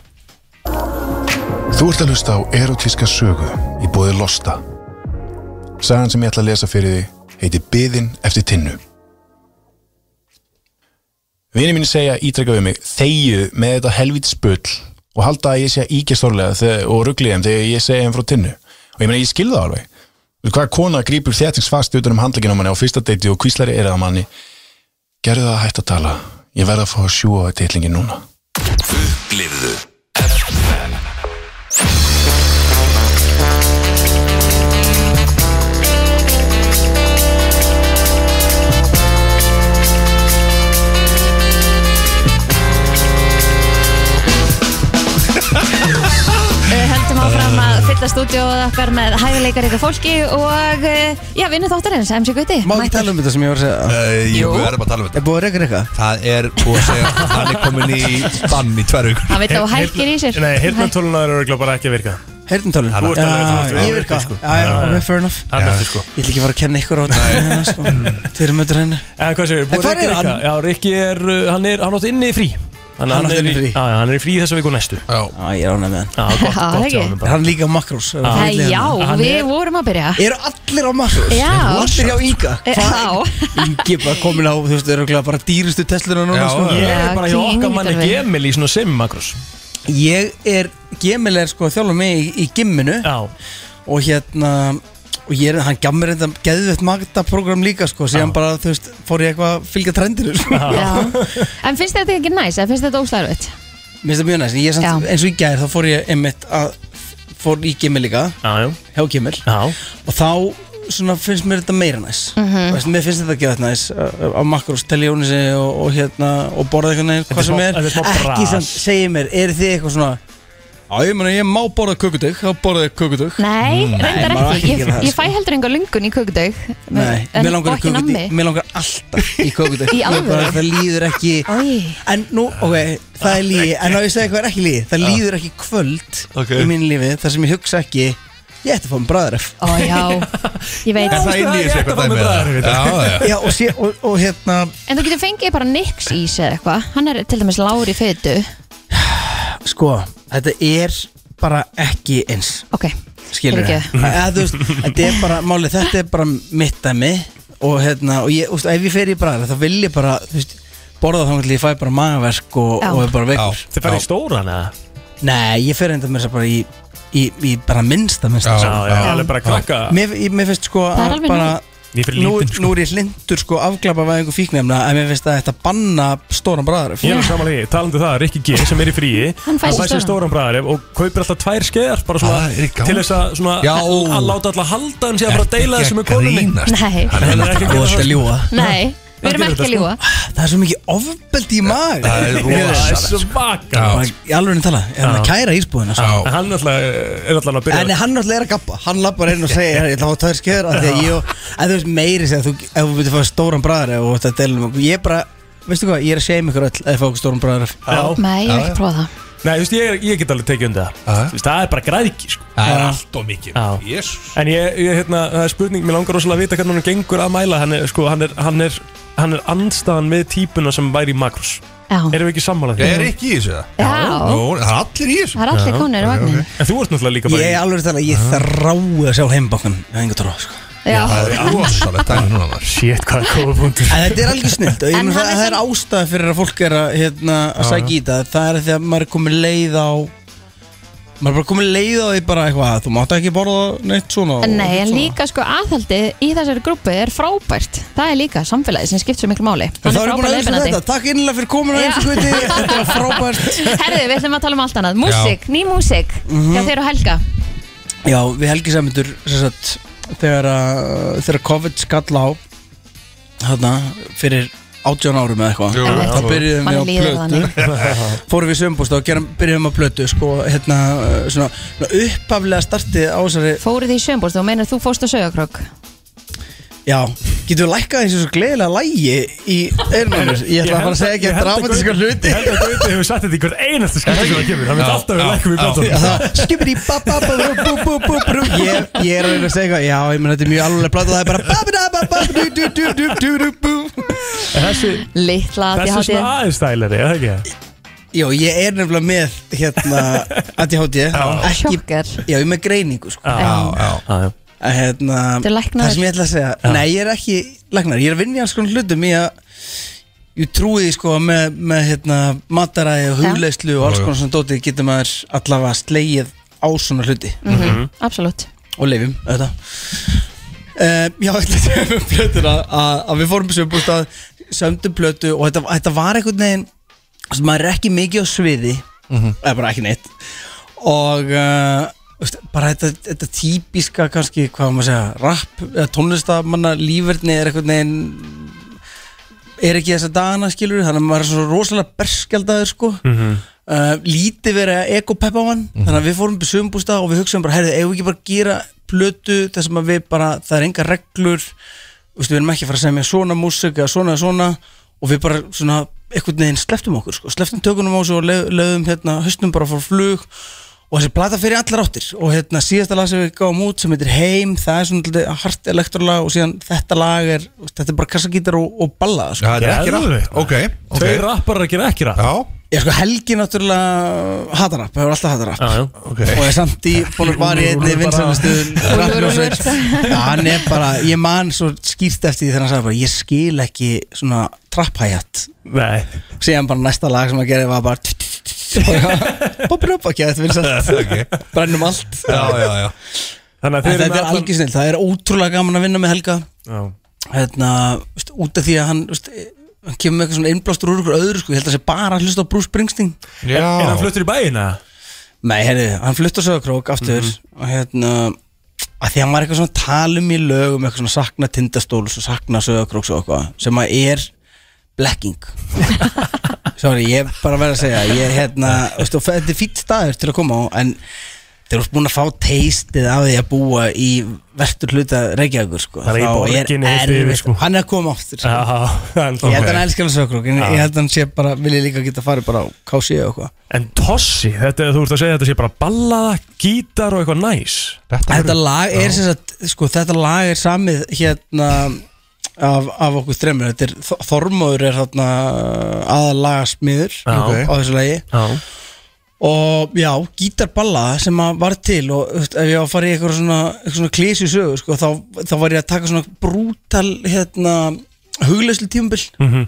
[SPEAKER 13] Þú ert að hlusta á erotíska sögu í bóði Losta. Sagan sem ég ætla að lesa fyrir þig heitir Biðin eftir tinnu. Vinir mín segja ítrekka við mig þegju með þetta helvítis bull og halda að ég sé að íkja stórlega þe- og ruggli þeim þegar ég segja þeim frá tinnu. Og ég meina, ég skil það alveg. Þú Hvað kona grípur þéttingsfast utan um handlegin á manni á fyrsta deiti og kvíslari er að manni Gerðu það að hætta að tala. Ég verð að fá að sjúa þetta hitlingin núna.
[SPEAKER 7] Upplifðu FM
[SPEAKER 2] Við höldum áfram að fyllast út bjóða okkar með hæguleikar ykkur fólki og eh, já, vinnu þáttarins, MC Gutti
[SPEAKER 14] Má ekki tala um þetta sem ég var að segja
[SPEAKER 6] uh, Jú, við erum að tala um þetta
[SPEAKER 14] Er búið að reyka eitthvað?
[SPEAKER 6] Það er búið að segja að Hann er komin í bann í tvær vikur
[SPEAKER 2] Hann veit að þú hækir í sér
[SPEAKER 1] Nei, hirtnartóluna eru örugglega bara ekki að virka
[SPEAKER 14] Heyrnartólin?
[SPEAKER 1] Þú ert alveg þáttur,
[SPEAKER 14] Já,
[SPEAKER 1] það
[SPEAKER 14] ég
[SPEAKER 1] virka,
[SPEAKER 14] virka
[SPEAKER 1] sko.
[SPEAKER 14] Já, já,
[SPEAKER 1] Já, já.
[SPEAKER 14] ok, fair enough
[SPEAKER 1] Hann er eftir, sko.
[SPEAKER 14] Ég ætla ekki að fara að kenna ykkur á Hérna, sko. þetta Þeir eru mötur henni
[SPEAKER 1] En Mm. Eh, hvað segir,
[SPEAKER 14] En hvar er
[SPEAKER 1] Rikka?
[SPEAKER 14] hann?
[SPEAKER 1] Já, Rikki er, uh, hann er, hann átt inni í frí Þannig að
[SPEAKER 14] Hann átti
[SPEAKER 1] er
[SPEAKER 14] inni í frí.
[SPEAKER 1] Já, já, hann er í frí þessa viku næstu Já,
[SPEAKER 14] ég er ánæg með hann
[SPEAKER 1] Já, gott,
[SPEAKER 2] Já,
[SPEAKER 1] gott
[SPEAKER 2] ekki.
[SPEAKER 1] hjá honum
[SPEAKER 14] Er
[SPEAKER 1] bara
[SPEAKER 14] hann líka á makrós?
[SPEAKER 1] Já.
[SPEAKER 2] Æ, Já,
[SPEAKER 14] Ah. Hann
[SPEAKER 2] við
[SPEAKER 14] er-
[SPEAKER 2] vorum að byrja
[SPEAKER 14] Eru allir á makrós?
[SPEAKER 2] Já. Eh,
[SPEAKER 14] Allir hérna? hjá Inga?
[SPEAKER 2] Já,
[SPEAKER 14] Ingi er bara komin á, þú veist, er okkur bara dýrustu Tesluna núna
[SPEAKER 1] Já,
[SPEAKER 14] sko.
[SPEAKER 1] ég er bara hjá okkar manni
[SPEAKER 14] kíngervi.
[SPEAKER 1] gemil í svona sim, Magnús
[SPEAKER 14] Ég er, Gemil er sko að þjálfa mig í, í gimminu Já Og hérna Og ég er, hann gaf mér þetta geðvett magdaprogram líka sko Síðan bara, þú veist, fór ég eitthvað að fylgja trendinu sko
[SPEAKER 2] Já. En finnst þér þetta ekki næs, eða finnst þér þetta óslæðurvitt?
[SPEAKER 14] Mér finnst það mjög næst, ég er samt, eins og í gær þá fór ég einmitt að fór í Gimil líka
[SPEAKER 1] já, já.
[SPEAKER 14] hjá Gimil
[SPEAKER 1] já.
[SPEAKER 14] og þá svona finnst mér þetta meira næst
[SPEAKER 2] Mhm.
[SPEAKER 14] Þú veist, mér finnst þetta ekki þetta næst á makrós, teljónisi og, og hérna og borða eitthvað neginn,
[SPEAKER 1] Þetta
[SPEAKER 14] hvað
[SPEAKER 1] er
[SPEAKER 14] sem
[SPEAKER 1] smá-
[SPEAKER 14] er
[SPEAKER 1] þetta er smá
[SPEAKER 14] ekki
[SPEAKER 1] bras.
[SPEAKER 14] samt, segi mér, er þið eitthvað svona Já, ég meina, ég má borða kökudögg, þá borða ég kökudögg
[SPEAKER 2] Nei,
[SPEAKER 1] Mm.
[SPEAKER 2] reyndar
[SPEAKER 14] maður á
[SPEAKER 2] ekki,
[SPEAKER 14] að
[SPEAKER 2] ég,
[SPEAKER 14] gera það, sko.
[SPEAKER 2] ég fæ heldur enga lungun í kökudaug
[SPEAKER 14] Nei,
[SPEAKER 2] En-
[SPEAKER 14] mér langar,
[SPEAKER 2] og
[SPEAKER 14] í
[SPEAKER 2] ekki
[SPEAKER 14] kökudögg-
[SPEAKER 2] nammi.
[SPEAKER 14] mér langar alltaf í kökudögg
[SPEAKER 2] Í
[SPEAKER 14] Mér bara-
[SPEAKER 2] alvöru?
[SPEAKER 14] Það líður ekki En nú, ok, það er lígi En á ég segi hvað er ekki lígi Það líður ekki kvöld
[SPEAKER 6] Ok.
[SPEAKER 14] í mínu lífi þar sem ég hugsa ekki Ég ætti að fá mér bræðaref
[SPEAKER 2] Ó já, ég veit
[SPEAKER 6] Er það inn í þessu eitthvað dæmi? eða? Já, já
[SPEAKER 14] Já, og, sé, og, og hérna
[SPEAKER 2] En þú getur fengið bara Nix ís eða eitthvað Hann er til dæmis lágur í fötu
[SPEAKER 14] Sko, þetta er bara ekki eins
[SPEAKER 2] Ok,
[SPEAKER 14] Skilur
[SPEAKER 2] Fyrirgefðu.
[SPEAKER 14] veist, Þetta er bara, málið, þetta er bara mitt dæmi Og hérna, og ég, úst, ef ég fer í bræðaref Þá vil ég bara, þú veist Borða þá til ég fæ bara magaverk og,
[SPEAKER 2] Já.
[SPEAKER 14] og er bara veikur
[SPEAKER 1] Þið færði í stóran eða?
[SPEAKER 14] Nei, ég fer enda með þess að bara í, í, í bara minnsta minnsta
[SPEAKER 1] Já,
[SPEAKER 14] sko.
[SPEAKER 1] já, alveg bara krakka.
[SPEAKER 14] Mér, ég- mér finnst sko
[SPEAKER 2] Það er
[SPEAKER 14] að
[SPEAKER 2] alveg
[SPEAKER 14] bara
[SPEAKER 1] Ég fyrir
[SPEAKER 14] Nú,
[SPEAKER 1] lítinn, sko.
[SPEAKER 14] nú er ég hlindur sko afglapa væðingu fíknefna en mér finnst að þetta banna stóran bræðar
[SPEAKER 1] Ég er samanlega, talandi um það, Rikki G sem er í fríi
[SPEAKER 2] Hann fær sér stóran.
[SPEAKER 1] stóran bræðarif og kaupir alltaf tvær skeiðar bara svona
[SPEAKER 6] Það er í gangi.
[SPEAKER 1] til þess að svona
[SPEAKER 6] Já.
[SPEAKER 1] að láta alltaf halda hann sé að fara að
[SPEAKER 6] Ertu
[SPEAKER 1] deila
[SPEAKER 6] ekki
[SPEAKER 1] þessu með
[SPEAKER 6] að
[SPEAKER 1] konunni
[SPEAKER 6] grínast?
[SPEAKER 2] Nei.
[SPEAKER 1] Hann er ekki að gera
[SPEAKER 14] að
[SPEAKER 1] það
[SPEAKER 14] ljúa
[SPEAKER 2] Nei, við
[SPEAKER 1] Hann
[SPEAKER 2] erum
[SPEAKER 1] gerir
[SPEAKER 2] ekki að
[SPEAKER 1] þetta, sko.
[SPEAKER 2] ljúa
[SPEAKER 14] Það er svo mikið ofbeldi í mag
[SPEAKER 6] Það er
[SPEAKER 1] Það er
[SPEAKER 6] rosalegt sko.
[SPEAKER 1] svaka
[SPEAKER 14] Í alveg niður tala, er hann að kæra ísbúðina sko.
[SPEAKER 1] En hann alltaf er alltaf að
[SPEAKER 14] En
[SPEAKER 1] byrja
[SPEAKER 14] hann náttúrulega er að gappa, hann lappar inn og segir Ég ætla að fá tvær skeður af því að ég og En þú veist meiri segja, þú, ef þú byrja að fá stóran bræðar og þetta deilum um okkur Ég er bara, veistu hvað, ég er að segjum ykkur öll að fá okkur stóran bræðar
[SPEAKER 1] Já.
[SPEAKER 2] Nei, ég hef ekki prófað það
[SPEAKER 1] Nei, þú veist, ég, ég get alveg tekið undir það Þú veist, Það er bara græðki sko.
[SPEAKER 6] Það er allt og mikið
[SPEAKER 1] Já.
[SPEAKER 6] Jésus
[SPEAKER 1] En ég, ég, hérna, það er spurning, mér langar rosalega að vita hvernig hann gengur að mæla Hann er, sko, hann er, hann er, hann er andstaðan með típuna sem væri í Makrós
[SPEAKER 2] Já,
[SPEAKER 1] Erum við ekki sammála því?
[SPEAKER 6] Ég er ekki í þessu það
[SPEAKER 2] já
[SPEAKER 6] Nú, það er allir í þessu
[SPEAKER 2] það er allir konur í vagninu
[SPEAKER 1] En þú ert náttúrulega
[SPEAKER 14] Ég
[SPEAKER 1] líka bara
[SPEAKER 14] er
[SPEAKER 1] í
[SPEAKER 14] alveg að tala, ég þrái að sjá heimbakkan Það er enga tróð, sko
[SPEAKER 2] Já,
[SPEAKER 6] Það er rosalegt dæmi núna maður
[SPEAKER 1] Shit, hvað er góða punktur
[SPEAKER 14] En þetta er alveg snilt og ég
[SPEAKER 2] En
[SPEAKER 14] mun
[SPEAKER 2] hann
[SPEAKER 14] það,
[SPEAKER 2] er
[SPEAKER 14] það er ástæða fyrir að fólk er að, hérna, að sækja í það Það er því að maður er komin leið á Maður er bara komin leið á því bara eitthvað Þú mátt ekki borða neitt svona og
[SPEAKER 2] En Nei,
[SPEAKER 14] hitt
[SPEAKER 2] en
[SPEAKER 14] svona.
[SPEAKER 2] líka sko aðhaldið í þessari grúpu er frábært Það er líka samfélagið sem skipt svo miklu máli
[SPEAKER 14] En
[SPEAKER 2] Hann
[SPEAKER 14] þá
[SPEAKER 2] er
[SPEAKER 14] er ég búin
[SPEAKER 2] frábært
[SPEAKER 14] að auðvitað
[SPEAKER 2] leiðbeinandi
[SPEAKER 14] þetta Takk innlega fyrir komin
[SPEAKER 2] Já.
[SPEAKER 14] að eins og guti Þetta er frábært
[SPEAKER 2] Herðu, við ætlum að tala um allt annað Músík, ný músík
[SPEAKER 14] Mhm.
[SPEAKER 2] Hjá þér og Helga
[SPEAKER 14] Já, við Helgi Sæmundur sem sagt, þegar, að- þegar COVID skall á þarna, fyrir 18 árum eða eitthvað
[SPEAKER 6] Jú,
[SPEAKER 14] þá byrjuðum
[SPEAKER 2] Manni
[SPEAKER 14] við
[SPEAKER 2] líður
[SPEAKER 14] á
[SPEAKER 2] þannig.
[SPEAKER 14] plötu fórum við sömbúst og gerum, byrjuðum á plötu sko, hérna, uh, svona, svona uppaflega startið á þessari
[SPEAKER 2] Fóruð því í sjömbúrst og meinar þú fórst á sögakrók
[SPEAKER 14] já, getur við lækkað þessu svo gleðilega lægi í eyrnum á mér? ég ætla að fara að segja ekki að dramatíska hluti
[SPEAKER 1] Ég held að Gauti hefur sagt þetta í hvert einasta skipti sem það kemur Hann veit
[SPEAKER 6] Já,
[SPEAKER 1] alltaf að við
[SPEAKER 6] já,
[SPEAKER 1] lækum í
[SPEAKER 6] já.
[SPEAKER 14] Já,
[SPEAKER 1] blöndunum
[SPEAKER 14] það- skipir í ba- ba- ba- bú- bú- bú- bú- bú. Ég ég er að reyna að segja eitthvað Já, ég menn þetta er mjög alveg plata Það er bara ba- ba- ba- ba- du- du- du- du- du- du- bú.
[SPEAKER 1] Þessi
[SPEAKER 2] Littla
[SPEAKER 1] Þessi er svona aðeins stælari, eða ekki?
[SPEAKER 14] Jó, ég er nefnilega með hérna ADHD Ekki,
[SPEAKER 2] Sjokkar
[SPEAKER 14] já, ég er með greiningu sko
[SPEAKER 1] Já, já, já
[SPEAKER 14] Að, hérna,
[SPEAKER 2] Þetta er læknaður.
[SPEAKER 14] Það sem ég ætla að segja Nei, ég er ekki læknar Ég er að vinja alls konar hlutum Ég, ég trúi því sko með, með hérna, mataræði og hugleyslu og alls
[SPEAKER 6] Já, já.
[SPEAKER 14] konar svona dóti getur maður allavega slegið á svona hluti
[SPEAKER 1] Mhm.
[SPEAKER 2] Absolutt
[SPEAKER 14] og leifum þetta uh, Já, ég ætla að segja um plötuna að, að við fórum sem búst að sömdum plötu og þetta, þetta var einhvern veginn sem maður er ekki mikið á sviði eða bara ekki neitt og uh, veist, bara þetta, þetta típiska kannski, hvað á maður að segja rapp eða tónlistamanna lífverðni er einhvern veginn er ekki þess að dagana skilur þannig að maður er svo rosalega berskjaldaður sko uh, lítið verið að ekopeppa á hann þannig að við fórum upp í sögumbústa og við hugsaðum bara herrið, eigum við ekki bara að gera plötu þar sem að við bara, það er enga reglur Vistu, við erum ekki að fara að semja svona músik eða svona eða svona og við bara svona einhvern veginn sleftum okkur sko, sleftum tökunum á þessu og leið- leiðum hérna höstum bara fór flug og þessi plata fyrir allar áttir og hérna síðasta lag sem við gáum út sem heitir Heim, það er svona dálítið hart elektrolag og síðan þetta lag er þetta er bara kassagítar og, og ballað sko.
[SPEAKER 6] Já, þetta er ekki rapp. Geðveikt, maður. Ok, ok. Tveir
[SPEAKER 1] rapparar að gera ekki rapp
[SPEAKER 6] Já
[SPEAKER 14] Ég sko Helgi náttúrulega hatar rapp, hefur alltaf hatar rapp
[SPEAKER 1] já,
[SPEAKER 6] okay.
[SPEAKER 14] og er samt í bólur var í einni
[SPEAKER 6] Úlfur bara-
[SPEAKER 14] vinsanustu
[SPEAKER 6] Úlfur, Úlfur.
[SPEAKER 14] hann er bara, ég man svo skýrt eftir því þegar hann sagði bara ég skil ekki svona trapphæjat síðan bara næsta lag sem hann gerði var bara bópur upp ekki að þetta vinsast
[SPEAKER 6] okay.
[SPEAKER 14] brennum allt
[SPEAKER 6] Já, já, já
[SPEAKER 1] Þannig
[SPEAKER 14] En þetta er algjör snill, það er ótrúlega gaman að vinna með Helga
[SPEAKER 1] Já.
[SPEAKER 14] hérna, veist, út af því að hann veist, hann kemur með eitthvað svona innblástur úr ykkur öðru sko, ég held að það sé bara að hlusta á Bruce Springsteen
[SPEAKER 1] Er, er hann fluttur í bæina?
[SPEAKER 14] Nei, herri, hann fluttur sögurkrók aftur og hérna að því hann var eitthvað svona talum í lögum eitthvað svona sakna tindastóls og sakna sögurkróks og eitthvað sem að er blekking Sorry, ég bara verð að segja ég, hérna, veistu, og þetta er fýtt staður til að koma á en þegar þú ert búin að fá teistið af því að búa í vestur hluta Reykjavíkur sko,
[SPEAKER 1] Það er í borginni heilt yfir, sko.
[SPEAKER 14] hann er að koma aftur sko. Ég held að hann
[SPEAKER 1] En
[SPEAKER 14] elskar hann sögurkrók en
[SPEAKER 1] Já.
[SPEAKER 14] ég held að hann sé bara, vil ég líka geta farið bara á KC og eitthvað
[SPEAKER 1] Tossi, þetta er þú ert að segja þetta sé bara ballaða, gítar og eitthvað næs
[SPEAKER 14] Þetta, lag er sem sagt, sko, þetta lag er samið hérna af, af okkur þremur, þetta er Þor- Þormóður er þarna aðalagasmiður
[SPEAKER 1] Já.
[SPEAKER 14] á þessu lagi
[SPEAKER 1] Já.
[SPEAKER 14] og já, gítarballa sem að var til og þú veist, ef ég var að fara í eitthvað svona, eitthvað svona klísu sögu, sko, þá, þá var ég að taka svona brútal, hérna huglauslu tímabil
[SPEAKER 1] Mhm.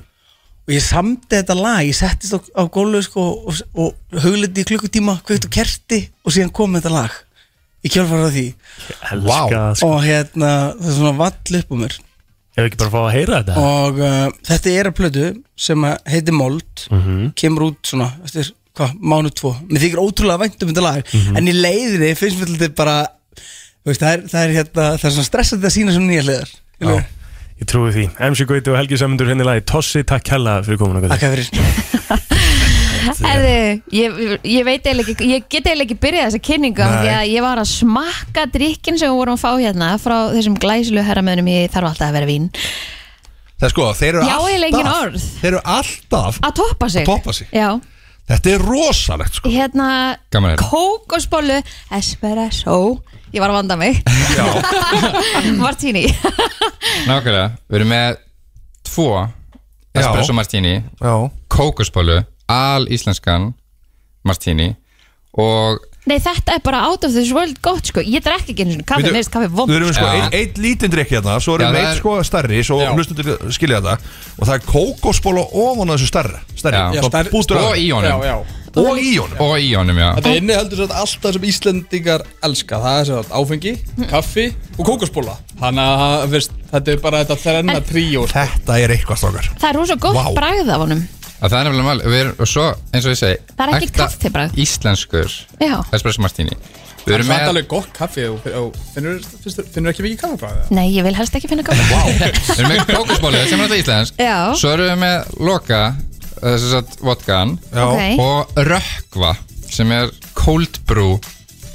[SPEAKER 14] og ég samti þetta lag, ég settist á, á gólu sko, og, og hugliti í klukkutíma kveikt og kerti og síðan kom þetta lag í kjálfarað því
[SPEAKER 1] elska það, sko.
[SPEAKER 14] og hérna það er svona vall upp á mér
[SPEAKER 1] Hefur ekki bara fá að heyra þetta?
[SPEAKER 14] og uh, þetta er að plötu sem að heitir Mold
[SPEAKER 1] Mhm.
[SPEAKER 14] kemur út svona eftir hvað, mánu tvo mér þykir ótrúlega vænt um þetta lag en í leiðinni finnst mér þetta bara þú veist, það, er, það, er, hérna, það er svona stressandi að sína sem nýja hliðar
[SPEAKER 1] Já, ég trúi því MC Gauti og Helgi Samundur henni lagi Tossi, takk hella fyrir komuna
[SPEAKER 14] Takk fyrir
[SPEAKER 2] Herðu, ég, ég veit eiginlega ekki, ég get eiginlega ekki byrjað þessa kynningu
[SPEAKER 1] Nei.
[SPEAKER 2] af því að ég var að smakka drikkin sem við vorum að fá hérna frá þessum glæsilu herramöðunum ég þarf alltaf að vera vín
[SPEAKER 6] Það er sko, þeir eru
[SPEAKER 2] Já, eiginlega engin
[SPEAKER 6] alltaf
[SPEAKER 2] orð.
[SPEAKER 6] Þeir eru alltaf
[SPEAKER 2] að toppa sig,
[SPEAKER 6] Að toppa sig.
[SPEAKER 2] Já,
[SPEAKER 6] Þetta er rosalegt sko
[SPEAKER 2] hérna
[SPEAKER 6] Gaman að heyra.
[SPEAKER 2] kókosbollu espresso ég var að vanda mig Martini
[SPEAKER 15] Nákvæmlega, við erum með tvo espresso martini kókosbólu, al íslenskan martini og
[SPEAKER 2] Nei, þetta er bara out of this world gott sko ég drekki ekki einu svona kaffi,
[SPEAKER 6] Við-
[SPEAKER 2] mér finnst kaffi vond
[SPEAKER 6] Við erum sko
[SPEAKER 2] Já.
[SPEAKER 6] einn ein lítinn drikk hérna Svo erum
[SPEAKER 15] Já,
[SPEAKER 6] við
[SPEAKER 15] það
[SPEAKER 6] einn
[SPEAKER 15] er-
[SPEAKER 6] sko starri Svo hlustum til skilja þetta Og það er kókosbóla ofan á þessu starra Starri
[SPEAKER 15] Já,
[SPEAKER 6] Svo
[SPEAKER 15] stærri-
[SPEAKER 6] bútur á
[SPEAKER 15] og
[SPEAKER 6] það.
[SPEAKER 15] í honum.
[SPEAKER 6] Já, já.
[SPEAKER 15] Og í honum Og í honum, já
[SPEAKER 5] Þetta inni heldur svo alltaf sem Íslendingar elska Það er svo áfengi,
[SPEAKER 14] Mhm.
[SPEAKER 5] kaffi og kókosbóla Þannig að veist, þetta er bara þetta þrenna tríó sko.
[SPEAKER 6] Þetta er eitthvað strókar
[SPEAKER 2] það er rosa gott
[SPEAKER 15] Vá.
[SPEAKER 2] bragð af honum
[SPEAKER 15] að Það er nefnilega mál, við erum, og svo eins og ég segi
[SPEAKER 2] Það er ekki
[SPEAKER 15] ekta
[SPEAKER 2] kaffibragð.
[SPEAKER 15] Íslenskur
[SPEAKER 2] Já.
[SPEAKER 15] espresso martini Við
[SPEAKER 5] Það er
[SPEAKER 15] erum með
[SPEAKER 5] alveg gott kaffi og, og finnur, finnur, finnur ekki mikið kaffi bara
[SPEAKER 2] Nei, ég vil helst ekki finna kaffi
[SPEAKER 15] Við erum með kókosbólu sem er þetta íslensk
[SPEAKER 2] Já.
[SPEAKER 15] Svo erum við með loka þess að vodkan
[SPEAKER 2] Já. Ok.
[SPEAKER 15] og rökkva sem er cold brew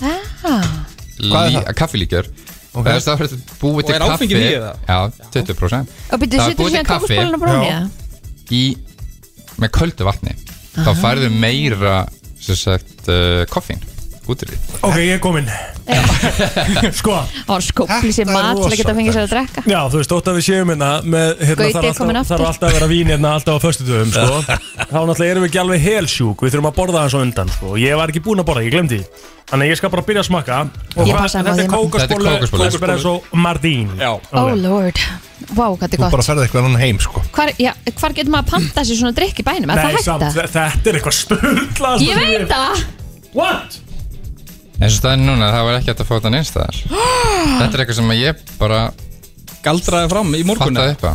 [SPEAKER 2] ah.
[SPEAKER 15] lí, kaffilíkjör
[SPEAKER 5] Ok.
[SPEAKER 15] okay. það er þetta búið
[SPEAKER 5] Og
[SPEAKER 15] til
[SPEAKER 5] er
[SPEAKER 15] kaffi
[SPEAKER 5] áfengi í það?
[SPEAKER 15] Já, 20%
[SPEAKER 2] Og
[SPEAKER 15] Það er búið
[SPEAKER 2] byrju, setur
[SPEAKER 15] til
[SPEAKER 2] síðan
[SPEAKER 15] kaffi
[SPEAKER 2] kókosbóluna bara ofan í það?
[SPEAKER 15] í, með köldu vatni þá
[SPEAKER 2] Aha.
[SPEAKER 15] færðu meira sem sagt, uh, koffín út í því
[SPEAKER 1] Ok, ég er komin Sko
[SPEAKER 2] Það var skópli sér
[SPEAKER 1] Þetta er
[SPEAKER 2] mat til að geta fengið sér að drekka
[SPEAKER 1] Já, þú veist, þótt að við séum hérna með, hérna,
[SPEAKER 2] Gauti
[SPEAKER 1] þarf alltaf-
[SPEAKER 2] kominn aftur.
[SPEAKER 1] Þarf alltaf að vera vín hérna alltaf á föstudöfum, sko Þá náttúrulega erum við ekki alveg helsjúk Við þurfum að borða það svo undan, sko Ég var ekki búinn að borða, ég glemdi því. Þannig að ég skal bara byrja að smakka Og
[SPEAKER 2] Ég
[SPEAKER 1] hvað-
[SPEAKER 2] passa mig á
[SPEAKER 1] Þetta
[SPEAKER 2] því,
[SPEAKER 1] er
[SPEAKER 2] man.
[SPEAKER 1] kókasbólu,
[SPEAKER 15] Þetta er kókosbollu.
[SPEAKER 1] kókasbólu og mardín Já
[SPEAKER 2] Oh lord, wow, hvað þetta er gott
[SPEAKER 6] ferði eitthvað annan heim, sko
[SPEAKER 2] hvar, já, hvar getur maður að panta sér svona drikk í bænum? Er
[SPEAKER 1] Nei,
[SPEAKER 2] það hægt
[SPEAKER 1] samt,
[SPEAKER 2] að?
[SPEAKER 1] þe- þetta er eitthvað sturglað
[SPEAKER 2] Ég veit það
[SPEAKER 1] What?
[SPEAKER 15] eins og það er núna það var ekki hægt að fá þetta neins þar þetta er eitthvað sem ég bara
[SPEAKER 5] galdraði fram í morgunni
[SPEAKER 15] fattaði upp á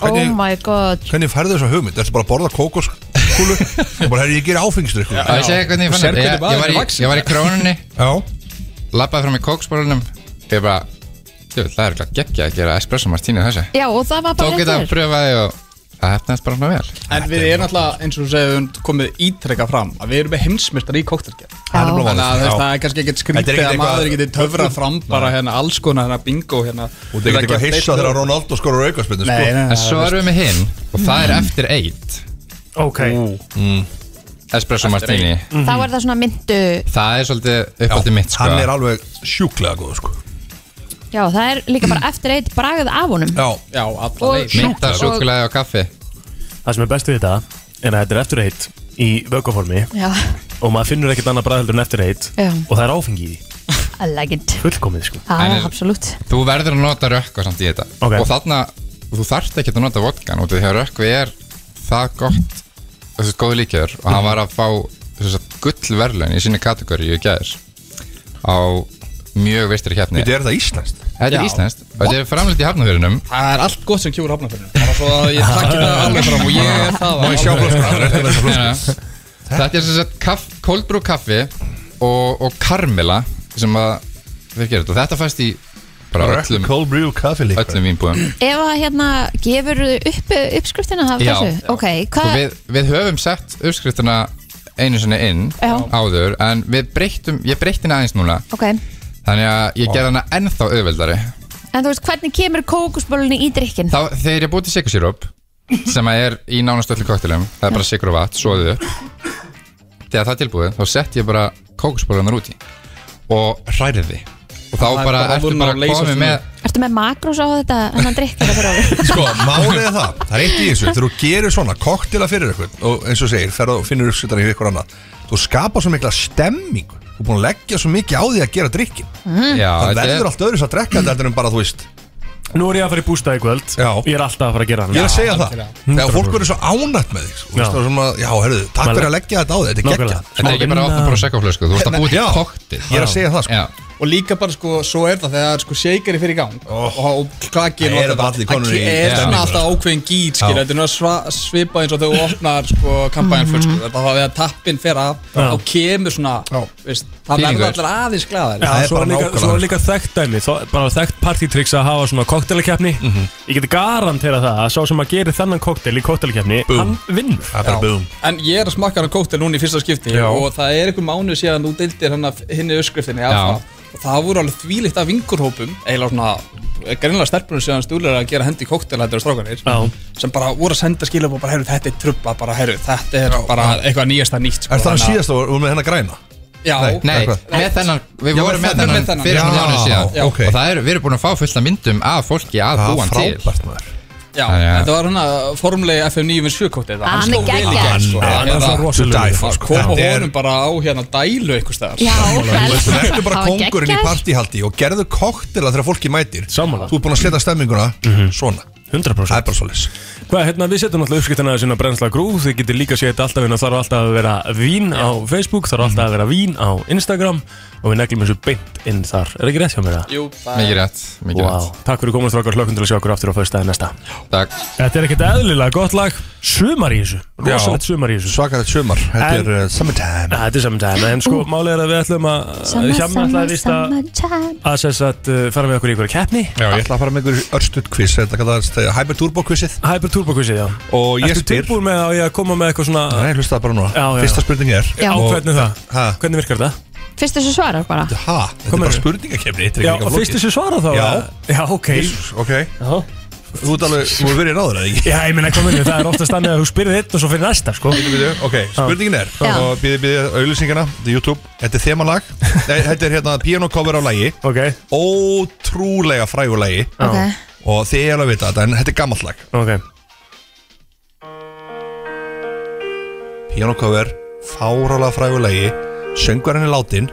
[SPEAKER 2] Oh my god
[SPEAKER 6] Hvernig færðu þessu hugmynd? Ertu bara að borða kókoskúlu? og bara, herri, ég ger áfengstur ykkur
[SPEAKER 15] Já, ég segi hvernig ég fann þetta ég, ég, var í- ég var í krónunni Lappaði fram í kóksbólunum Ég bara Jú, það er eitthvað geggja að gera espresso martini á þessu
[SPEAKER 2] Já, og það var bara
[SPEAKER 15] Tók þetta að pröfa því og það hefnaðist bara svona vel
[SPEAKER 5] En við erum alltaf, eins og þú segir, við höfum komið ítrekka fram að við erum með heimsmyrtar í koktelgerð
[SPEAKER 15] Það er bara
[SPEAKER 5] Þannig að
[SPEAKER 15] málið,
[SPEAKER 5] þess-
[SPEAKER 15] já.
[SPEAKER 5] það er kannski ekkert
[SPEAKER 15] Þetta er
[SPEAKER 5] skrítið
[SPEAKER 15] ekkert
[SPEAKER 5] að maður
[SPEAKER 15] eitthvað-
[SPEAKER 5] getur töfrað fram bara
[SPEAKER 15] Nei.
[SPEAKER 5] hérna alls konar hérna bingo hérna
[SPEAKER 6] Og þetta er ekkert eitthvað hissa þegar Ronaldo sko. skorur aukaspinnu
[SPEAKER 5] Nei, nei, nei,
[SPEAKER 15] En svo
[SPEAKER 5] það
[SPEAKER 15] erum við með hinn Og það er eftir eitt
[SPEAKER 1] Ok
[SPEAKER 15] Espresso Martini
[SPEAKER 2] Þá er það svona myndu
[SPEAKER 15] Það er svolítið uppáldið mitt sko
[SPEAKER 6] hann er alveg sjúklega góð sko
[SPEAKER 2] Já, það er líka bara eftir eitt bragð af honum
[SPEAKER 5] Já,
[SPEAKER 2] alla leið.
[SPEAKER 15] Mynda
[SPEAKER 2] Og-
[SPEAKER 15] súkulega og kaffi
[SPEAKER 1] Það sem er best við þetta er að þetta er eftir eitt í vöggaformi
[SPEAKER 2] Já,
[SPEAKER 1] og maður finnur ekkert annað bræðheldur en eftir eitt
[SPEAKER 2] Já.
[SPEAKER 1] og það er áfengi í því,
[SPEAKER 2] I like it
[SPEAKER 1] fullkomið sko
[SPEAKER 2] Það er absolutt
[SPEAKER 15] Þú verður að nota rökkva samt í þetta
[SPEAKER 1] Ok.
[SPEAKER 15] Og þarna, þú þarft ekki að nota vodkan Út af því að rökkvi er það gott Þessi góð líkjör Og
[SPEAKER 6] Mhm.
[SPEAKER 15] hann var að fá þess að gull verðlaun Í sinni kategóri í gæðir Á mjög veistri keppni
[SPEAKER 6] Bíddu, er þetta íslenskt?
[SPEAKER 15] Þetta
[SPEAKER 5] Já.
[SPEAKER 15] er íslenskt Og þetta er framleitt í hafnafjörunum
[SPEAKER 5] Það er allt gott sem kjúur hafnafjörnum Bara svo að ég takki það alveg fram og ég er það
[SPEAKER 15] Má ég sjá flöskuna?
[SPEAKER 5] Ertu með þessa flösku?
[SPEAKER 15] Nei, nei. Þetta er sem sagt kaff, cold brew kaffi og, og karmela sem að við gerum þetta og þetta fæst í bara
[SPEAKER 6] Rökk-
[SPEAKER 15] öllum
[SPEAKER 6] cold brew kaffi líka
[SPEAKER 15] öllum vínbúðum
[SPEAKER 2] Ef að hérna gefur upp uppskriftina af
[SPEAKER 15] Já.
[SPEAKER 2] þessu Ok,
[SPEAKER 15] og
[SPEAKER 2] hvað
[SPEAKER 15] við, við höfum sett uppskriftina einu sinni inn
[SPEAKER 2] Já.
[SPEAKER 15] áður en við breyttum, ég breytti hana aðeins núna
[SPEAKER 2] Ok, en
[SPEAKER 15] þannig að ég gerði hana ennþá auðveldari
[SPEAKER 2] þú veist, hvernig kemur kókusbólunni í drikkin?
[SPEAKER 15] þá þegar ég búið til sikursíróp sem að er í nánast öllum koktelum það er bara sikur og vatn, svoðið upp þegar það er tilbúið, þá sett ég bara kókusbólunar út í og hrærið því og þá
[SPEAKER 5] Það
[SPEAKER 15] bara
[SPEAKER 5] er bara
[SPEAKER 15] ertu
[SPEAKER 5] vonun
[SPEAKER 15] bara
[SPEAKER 5] að leysa
[SPEAKER 15] komið
[SPEAKER 5] sig
[SPEAKER 15] með
[SPEAKER 2] Ertu með makrós á þetta, hennan drikkin að fyrir ári?
[SPEAKER 6] Sko, málið er það, það er eitt í þessu Þegar þú gerir svona koktila fyrir eitthvað Og eins og þú segir, ferð og finnur uppsvitað í ykkur annað Þú skapar svo mikla stemming Þú er búin að leggja svo mikið á því að gera drikkin
[SPEAKER 1] Mm. Já,
[SPEAKER 6] Það
[SPEAKER 1] þetta er-
[SPEAKER 6] verður allt öðru svo að drekka þetta heldur en bara þú veist
[SPEAKER 1] Nú er ég að fara í bústað í kvöld
[SPEAKER 6] Já.
[SPEAKER 1] Ég er alltaf að fara að gera hann
[SPEAKER 6] Ég er að segja það Þegar fólk verður svo ánætt með þig sko, þú veist,
[SPEAKER 1] Já.
[SPEAKER 6] það er svona, Já, herruðu, takk
[SPEAKER 1] Maður-
[SPEAKER 6] fyrir að leggja þetta á því Þetta er
[SPEAKER 1] Nákvæmlega.
[SPEAKER 6] geggja
[SPEAKER 15] Þetta er ekki bara opna prosecco-flösku, þú ert að búa til kokteil.
[SPEAKER 6] Ég er að segja það sko
[SPEAKER 5] Og líka bara sko, svo er það þegar sko shakeri fyrir í gang oh. og klakkin
[SPEAKER 6] Það
[SPEAKER 5] og
[SPEAKER 6] eru bara allir konur í
[SPEAKER 5] er
[SPEAKER 6] stemningu,
[SPEAKER 5] svona alltaf ákveðin gít skil,
[SPEAKER 6] Já.
[SPEAKER 5] þetta er nú að sva- svipa eins og þegar þú opnar sko kampanjan
[SPEAKER 6] Mhm.
[SPEAKER 5] sko, það var við að tappin fer af
[SPEAKER 1] Já.
[SPEAKER 5] þá kemur svona, veist, það verður allir aðeins glæðar
[SPEAKER 1] Já, svo er líka, svo er líka þekkt dæmi, þó- bara þekkt partytricks að hafa svona koktelakeppni
[SPEAKER 6] Mhm.
[SPEAKER 1] Ég geti garantera það að sá sem að gera þennan koktel í koktelakeppni, hann vinnur
[SPEAKER 6] Það er búm
[SPEAKER 5] En ég er að smakka hann kóktel núna í fyrsta skipti
[SPEAKER 1] Já.
[SPEAKER 5] og það er einhver mánuð síðan þú deildir hann hinni öskriftinni
[SPEAKER 15] Já.
[SPEAKER 5] af það og það voru alveg þvílitt af vinkurhópum eiginlega svona greinlega stelpunum síðan stúlir að gera hendi kóktelættir og strákanir Já. sem bara voru að senda skilum og bara heyrðu þetta er trubla bara heyrðu þetta er bara eitthvað nýjasta nýtt sko."
[SPEAKER 6] Er það
[SPEAKER 5] þannig að-
[SPEAKER 6] síðast og voru með hérna hennar græna?
[SPEAKER 5] Já,
[SPEAKER 15] Nei, með þennan, við
[SPEAKER 6] Já,
[SPEAKER 15] vorum
[SPEAKER 6] með
[SPEAKER 15] með
[SPEAKER 6] þennan,
[SPEAKER 15] þennan
[SPEAKER 6] þennan.
[SPEAKER 15] fyrir
[SPEAKER 6] Já,
[SPEAKER 15] svona mánuð síðan
[SPEAKER 6] já, ok.
[SPEAKER 15] og það er, við erum búin að fá fullt af myndum af fólki að
[SPEAKER 6] Það er
[SPEAKER 15] búa hann til
[SPEAKER 6] frábært maður
[SPEAKER 5] Já,
[SPEAKER 15] Þannig að-
[SPEAKER 5] þetta var hann að formulegi FM 9 vs. 7 kóktel
[SPEAKER 2] Ah, hann er geggjaður.
[SPEAKER 6] Hann er svo rosalegur.
[SPEAKER 5] sko. að koma
[SPEAKER 6] Þetta er-
[SPEAKER 5] honum bara á hérna dælu einhver staðar
[SPEAKER 2] Já,
[SPEAKER 6] Þú veist, verður bara
[SPEAKER 2] Það var
[SPEAKER 6] kongurinn í
[SPEAKER 2] geggjað.
[SPEAKER 6] partíhaldi og gerðu koktela þegar fólki mætir Samanlega Þú er búin að setja stemminguna
[SPEAKER 1] Mhm.
[SPEAKER 6] svona
[SPEAKER 1] 100%
[SPEAKER 6] Það er bara svoleiðis
[SPEAKER 1] Hvað, hérna, við setjum alltaf uppskriftina sinna brennsla grúð, þið getur líka séð þetta alltaf en það þarf alltaf að vera vín á Facebook, þarf alltaf að vera vín á Instagram og við neglum þessu beint inn þar. Er ekki rétt hjá mér það?
[SPEAKER 5] Jú,
[SPEAKER 15] Mikið rétt, mikið
[SPEAKER 1] Vá,
[SPEAKER 15] rétt
[SPEAKER 1] takk fyrir komin strákar hlökkum til að sjá okkur aftur á föstudaginn næsta
[SPEAKER 15] Takk
[SPEAKER 1] Þetta er ekkert eðlilega gott lag Sumar í þessu, rosalegt sumar í þessu
[SPEAKER 6] Svakarlegt sumar, þetta
[SPEAKER 1] En-
[SPEAKER 6] er uh, summertime
[SPEAKER 1] Þetta er summertime, en sko málið er að við ætlum að
[SPEAKER 6] Summer,
[SPEAKER 1] Hjamma ætlaði víst að
[SPEAKER 2] Summertime
[SPEAKER 1] að sess að uh, fara með okkur í einhverja keppni
[SPEAKER 6] Já, ég ætla að fara með einhverjum örstuð quiz Þetta kallast uh, Hyper Turbo quizið
[SPEAKER 1] Hyper Turbo quizið, já
[SPEAKER 6] Og ég
[SPEAKER 1] Ertu
[SPEAKER 6] spyr
[SPEAKER 1] tilbúin með að ég að koma með eitthvað svona
[SPEAKER 6] Nei, hlusta það bara núna
[SPEAKER 1] Já, já, já.
[SPEAKER 6] Fyrsta spurning er
[SPEAKER 2] Já.
[SPEAKER 1] Á hvernig það?
[SPEAKER 6] Ha?
[SPEAKER 1] Hvernig virkar þetta?
[SPEAKER 2] Fyrst þessu svarar bara
[SPEAKER 6] Ha? Þetta er bara spurningakefni þetta er
[SPEAKER 1] Já,
[SPEAKER 6] ekki
[SPEAKER 1] og
[SPEAKER 6] flókið.
[SPEAKER 1] fyrst þessu svara þá
[SPEAKER 6] Já
[SPEAKER 1] eða? Já, ok
[SPEAKER 6] Jesus, Ok Þú ert alveg, þú ert verið í ráður eða ekki?
[SPEAKER 1] Já, ég minna, kominu, það er oftast þannig að þú spyrir þitt og svo fyrir næsta, sko
[SPEAKER 6] Bíddu, bíddu, Ok, spurningin er
[SPEAKER 1] Já.
[SPEAKER 6] og býðið býðið auðlýsingana, þetta er YouTube Þetta er þemalag, Nei, þetta er hérna piano cover á lagi
[SPEAKER 1] okay.
[SPEAKER 6] Ótrúlega frægur lagi
[SPEAKER 2] Ok.
[SPEAKER 6] Og þið er alveg að vita þetta, en þetta er gammalt lag
[SPEAKER 1] Ok
[SPEAKER 6] Piano cover, fárálega frægur lagi Söngvarinn er látin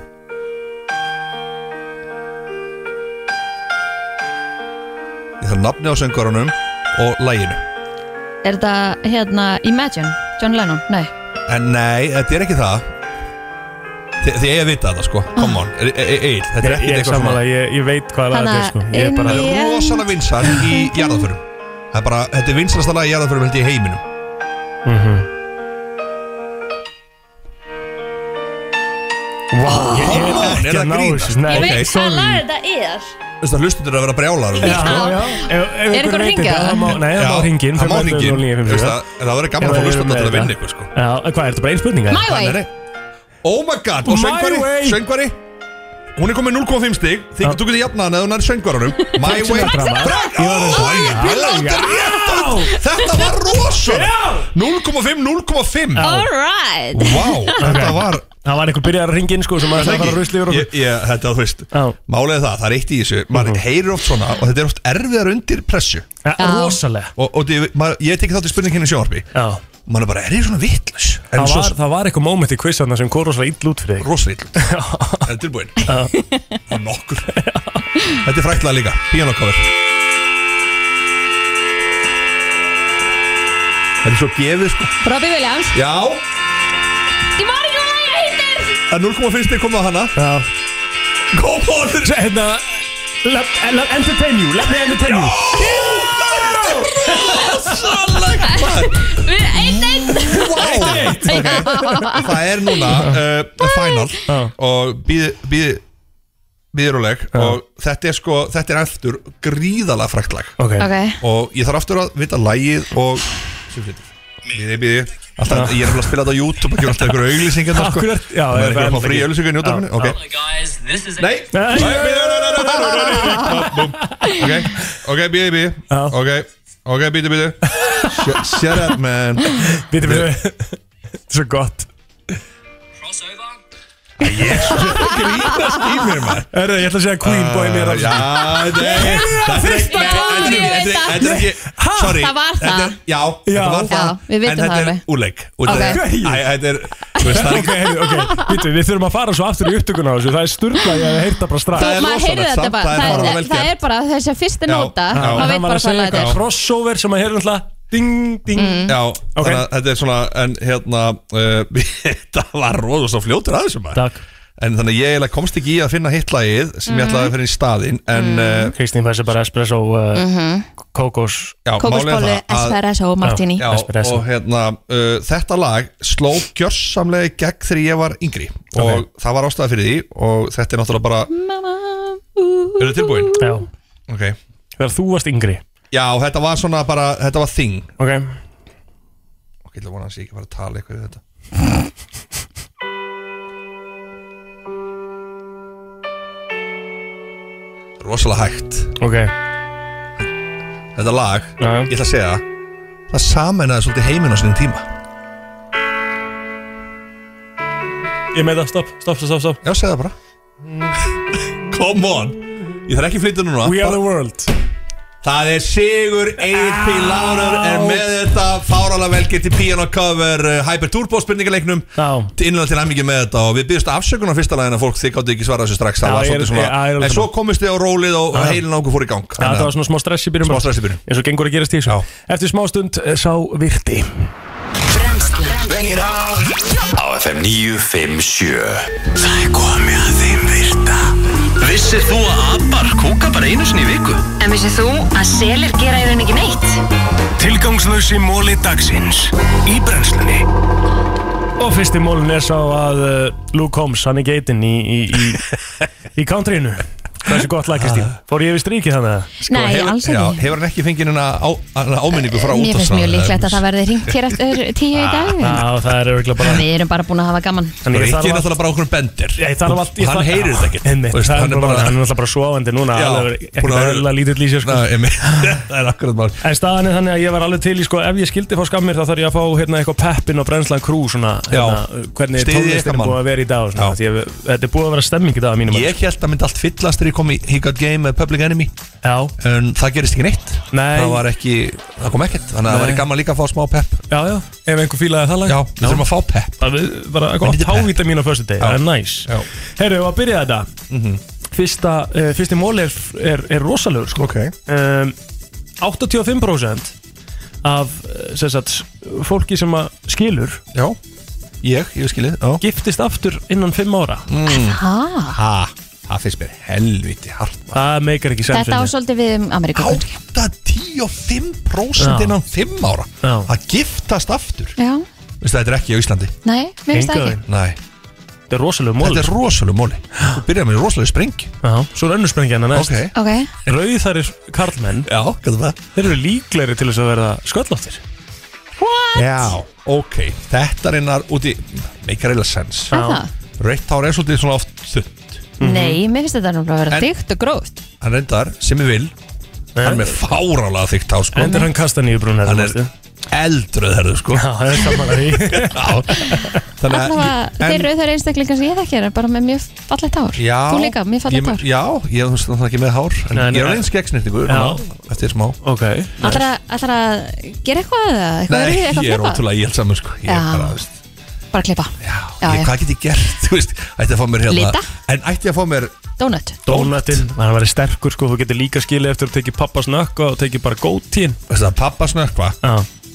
[SPEAKER 6] Ég þarf nafni á söngvarunum og laginu
[SPEAKER 2] Er þetta hérna Imagine, John Lennon? Nei
[SPEAKER 6] En nei, þetta er ekki það Þi, Þið eiga að vita þetta sko Come on, Egil, þetta er
[SPEAKER 1] Ég-
[SPEAKER 6] ekki
[SPEAKER 1] ég
[SPEAKER 6] eitthvað
[SPEAKER 1] sammála, ég, ég veit hvað lag þetta er, sko Ég er bara
[SPEAKER 6] Þetta er rosalega vinsal í jarðaförum Það er bara, þetta er vinsalasta lag í jarðaförum held ég í heiminum
[SPEAKER 1] Vá, ég ég er
[SPEAKER 6] Come on, er
[SPEAKER 1] ekki
[SPEAKER 6] það
[SPEAKER 1] að ná
[SPEAKER 6] grínast?
[SPEAKER 1] þessu Nei,
[SPEAKER 2] Ég
[SPEAKER 1] sorry.
[SPEAKER 2] veit hvað lag þetta er
[SPEAKER 6] veist að hlustundur að vera um brjálar
[SPEAKER 1] Já, já. Ef- ef einhver
[SPEAKER 2] einhver að
[SPEAKER 1] veit
[SPEAKER 2] hringja?
[SPEAKER 1] þetta, það má- nei, það má hringja inn,
[SPEAKER 6] Það má
[SPEAKER 1] 511
[SPEAKER 6] hringja inn.
[SPEAKER 1] 0957.
[SPEAKER 6] Þú veist að- en sko. Það verður gaman
[SPEAKER 1] Já,
[SPEAKER 6] að
[SPEAKER 1] við
[SPEAKER 6] fá
[SPEAKER 1] erum
[SPEAKER 6] hlustundur
[SPEAKER 1] með
[SPEAKER 6] að vinna
[SPEAKER 1] þetta.
[SPEAKER 6] ykkur sko
[SPEAKER 1] Já, en hvað, er þetta bara ein spurning? eða?
[SPEAKER 2] My way.
[SPEAKER 6] Nei, nei. Oh my god, og
[SPEAKER 1] My
[SPEAKER 6] söngvari,
[SPEAKER 1] way.
[SPEAKER 6] söngvari Hún er komið 0,5 stig Þið getur getið jafnaðan eða hún er söngvarunum My
[SPEAKER 1] Takk sem
[SPEAKER 6] way
[SPEAKER 1] þetta, maður.
[SPEAKER 6] Brak-
[SPEAKER 1] Ég var að
[SPEAKER 6] Ó,
[SPEAKER 1] segja.
[SPEAKER 6] ég pilla þetta
[SPEAKER 1] Já.
[SPEAKER 6] rétt átt. Þetta var rosa 0,5, 0,5
[SPEAKER 2] Alright
[SPEAKER 6] Vá, þetta var
[SPEAKER 1] Það var einhver byrjar að ringja inn sko sem að
[SPEAKER 6] Það
[SPEAKER 1] það
[SPEAKER 6] ekki.
[SPEAKER 1] var að rusli yfir
[SPEAKER 6] Ég- ég- Þetta, þú veist Málið er það, það er eitt í þessu Maður
[SPEAKER 1] Mhm.
[SPEAKER 6] heyrir oft svona og þetta er oft erfiðar undir pressu
[SPEAKER 1] Ja, rosalega.
[SPEAKER 6] Og, og því- maður- ég tekið þátt í spurninginni sjónarbi
[SPEAKER 1] Já
[SPEAKER 6] Man er bara, er ég svona vittlis?
[SPEAKER 1] Það var, það var eitthvað moment í quizarna sem kom rosalega ill út fyrir þig
[SPEAKER 6] Rosalega ill Það er tilbúin Og nokkur Þetta er fræktlega líka Piano cover Það er svo gefið sko
[SPEAKER 2] Robbie Williams
[SPEAKER 6] Já,
[SPEAKER 2] Ég var ekki hvað lagi heitir
[SPEAKER 6] það er 0,5 stig komið á hana
[SPEAKER 1] Já
[SPEAKER 6] Come on
[SPEAKER 1] Hérna let, let entertain you, let me entertain you
[SPEAKER 2] Við einn einn
[SPEAKER 6] Það er núna uh, Final Og býði Býði Býði róleg Og þetta er sko Þetta er eftir Gríðalega fræktlag
[SPEAKER 1] Ok.
[SPEAKER 2] Ok.
[SPEAKER 6] Og ég þarf aftur að vita lægið Og Sem flyttur Býði, býði Alltaf, ég er alveg að spila þetta á YouTube og gera alltaf ykkur auglýsingar sko.
[SPEAKER 1] Akkurat, já,
[SPEAKER 6] Það er
[SPEAKER 1] það
[SPEAKER 6] ekki
[SPEAKER 1] er
[SPEAKER 6] að fá frí
[SPEAKER 1] ekki.
[SPEAKER 6] auglýsingar í njóttarfinu
[SPEAKER 1] Já,
[SPEAKER 6] Ok, Nei ok, ok, býði, býði Ok, ok, býði, býði Shut- Shut up, man
[SPEAKER 1] Býti, býti Svo gott
[SPEAKER 6] Grínast í mér, maður
[SPEAKER 1] Herra, ég ætla að segja Queen boy mér
[SPEAKER 6] Ah, Já, þetta er Þetta er ekki Þetta er ekki- þetta er ekki Sorry
[SPEAKER 2] Það var
[SPEAKER 6] þetta er-
[SPEAKER 2] það
[SPEAKER 6] Já, þetta var það
[SPEAKER 2] Já, við vitum
[SPEAKER 6] En þetta
[SPEAKER 2] það
[SPEAKER 6] er
[SPEAKER 2] alveg.
[SPEAKER 6] úrleik Og
[SPEAKER 2] Ok.
[SPEAKER 6] þetta er- Æ, Þetta er þú veist, Það er
[SPEAKER 1] Ok,
[SPEAKER 6] ekki
[SPEAKER 1] heyrðu, ok, býtu, við þurfum að fara svo aftur í upptökuna á þessu Það er sturgla, ég hef heyrt það bara strax
[SPEAKER 2] Þú, maður heyrði þetta bara
[SPEAKER 6] það er
[SPEAKER 2] Það
[SPEAKER 6] bara
[SPEAKER 2] er-
[SPEAKER 6] vel
[SPEAKER 2] það
[SPEAKER 6] gert.
[SPEAKER 2] er bara þessi fyrsti
[SPEAKER 6] Já,
[SPEAKER 2] nota
[SPEAKER 6] já.
[SPEAKER 2] Maður
[SPEAKER 1] Það
[SPEAKER 2] veit
[SPEAKER 1] var
[SPEAKER 2] bara
[SPEAKER 1] að segja
[SPEAKER 2] hvað lag
[SPEAKER 1] eitthvað
[SPEAKER 2] þetta er
[SPEAKER 1] crossover sem að heyrðu alltaf Ding, ding
[SPEAKER 2] Mm.
[SPEAKER 6] Já, þannig að þetta er svona En hérna uh, Þetta var rosa svo fljótur aðeins um maður
[SPEAKER 1] Takk
[SPEAKER 6] En þannig að ég eiginlega komst ekki í að finna hitt lagið sem
[SPEAKER 2] Mhm.
[SPEAKER 6] ég ætlaði að fyrir í staðinn en uh,
[SPEAKER 1] Mm. Kristín fæsir bara espresso uh,
[SPEAKER 2] Mhm.
[SPEAKER 1] Kókos
[SPEAKER 6] já, málið er
[SPEAKER 2] Kókosbólu,
[SPEAKER 6] það að-
[SPEAKER 2] espresso, martini
[SPEAKER 6] Já, og hérna, uh, þetta lag sló gjörsamlega í gegn þegar ég var yngri og það var ástæða fyrir því og þetta er náttúrulega bara Eru þið tilbúin?
[SPEAKER 1] Já
[SPEAKER 6] Ok
[SPEAKER 1] Þegar þú varst yngri
[SPEAKER 6] Já, þetta var svona bara, þetta var þing
[SPEAKER 1] Ok
[SPEAKER 6] Ok, ég ætla að vona að sé ekki að fara að tala eitthvað við þetta Rosalega hægt
[SPEAKER 1] Ok
[SPEAKER 6] Þetta lag,
[SPEAKER 1] Já.
[SPEAKER 6] ég ætla að segja það, Það samennaði svolítið heiminn á sinni tíma
[SPEAKER 1] Ég með það, stopp, stopp, stopp, stopp
[SPEAKER 6] Já, segja það bara Come on Ég þarf ekki að flytja núna
[SPEAKER 1] We are
[SPEAKER 6] Bara-
[SPEAKER 1] the world
[SPEAKER 6] Það er Sigur Egil P. Lánar er með þetta fáralega velgert í piano cover uh, Hyper Turbo spurningaleiknum
[SPEAKER 1] Já
[SPEAKER 6] innlega til æmingi með þetta og við byrjumst afsökunar fyrsta lagin að fólk þið gáttu ekki svara þessu strax
[SPEAKER 1] Já,
[SPEAKER 6] það var
[SPEAKER 1] ég er- já, ég er
[SPEAKER 6] svolítið svona
[SPEAKER 1] alveg
[SPEAKER 6] en svo
[SPEAKER 1] saman.
[SPEAKER 6] komist þið á rólið og
[SPEAKER 1] Já.
[SPEAKER 6] heilin ángu fór í gang
[SPEAKER 1] Já, það var svona smá stress í byrjun
[SPEAKER 6] Smá stress í byrjun.
[SPEAKER 1] Eins og gengur að gerast í þessu Eftir smá stund eh, sá virti
[SPEAKER 7] Vengir á Á FM 957 Það er komið að þeim virta Vissir þú að abar kúka bara einu sinni í viku?
[SPEAKER 16] En vissið þú að selir gera í rauninni ekki neitt?
[SPEAKER 3] Tilgangslösi móli dagsins Í brennslunni
[SPEAKER 1] Og fyrsti mólun er sá að eh, Luke Holmes, hann er geitinn í, í, í, í countryinu Hversu gott lag, Kristín Fór ég við strikið þannig að
[SPEAKER 2] Nei, alls ekki.
[SPEAKER 6] já, Ah. Sko, Hefur hann ekki fengið hennar á, hana áminningu frá
[SPEAKER 2] Mér finnst
[SPEAKER 6] útvarpsráðinu?
[SPEAKER 2] mjög líklegt að það verði ringt hér eftir tíu í
[SPEAKER 6] Ah,
[SPEAKER 2] dag
[SPEAKER 1] Já, það er örgulega bara
[SPEAKER 2] Við erum bara búin að hafa gaman
[SPEAKER 1] Þannig ég
[SPEAKER 6] Rikki
[SPEAKER 1] þarf
[SPEAKER 6] er
[SPEAKER 1] að-
[SPEAKER 6] náttúrulega bara okkur bender
[SPEAKER 1] Ég þarf allt
[SPEAKER 6] Hann heyrir þetta ekki
[SPEAKER 1] Einmitt,
[SPEAKER 6] Þú veist,
[SPEAKER 1] það
[SPEAKER 6] hann
[SPEAKER 1] er
[SPEAKER 6] er
[SPEAKER 1] bara,
[SPEAKER 6] bara-
[SPEAKER 1] hann er náttúrulega bara svoandi núna
[SPEAKER 6] Já,
[SPEAKER 1] alveg
[SPEAKER 6] búin
[SPEAKER 1] Ekkert
[SPEAKER 6] að vera-
[SPEAKER 1] eðla lítill í sér sko
[SPEAKER 6] Nei, einmitt. Það er akkurat mál
[SPEAKER 1] En staðan er þannig að ég var alveg til í sko Ef ég skildi fá skammir þá þarf ég að fá hérna eitthvað peppin og brennslan krú svona hérna,
[SPEAKER 6] Já.
[SPEAKER 1] Hvernig
[SPEAKER 6] Styðjið
[SPEAKER 1] tónlistin
[SPEAKER 6] ykkar
[SPEAKER 1] er
[SPEAKER 6] mann.
[SPEAKER 1] búið að vera í dag og svona, því að Þetta er búið að vera stemming í dag að mínum
[SPEAKER 6] Ég held að myndi allt fyllast þegar ég kom í He Got Game með Public Enemy
[SPEAKER 1] Já.
[SPEAKER 6] En það gerist ekki neitt
[SPEAKER 1] Nei.
[SPEAKER 6] Það var ekki, það kom ekkert Þannig að það
[SPEAKER 1] Nei.
[SPEAKER 6] væri gaman líka að fá smá pepp
[SPEAKER 1] Já, já, ef einhver fílaði það lag
[SPEAKER 6] Já, við þurfum að fá pepp
[SPEAKER 1] Bara, við- bara gott hávita mín á fyrstu deg, það er næs Herru, við að byrja þetta Fyrsta, uh, fyrsti móli er, er, er rosalegur sko
[SPEAKER 6] okay.
[SPEAKER 1] um, 85% af eh, sem sagt, fólki sem að skilur
[SPEAKER 6] Já, ég, ég skilið
[SPEAKER 1] Giftist aftur innan 5 ára
[SPEAKER 6] mm.
[SPEAKER 2] Ha,
[SPEAKER 6] Ha, það finnst mér helviti hart
[SPEAKER 1] Það meikar ekki sens
[SPEAKER 2] Þetta
[SPEAKER 1] fyrir
[SPEAKER 2] á
[SPEAKER 1] mig.
[SPEAKER 2] svolítið við um Ameríku Já,
[SPEAKER 6] 85%
[SPEAKER 1] Já.
[SPEAKER 6] innan 5 ára Að giftast aftur
[SPEAKER 2] Já.
[SPEAKER 6] Veistu, þetta er ekki á Íslandi
[SPEAKER 2] nei, mér finnst það
[SPEAKER 1] Engu
[SPEAKER 2] ekki
[SPEAKER 1] þeim.
[SPEAKER 6] Nei
[SPEAKER 1] Þetta er rosalega móli sko.
[SPEAKER 6] Þetta er rosalega móli Þú byrjar með rosalega spreng
[SPEAKER 1] Já, svo er önnur sprengja hennar næst
[SPEAKER 6] Ok.
[SPEAKER 2] Ok.
[SPEAKER 1] Rauðarir karlmenn
[SPEAKER 6] Já, gætum það
[SPEAKER 1] Þeir eru líklegri til þess að verða sköllóttir
[SPEAKER 6] What? Já, ok, þetta reynar úti Make a real sense
[SPEAKER 2] Er það? Mhm.
[SPEAKER 6] Rautt hár er svolítið svona oft þund
[SPEAKER 2] Nei, mér finnst þetta náttúrulega að
[SPEAKER 6] Mhm.
[SPEAKER 2] vera
[SPEAKER 6] En-
[SPEAKER 2] dykt og gróft
[SPEAKER 6] Hann reyndar, sem ég vil Hann er með fárálega þygt hár sko
[SPEAKER 1] Enda er Eh. hann kasta nýju brún
[SPEAKER 6] Hann er eldröð herðu sko Já,
[SPEAKER 1] það er saman að því
[SPEAKER 6] Þannig að
[SPEAKER 2] Allavega, þeir eru þær einstaklingar sem ég þekki er bara með mjög fallegt hár
[SPEAKER 6] Já,
[SPEAKER 2] Þú líka, mjög
[SPEAKER 6] ég,
[SPEAKER 2] fallegt hár
[SPEAKER 6] Já, ég er náttúrulega ekki með hár En
[SPEAKER 1] Nei, nei,
[SPEAKER 6] ég er
[SPEAKER 1] nei.
[SPEAKER 6] alveg skeggsnýrtingu
[SPEAKER 1] Já.
[SPEAKER 6] Eftir smá
[SPEAKER 1] Ok
[SPEAKER 2] Ætlar að- ætlar að gera eitthvað eða eitthvað
[SPEAKER 6] Nei,
[SPEAKER 2] verið eitthvað
[SPEAKER 6] ég er
[SPEAKER 2] flippað?
[SPEAKER 6] ótrúlega íhjald saman sko Ég er
[SPEAKER 2] Já.
[SPEAKER 6] bara, þú veist
[SPEAKER 2] Bara klippa Já,
[SPEAKER 6] ég,
[SPEAKER 2] já.
[SPEAKER 6] Hvað get ég gert, þú veist Ætti að fá mér hérna
[SPEAKER 2] Lita?
[SPEAKER 6] En ætti að fá mér
[SPEAKER 2] Donut
[SPEAKER 1] Dónatinn, hann væri sterkur sko, þú getur líka skilið eftir að tekið pappas nökka og tekið bara gótín
[SPEAKER 6] Veist það, pappas nökva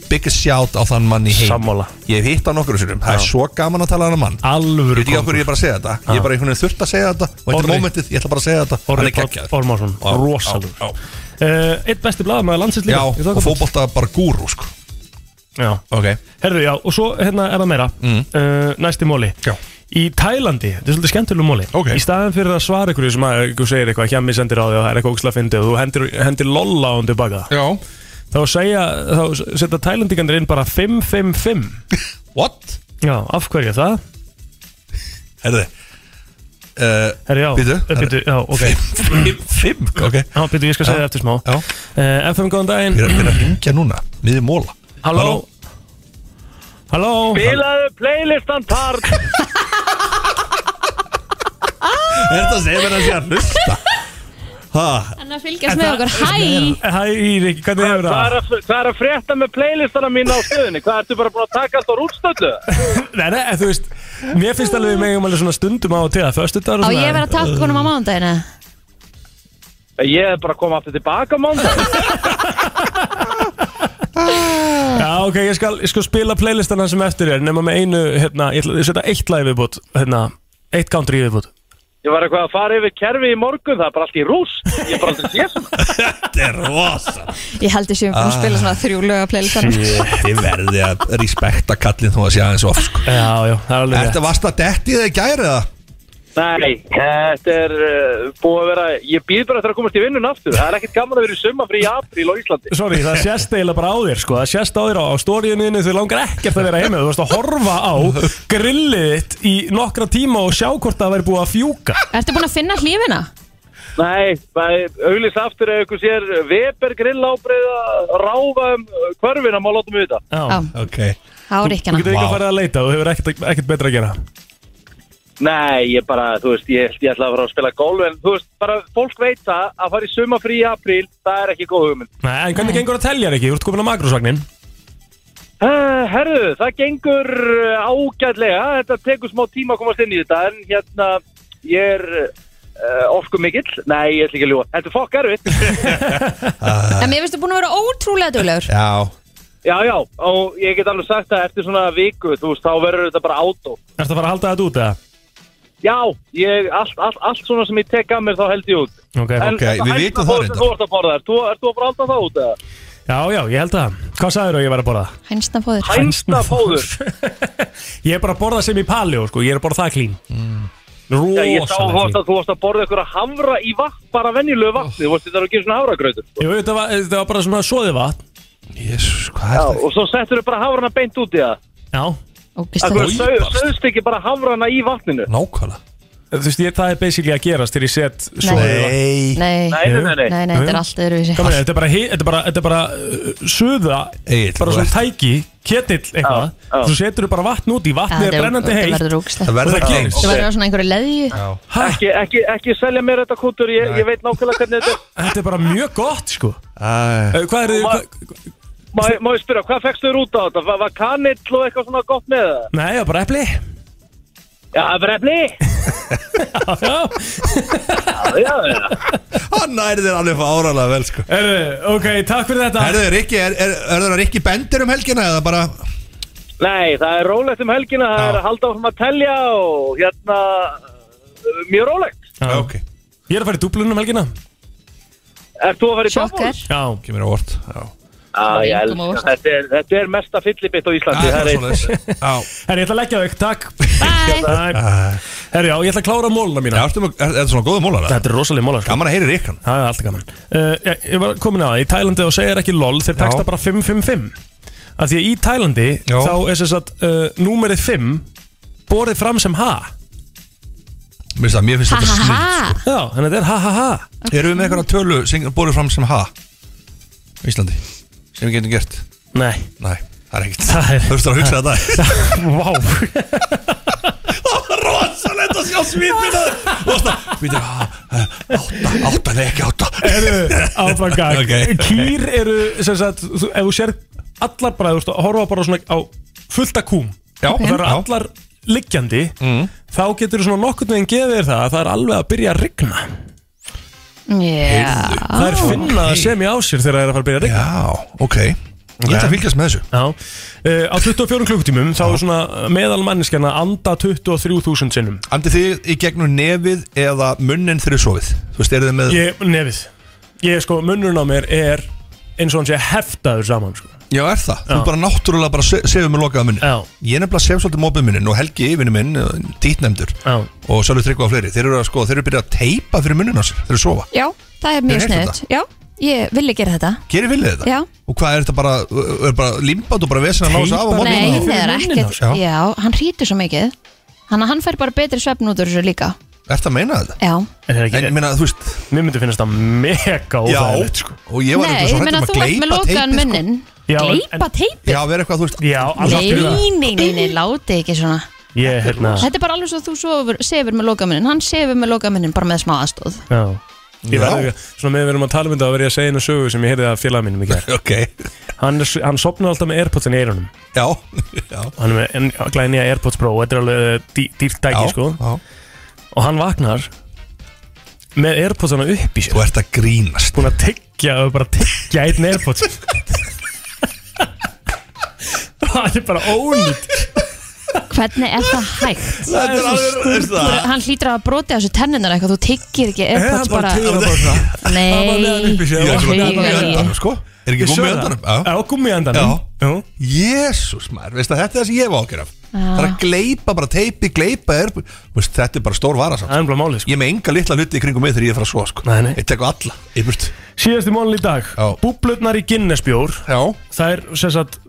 [SPEAKER 6] Biggest shout á þann mann í heim
[SPEAKER 1] Sammála.
[SPEAKER 6] Ég hef hitt á nokkru sinnum Það er
[SPEAKER 1] Já.
[SPEAKER 6] svo gaman að tala hann að mann
[SPEAKER 1] Alvöru
[SPEAKER 6] Ég veit ekki okkur ég er bara að segja þetta Ég er bara einhvern veginn þurft að segja þetta Og þetta er
[SPEAKER 1] Orri.
[SPEAKER 6] momentið, ég ætla bara að segja þetta
[SPEAKER 1] Orri
[SPEAKER 6] Hann er
[SPEAKER 1] Páll
[SPEAKER 6] geggjaður.
[SPEAKER 1] Ormarsson,
[SPEAKER 6] Já,
[SPEAKER 1] rosalegur.
[SPEAKER 6] já, já.
[SPEAKER 1] Uh, eitt besti blaðamæður landsins líka
[SPEAKER 6] Já,
[SPEAKER 1] í þokkabót.
[SPEAKER 6] og fótbolta bara gúru sko
[SPEAKER 1] Já
[SPEAKER 6] Ok
[SPEAKER 1] Herðu, já, og svo hérna er það meira mm. Næsti móli
[SPEAKER 6] já.
[SPEAKER 1] Í Tælandi, þetta er svolítið skemmtileg móli okay. Í staðan fyrir að svara ykkur sem að ykkur segir eitthvað Hjemmi sendir á þig og það er eitthvað ógslag fyndið og þú hendir, hendir lolla á hún tilbaka
[SPEAKER 6] Já
[SPEAKER 1] Þá segja, þá setja Tælandikandir inn bara 5-5-5
[SPEAKER 6] What?
[SPEAKER 1] Já, af hverju það?
[SPEAKER 6] Herðu
[SPEAKER 1] Herri, já,
[SPEAKER 6] Býtu?
[SPEAKER 1] Eh, býtu, já, ok
[SPEAKER 6] Fimm, fimm, ok
[SPEAKER 1] Já, býtu, ég skal segja það eftir smá
[SPEAKER 6] Já
[SPEAKER 1] uh, FM, góðan daginn
[SPEAKER 6] Ég er að byrja að ringja núna Miði móla
[SPEAKER 1] Halló Halló
[SPEAKER 17] Spilaðu playlistan tart
[SPEAKER 6] Er þetta að segja mér að sé að hlusta? Ha,
[SPEAKER 2] Þannig að fylgjast með okkur, hæ
[SPEAKER 1] hérna. Hæ, Rík, hvernig hefur
[SPEAKER 17] Hvað er, að, hvað er að frétta með playlistana mín á stöðinni? Hvað ertu bara búin að taka allt á rústöldu?
[SPEAKER 1] Nei, nei, en þú veist, mér finnst alveg við megum alveg svona stundum á og til að föstudagur
[SPEAKER 2] Á
[SPEAKER 1] og
[SPEAKER 2] ég
[SPEAKER 1] svona-
[SPEAKER 2] að vera að taka konum á mánudagina
[SPEAKER 17] Ég er bara að koma aftur tilbaka mándag
[SPEAKER 1] Já, ok, ég skal, ég skal spila playlistana sem eftir er nema með einu, hérna, ég ætla ég setja eitt lag í viðbútt hérna, eitt country í viðbútt
[SPEAKER 17] Ég var eitthvað að fara yfir kerfi í morgun Það er bara allt í rúst Ég er bara aldrei séð sem
[SPEAKER 6] Þetta er rosa
[SPEAKER 2] Ég held ég séum búin að spila svona þrjú lög á playlistan
[SPEAKER 6] Þið verði að respekta kallinn þú að sé aðeins of sko.
[SPEAKER 1] Já, já, það er alveg
[SPEAKER 6] Þetta varst að detti þegar gæri það
[SPEAKER 17] Nei, þetta er uh, búið að vera Ég býð bara eftir að komast í vinnun aftur Það er ekkert gaman að vera í summa í apríl á Íslandi
[SPEAKER 1] Sorry, það sést eiginlega bara á þér sko. Það sést á þér á, á stóriðinu Þau langar ekkert að vera heima Þú varst að horfa á grillið þitt í nokkra tíma og sjá hvort það væri búið að fjúka
[SPEAKER 2] Ertu búin að finna hlífina?
[SPEAKER 17] Nei, auðvitað aftur ef ykkur sér Weber grill ábreiða Ráfa um hverfina, má látum við þetta
[SPEAKER 1] Já,
[SPEAKER 6] ok
[SPEAKER 2] Á
[SPEAKER 1] Þú getur
[SPEAKER 2] ríkjana
[SPEAKER 1] ekki að fara að leita, þú hefur ekkert, ekkert betra að gera
[SPEAKER 17] Nei, ég bara, þú veist, ég, ég ætla að fara að spila golf En þú veist, bara fólk veit það Að fara í summa í apríl, það er ekki góð hugmynd
[SPEAKER 1] Nei, en hvernig gengur að telja ekki? Þú ert komin á makrosvagnin
[SPEAKER 17] Uh, herðu, það gengur eh, ágætlega, þetta tekur smá tíma að komast inn í þetta en hérna, ég er uh, orku mikill, nei, ég ætla ekki að ljúa, þetta er fokk erfitt.
[SPEAKER 2] En mér finnst þú búin að vera ótrúlega duglegur
[SPEAKER 6] Já
[SPEAKER 17] já, já, og ég get alveg sagt að eftir svona viku, þú veist, þá verður þetta bara átó.
[SPEAKER 1] Ertu að fara að halda þetta út eða?
[SPEAKER 17] Já, ég, allt, allt, allt svona sem ég tek að mér þá held ég út.
[SPEAKER 1] Ok,
[SPEAKER 17] En þetta hætta fóður sem Þú ert að borða þér, þú ert að borða það út eða?
[SPEAKER 1] Já, já, ég held það Hvað sagður að ég var að borða?
[SPEAKER 2] Hænsnafóður
[SPEAKER 17] Hænsnafóður
[SPEAKER 1] Ég er bara að borða sem í paleo, sko Ég er að borða það klín mm.
[SPEAKER 17] Já, ég sá
[SPEAKER 1] Rosalega
[SPEAKER 17] hvort að þú varst að borða ykkur að hamra í vatn, bara venjulegu vatni, þú veist, þetta er að gera svona hafragrautur. sko.
[SPEAKER 1] Jú, þetta var, þetta var bara svona soðið vatn
[SPEAKER 6] Jésús, hvað
[SPEAKER 17] Já, og svo settur þau bara hafrana beint út í það
[SPEAKER 1] Já
[SPEAKER 17] Það er söðst ekki bara hafrana í vatninu
[SPEAKER 6] Nákvæmlega
[SPEAKER 1] Þú veist, ég, það er basically að gerast til ég set soðið
[SPEAKER 6] vatn
[SPEAKER 2] Nei,
[SPEAKER 1] Nei, nei, nei, nei.
[SPEAKER 2] nei, nei, þetta er allt öðruvísi
[SPEAKER 1] Kom, þetta er bara, hi- þetta er bara, þetta er bara uh, suða,
[SPEAKER 6] Egil,
[SPEAKER 1] bara
[SPEAKER 6] þú
[SPEAKER 1] svona
[SPEAKER 6] ert-
[SPEAKER 1] tæki, ketill eitthvað,
[SPEAKER 6] Já, já.
[SPEAKER 1] svo setur þú bara vatn út í, vatnið
[SPEAKER 2] Já,
[SPEAKER 1] er
[SPEAKER 2] þetta er-
[SPEAKER 1] brennandi
[SPEAKER 2] þetta
[SPEAKER 1] heitt
[SPEAKER 2] verður ógeðslegt.
[SPEAKER 1] og
[SPEAKER 2] Það verður
[SPEAKER 1] það gerist.
[SPEAKER 2] Þú verður á svona einhverju leðju
[SPEAKER 17] ekki, ekki, ekki selja mér þetta kútur ég, ég veit nákvæmlega hvernig þetta
[SPEAKER 1] Þetta er bara mjög gott sko Eh,
[SPEAKER 6] Æ.
[SPEAKER 1] Hvað er þið? hva-
[SPEAKER 17] er Má, má ég spyrja, hvað fekkst þau út á þetta? Var, var kanill og eitthvað svona gott með það?
[SPEAKER 1] Nei, það er bara epli
[SPEAKER 17] Já, það er bara efni Já, já, já
[SPEAKER 6] Hann næri þér alveg fáralega vel sko
[SPEAKER 1] Herðu, ok, takk fyrir þetta
[SPEAKER 6] Herðu, Rikki, er, er, er það Rikki bendir um helgina eða bara
[SPEAKER 17] Nei, það er rólegt um helgina það er að halda áfram að telja og hérna uh, mjög rólegt
[SPEAKER 1] Já, ok Ég er að fara í dúblunum um helgina
[SPEAKER 17] Ert þú að fara í bubbles?
[SPEAKER 1] Já
[SPEAKER 6] Kemur á vort Já
[SPEAKER 17] Ah, ég
[SPEAKER 1] Engum
[SPEAKER 17] elska.
[SPEAKER 1] óvart.
[SPEAKER 17] þetta, er, þetta er mesta fyllibitt á Íslandi Það er eins
[SPEAKER 1] Herri, ég ætla að leggja þau, takk Bye Herri, já, ég ætla að klára móluna mína Já,
[SPEAKER 6] er þetta svona góða mólar?
[SPEAKER 1] Þetta er rosalega mólar sko.
[SPEAKER 6] Gaman að heyri ríkan
[SPEAKER 1] Það er alltaf gaman uh, ég, ég var komin að það, í Tælandi og segir ekki LOL Þeir texta bara 555 Af því að í Tælandi, þá er sem sagt uh, Númerið 5 Borið fram sem ha
[SPEAKER 6] Mér finnst það- mér finnst
[SPEAKER 2] Ha,
[SPEAKER 6] þetta
[SPEAKER 2] ha,
[SPEAKER 6] snill
[SPEAKER 2] ha.
[SPEAKER 1] Já, þannig að þetta er ha ha ha
[SPEAKER 6] Erum við með eitthvað tölu sem borður fram sem ha á Íslandi sem við getum gert?
[SPEAKER 1] Nei
[SPEAKER 6] Nei, það er ekkert Þú veist að hugsa þetta
[SPEAKER 1] Vá
[SPEAKER 6] Rosalegt að sjá svipina Býtu, átta, átta, nei ekki átta
[SPEAKER 1] Eru áframgang
[SPEAKER 6] Ok.
[SPEAKER 1] Kýr eru, sem sagt, þú, ef þú sér Allar bara, þú veist, horfa bara svona á Fullta kúm
[SPEAKER 6] Já,
[SPEAKER 1] Og það eru
[SPEAKER 6] já. Mm.
[SPEAKER 1] allar liggjandi Þá getur þú svona nokkurn veginn gefið þér það að Það er alveg að byrja að rigna
[SPEAKER 2] Yeah.
[SPEAKER 1] Það er finna það sem ég á sér þegar það er að fara að byrja að regna
[SPEAKER 6] Já, ok Ég ætla að fylgjast með þessu
[SPEAKER 1] Já, uh, á 24 klukkutímum þá er svona meðal manneskjana anda 23.000 sinnum
[SPEAKER 6] Andið þið í gegnum nefið eða munnin þegar þið sofið? Þú veist, eru þið með
[SPEAKER 1] Ég, nefið Ég sko, munnurinn á mér er eins og hann sé heftaður saman sko.
[SPEAKER 6] Já, er það? Þú
[SPEAKER 1] Já.
[SPEAKER 6] bara náttúrulega bara se- sefur með lokaða munnin
[SPEAKER 1] Já.
[SPEAKER 6] Ég nefnilega sef svolítið mópið munnin og Helgi yfirni minn, eh, dýtnefndur
[SPEAKER 1] Já.
[SPEAKER 6] og svolítið tryggvað fleiri Þeir eru að sko, þeir eru byrjað að teipa fyrir munnin á sér þeir eru að sofa
[SPEAKER 2] Já, það er mjög
[SPEAKER 6] Hefur heyrt
[SPEAKER 2] sniðut Já, ég villi gera þetta
[SPEAKER 6] Gerir villið þetta?
[SPEAKER 2] Já.
[SPEAKER 6] Og hvað er þetta bara, er bara limband og bara vesen að lása af og
[SPEAKER 2] Nei,
[SPEAKER 6] morgun?
[SPEAKER 2] það er ekkert
[SPEAKER 6] Já.
[SPEAKER 2] Já, hann hrýtur svo mikið Þannig að hann fær bara betri svefn út úr þessu líka
[SPEAKER 6] Ertu að meina þetta?
[SPEAKER 2] Já
[SPEAKER 1] En það er ekki
[SPEAKER 6] En ég meina, þú veist
[SPEAKER 1] Mér myndi finnast það mega
[SPEAKER 6] Já,
[SPEAKER 1] óþægilegt, sko.
[SPEAKER 6] og ég var
[SPEAKER 2] Nei,
[SPEAKER 6] eitthvað svo
[SPEAKER 2] ég meina
[SPEAKER 6] hrættum
[SPEAKER 2] þú
[SPEAKER 6] að
[SPEAKER 2] ert með
[SPEAKER 6] gleypa
[SPEAKER 2] lokaðan
[SPEAKER 6] teipið
[SPEAKER 2] munnin
[SPEAKER 6] Já, en-
[SPEAKER 2] Gleypa teip
[SPEAKER 6] Já, vera eitthvað, þú veist
[SPEAKER 1] Já,
[SPEAKER 2] Nei, nei, nei, nei, láti ekki svona
[SPEAKER 1] Ég, hérna
[SPEAKER 2] Þetta er bara alveg svo þú sofur, sefur með lokaðan munnin Hann sefur með lokaðan munnin bara með smá aðstóð
[SPEAKER 1] Já Ég
[SPEAKER 6] Já.
[SPEAKER 1] verði, svona með við erum að tala um þetta að verði ég að segja einu sögu sem ég heyrði að félaga mínum í gerð
[SPEAKER 6] okay.
[SPEAKER 1] hann, er s- hann sopnar alltaf með Airpods í eyrunum
[SPEAKER 6] Já, já
[SPEAKER 1] Hann er með en- glæði nýja Airpods Pro og þetta er alveg eh, dý, dýrt dæki
[SPEAKER 6] Já,
[SPEAKER 1] sko
[SPEAKER 6] já.
[SPEAKER 1] og hann vaknar með Airpods hana upp í sér
[SPEAKER 6] Þú ert að grínast
[SPEAKER 1] Búin að tyggja, bara tyggja einn Airpods Það er bara ónýtt
[SPEAKER 2] Hvernig er það hægt?
[SPEAKER 1] Það er alveg-
[SPEAKER 2] Sturlu-
[SPEAKER 1] veist það?
[SPEAKER 2] Hann hlýtur að broti á þessu tenninar eitthvað Þú tyggir ekki
[SPEAKER 1] Nei,
[SPEAKER 2] Airpods
[SPEAKER 1] hann bara
[SPEAKER 2] bara
[SPEAKER 1] teygir það bara svona. Hann var með hann upp í sér.
[SPEAKER 2] Nei
[SPEAKER 6] Ég er svona
[SPEAKER 2] Haugar
[SPEAKER 6] gummi
[SPEAKER 2] í.
[SPEAKER 6] endanum, sko Er ekki
[SPEAKER 1] Ég
[SPEAKER 6] gummi
[SPEAKER 1] sver það.
[SPEAKER 6] endanum?
[SPEAKER 1] Já, gummi endanum Já
[SPEAKER 6] Jésús maður, veist það, þetta er það sem ég var ákjör af Það er að gleipa bara teipi, gleipa er veist, Þetta er bara stór varasamt Það
[SPEAKER 1] er bara máli, sko
[SPEAKER 6] Ég er með enga litla hluti í kringum mig þegar ég er að fara að svo, sko
[SPEAKER 1] Nei, nei.
[SPEAKER 6] Ég tek á alla, ég burt
[SPEAKER 1] Síðasti mánul í dag Búblutnar í Guinnessbjór
[SPEAKER 6] Já
[SPEAKER 1] Það er sem sagt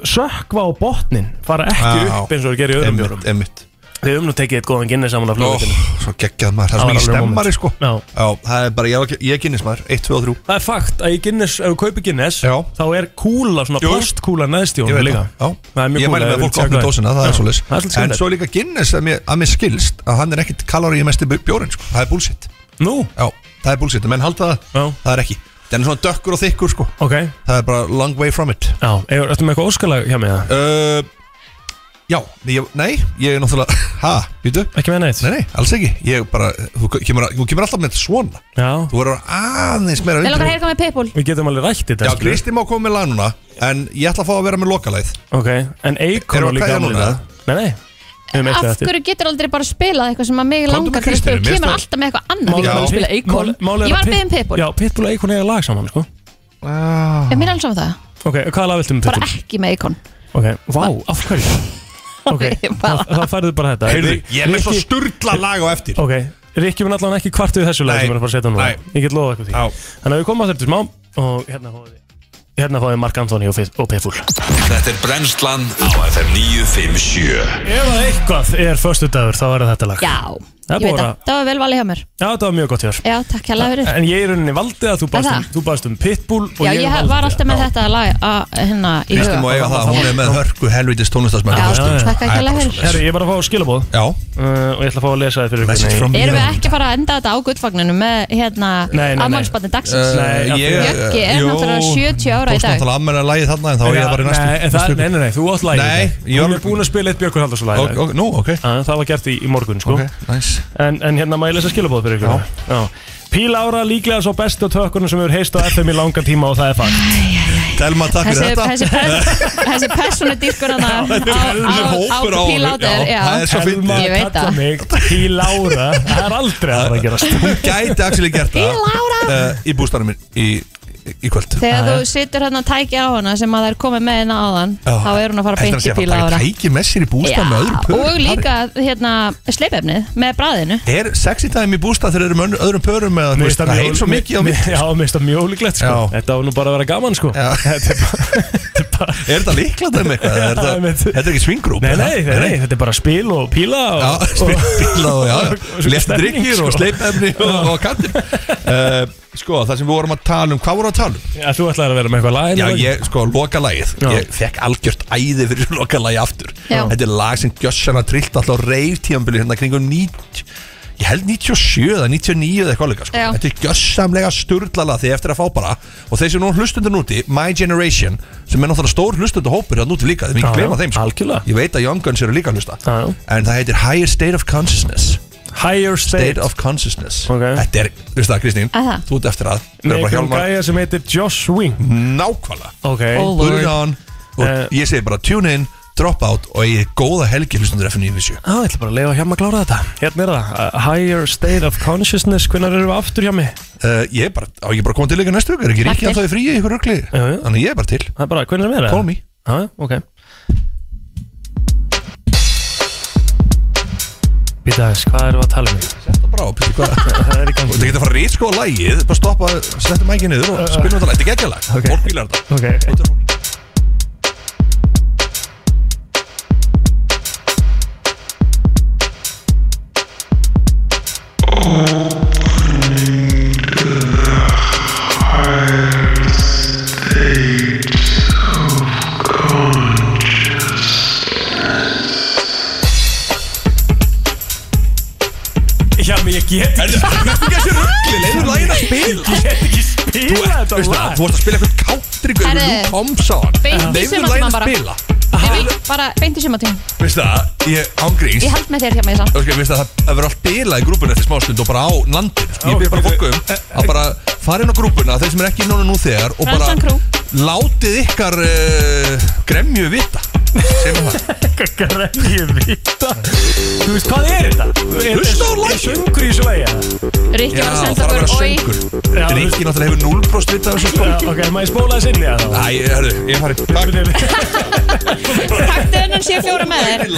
[SPEAKER 1] Sökva á botnin Fara ekki
[SPEAKER 6] Já.
[SPEAKER 1] upp eins og það gerir í öðrum
[SPEAKER 6] Einmitt,
[SPEAKER 1] bjórum
[SPEAKER 6] Einmitt
[SPEAKER 1] Við höfum nú tekið eitt góðan Guinness saman af
[SPEAKER 6] Ó,
[SPEAKER 1] flóðutinu
[SPEAKER 6] Svo geggjað maður, það er svo mikið stemmari, sko
[SPEAKER 1] Já
[SPEAKER 6] Já, það er bara, ég, var- ég kynnis maður, 1, 2 og 3
[SPEAKER 1] Það er fakt að í Guinness, ef þú kaupir Guinness Já. þá er kúla, svona
[SPEAKER 6] Jú.
[SPEAKER 1] postkúla neðst í
[SPEAKER 6] Ég
[SPEAKER 1] honum
[SPEAKER 6] veit
[SPEAKER 1] líka
[SPEAKER 6] það,
[SPEAKER 1] Það er mjög
[SPEAKER 6] Ég
[SPEAKER 1] kúla,
[SPEAKER 6] mæli
[SPEAKER 1] ef
[SPEAKER 6] með að
[SPEAKER 1] þú
[SPEAKER 6] fólk
[SPEAKER 1] vilt
[SPEAKER 6] opni
[SPEAKER 1] tjekka
[SPEAKER 6] dósina, það
[SPEAKER 1] Já.
[SPEAKER 6] er svoleiðis
[SPEAKER 1] Það er svolítið
[SPEAKER 6] En
[SPEAKER 1] skemmtilegt.
[SPEAKER 6] svo er líka Guinness að mér, að mér skilst að hann er ekkit kaloríu mest í bjórin sko. Það er bullshit
[SPEAKER 1] Nú?
[SPEAKER 6] Já, það er bullshit, menn halda það,
[SPEAKER 1] Já.
[SPEAKER 6] það er ekki Það er svona dökkur og þykkur sko
[SPEAKER 1] Ok
[SPEAKER 6] Það er bara long way from it
[SPEAKER 1] Já, er, ertu með eitthvað óskalag hjá mig það?
[SPEAKER 6] uh, Já, ég, nei, ég er náttúrulega Ha, býtu?
[SPEAKER 1] Ekki með neitt
[SPEAKER 6] Nei, nei, alls ekki Ég bara, þú kemur, þú kemur alltaf með svona
[SPEAKER 1] Já
[SPEAKER 6] Þú verður aðeins meira
[SPEAKER 2] langar að
[SPEAKER 6] undir-
[SPEAKER 2] heyrka með Paypal
[SPEAKER 1] Við getum alveg rætt þetta
[SPEAKER 6] Já,
[SPEAKER 1] skilur.
[SPEAKER 6] Kristi má koma með lag núna En ég ætla að fá að vera með lokalæð
[SPEAKER 1] Ok, en Eikon
[SPEAKER 6] Erum
[SPEAKER 1] var
[SPEAKER 6] við að
[SPEAKER 1] líka
[SPEAKER 6] kveðja
[SPEAKER 1] afmæli í
[SPEAKER 6] núna?
[SPEAKER 1] dag. Nei, nei Við höfum eitt
[SPEAKER 2] Af
[SPEAKER 1] eftir.
[SPEAKER 2] hverju getur aldrei bara spilað eitthvað sem að mig
[SPEAKER 1] Komdu
[SPEAKER 2] langar
[SPEAKER 1] með
[SPEAKER 2] til að spila
[SPEAKER 1] Kristínu,
[SPEAKER 2] og
[SPEAKER 1] mér finnst
[SPEAKER 2] kemur alltaf með eitthvað annað
[SPEAKER 1] Mál-
[SPEAKER 2] Ég var að
[SPEAKER 1] mál-
[SPEAKER 2] spila Eikon
[SPEAKER 1] mál- mál er að
[SPEAKER 2] Ég var að um beðin
[SPEAKER 1] Pit-
[SPEAKER 2] Paypal
[SPEAKER 1] Já, Pitbull og Eikon eiga lag saman, sko
[SPEAKER 6] Ah.
[SPEAKER 2] Ég mér er alls saman það
[SPEAKER 1] Ok, hvaða lag viltu með
[SPEAKER 2] Bara
[SPEAKER 1] Pitbull?
[SPEAKER 2] ekki með Eikon
[SPEAKER 1] Ok, vá, af hverju? Ok, þá þá færðu bara þetta
[SPEAKER 6] Heyrðu,
[SPEAKER 1] Rik-
[SPEAKER 6] ég er með svo
[SPEAKER 1] Rikki-
[SPEAKER 6] sturla lag á eftir
[SPEAKER 1] Ok, Rikki mun allan ekki kvart við þessu lag sem er að fara að setja núna Ég get loðað eitthvað því Þannig að við komum að þetta smá og hérna fáið þið- Hérna fáið þið Mark Anthony og Fit- og Pitbull
[SPEAKER 7] Þetta er brennslan á FM 957
[SPEAKER 1] Ef að eitthvað er förstu dagur þá er það þetta lag
[SPEAKER 2] Já,
[SPEAKER 1] Það er
[SPEAKER 2] ég veit
[SPEAKER 1] búið
[SPEAKER 2] það
[SPEAKER 1] að-
[SPEAKER 2] Það var vel valið hjá mér
[SPEAKER 1] Já, þetta var mjög gott hjá þér.
[SPEAKER 2] Já, takk hérlega fyrir
[SPEAKER 1] En ég í rauninni valdi að þú baðst um,
[SPEAKER 2] það?
[SPEAKER 1] þú baðst um Pitbull og
[SPEAKER 2] Já, ég var
[SPEAKER 1] valdi-
[SPEAKER 2] alltaf með þetta lag að hérna í
[SPEAKER 6] Kristi má eiga það, hún er með hörku helvitis tónlistasmenn
[SPEAKER 2] Já, takk ekki alveg fyrir.
[SPEAKER 1] Herri, ég er bara að fá skilabóð
[SPEAKER 6] Já
[SPEAKER 1] uh, Og ég ætla að fá að lesa þið fyrir
[SPEAKER 6] Message
[SPEAKER 1] ykkur
[SPEAKER 6] from
[SPEAKER 2] Erum við ekki að fara að enda þetta á guttfagninu með hérna
[SPEAKER 1] Nei, nei, nei.
[SPEAKER 2] afmálsbarni dagsins?
[SPEAKER 1] Nei, já,
[SPEAKER 6] Eh, ég- eh,
[SPEAKER 2] Jöggi er
[SPEAKER 6] jú,
[SPEAKER 2] náttúrulega 70 ára
[SPEAKER 6] Þú
[SPEAKER 2] í dag
[SPEAKER 6] snáttúrulega ammennið lagið þarna en þá er ég bara í næstu
[SPEAKER 1] Nei, en það, nei, nei, nei, þú átt lagið
[SPEAKER 6] Nei,
[SPEAKER 1] þetta. Hún er búin að spila eitt Björkur Halldórsson lagið
[SPEAKER 6] Ok, ok, nú, ok
[SPEAKER 1] Það var gert í, í morgun, sko
[SPEAKER 6] nice.
[SPEAKER 1] en, en hérna maður lesa skilabóð fyrir ykkur Já. Píl Ára líklega svo bestu tökunum sem hefur heist á FM í langan tíma og það er fakt
[SPEAKER 6] Telma,
[SPEAKER 2] Þessi- þessi pers- Þessi persónu dýrkur hann á
[SPEAKER 1] Þetta er helmingur hópur á honum,
[SPEAKER 2] pílátur
[SPEAKER 1] já. Það er svo fyndið.
[SPEAKER 2] Ég veit
[SPEAKER 1] Kalla
[SPEAKER 2] það
[SPEAKER 1] mig Píl Ára Það er aldrei að það gerast
[SPEAKER 6] Hún gæti actually gert það
[SPEAKER 2] Píl Lára.
[SPEAKER 6] uh, Í bústanum minn Í í kvöld
[SPEAKER 2] Þegar þú situr hérna að tækja á hana sem að það er komið með hérna áðan þá er hún að fara beint í bíla á
[SPEAKER 6] Það
[SPEAKER 2] hana
[SPEAKER 6] er tæki með sér í bústað sko, með öðrum pörum
[SPEAKER 2] og líka hérna sleipefnið með bræðinu
[SPEAKER 6] Er sexy time í bústað þegar þeir eru með önnu- öðrum pörum eða þú
[SPEAKER 1] Mér
[SPEAKER 6] veist,
[SPEAKER 1] finnst það
[SPEAKER 6] það er
[SPEAKER 1] mjög-
[SPEAKER 6] eins og mikið á
[SPEAKER 1] mér-
[SPEAKER 6] mitt
[SPEAKER 1] Já, mér finnst það mjög ólíklegt sko. Þetta var nú bara að vera gaman sko Þetta er bara
[SPEAKER 6] Er þetta líklað um eitthvað? Er þetta- þetta er ekki swingrúm?
[SPEAKER 1] Nei, nei, nei, nei, þetta er bara spil og píla og,
[SPEAKER 6] Já, spil og píla og já, já. Létt drykkir
[SPEAKER 1] sko.
[SPEAKER 6] og sleipefni og- og
[SPEAKER 1] kattir
[SPEAKER 6] Uh, sko, það sem við vorum að tala um, hvað vorum við að tala um?
[SPEAKER 1] Já, þú ætlaði að vera með eitthvað lagin
[SPEAKER 6] Já, ég, sko, loka lagið Ég fekk algjört æði fyrir loka lagið aftur
[SPEAKER 1] Já.
[SPEAKER 6] Þetta er lag sem Gjössan að trillt alltaf reyf tíðanbili hérna kringum 90 Ég held 97 eða 99 eða eitthvað líka sko.
[SPEAKER 1] Já.
[SPEAKER 6] Þetta er gjössamlega sturglala því eftir að fá bara Og þeir sem nú hlustundur núti, My Generation Sem er náttúrulega stór hlustundur hópur hérna úti líka Þeir mikið
[SPEAKER 1] Já, já,
[SPEAKER 6] glema þeim sko.
[SPEAKER 1] algjörlega.
[SPEAKER 6] Ég veit að Young Guns eru líka að hlusta já, já. En það heitir Higher State of Consciousness
[SPEAKER 1] Higher State,
[SPEAKER 6] of Consciousness okay. Þetta er, veistu það Kristín,
[SPEAKER 1] Er það?
[SPEAKER 6] þú ert eftir að vera
[SPEAKER 1] Með
[SPEAKER 6] bara
[SPEAKER 1] einhverjum
[SPEAKER 6] Hjálmar-
[SPEAKER 1] gæja sem heitir Josh Wing
[SPEAKER 6] Nákvæmlega
[SPEAKER 1] Ok
[SPEAKER 6] oh, Put it on Og
[SPEAKER 1] Eh,
[SPEAKER 6] ég segi bara tune in, drop out Og ég er góða helgi hlustundur
[SPEAKER 1] Já,
[SPEAKER 6] F97
[SPEAKER 1] ég ætla bara að leiða hjá mig að klára þetta Hérna er það, uh, Higher State of Consciousness Hvernig erum við aftur hjá mig?
[SPEAKER 6] Uh, ég er bara, á ég bara að koma til líka næstu viku Er ekki
[SPEAKER 1] Takk
[SPEAKER 6] ríkja
[SPEAKER 1] til.
[SPEAKER 6] alltaf í fríi í ykkur rögli Þannig að ég er bara til
[SPEAKER 1] Það er bara, hvernig er það?
[SPEAKER 6] Call me.
[SPEAKER 1] Já, ok Býta aðeins, hvað erum við að tala um?
[SPEAKER 6] Setta bara á, býttu hvað
[SPEAKER 1] Það er í gangi
[SPEAKER 6] Þú getur að fara að rítskóa lagið Bara stoppa, setja mækið niður og spilum þetta lag Þetta er geggjalag, okay. fólk fílar þetta
[SPEAKER 1] Eh, Ok Já, menn ég get ekki
[SPEAKER 6] Þetta er þessi röggli, leiður lagið að spila
[SPEAKER 1] Ég get ekki spila
[SPEAKER 6] Þú ert, veistu það, þú ert að spila eitthvað country Guð,
[SPEAKER 2] Herri,
[SPEAKER 6] Lou Combs á hann
[SPEAKER 2] beint í
[SPEAKER 6] Leiður lagið
[SPEAKER 2] sumartíma
[SPEAKER 6] að
[SPEAKER 2] bara
[SPEAKER 6] spila
[SPEAKER 2] Nei, nei, bara beint í sumartíma
[SPEAKER 6] Veistu það, ég ángríns
[SPEAKER 2] ég held með þér hérna, hjá mig samt
[SPEAKER 6] Ok, veistu að það það verður allt bilað í grúpuna eftir smástund og bara á landin sko. Ég byrði bara fólk um
[SPEAKER 1] Eh,
[SPEAKER 6] að bara fara inn á grúpuna þeir sem er ekki núna nú þegar og bara
[SPEAKER 2] Ransan Crew.
[SPEAKER 6] látið ykkar uh, gremju vita Segum við það
[SPEAKER 1] Grænju vita Þú veist, hvað er þetta?
[SPEAKER 6] Hlusta á lagið.
[SPEAKER 1] Er söngur í þessu lagi?
[SPEAKER 2] Rikki var að
[SPEAKER 6] það
[SPEAKER 2] senda
[SPEAKER 6] að vera
[SPEAKER 2] okkur oi
[SPEAKER 6] söngur Þetta er ekki náttúrulega hefur 0% vita af þessu sko
[SPEAKER 1] Já, ok, maður spólaði sinni að það
[SPEAKER 6] Æ, herru, ég farið
[SPEAKER 1] Takk
[SPEAKER 2] taktu hennan sé fjóra með þér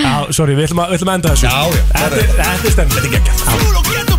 [SPEAKER 1] Já, sorry, við ætlum að, við ætlum að enda þessu Já, já Þetta er stemning Þetta er geggjart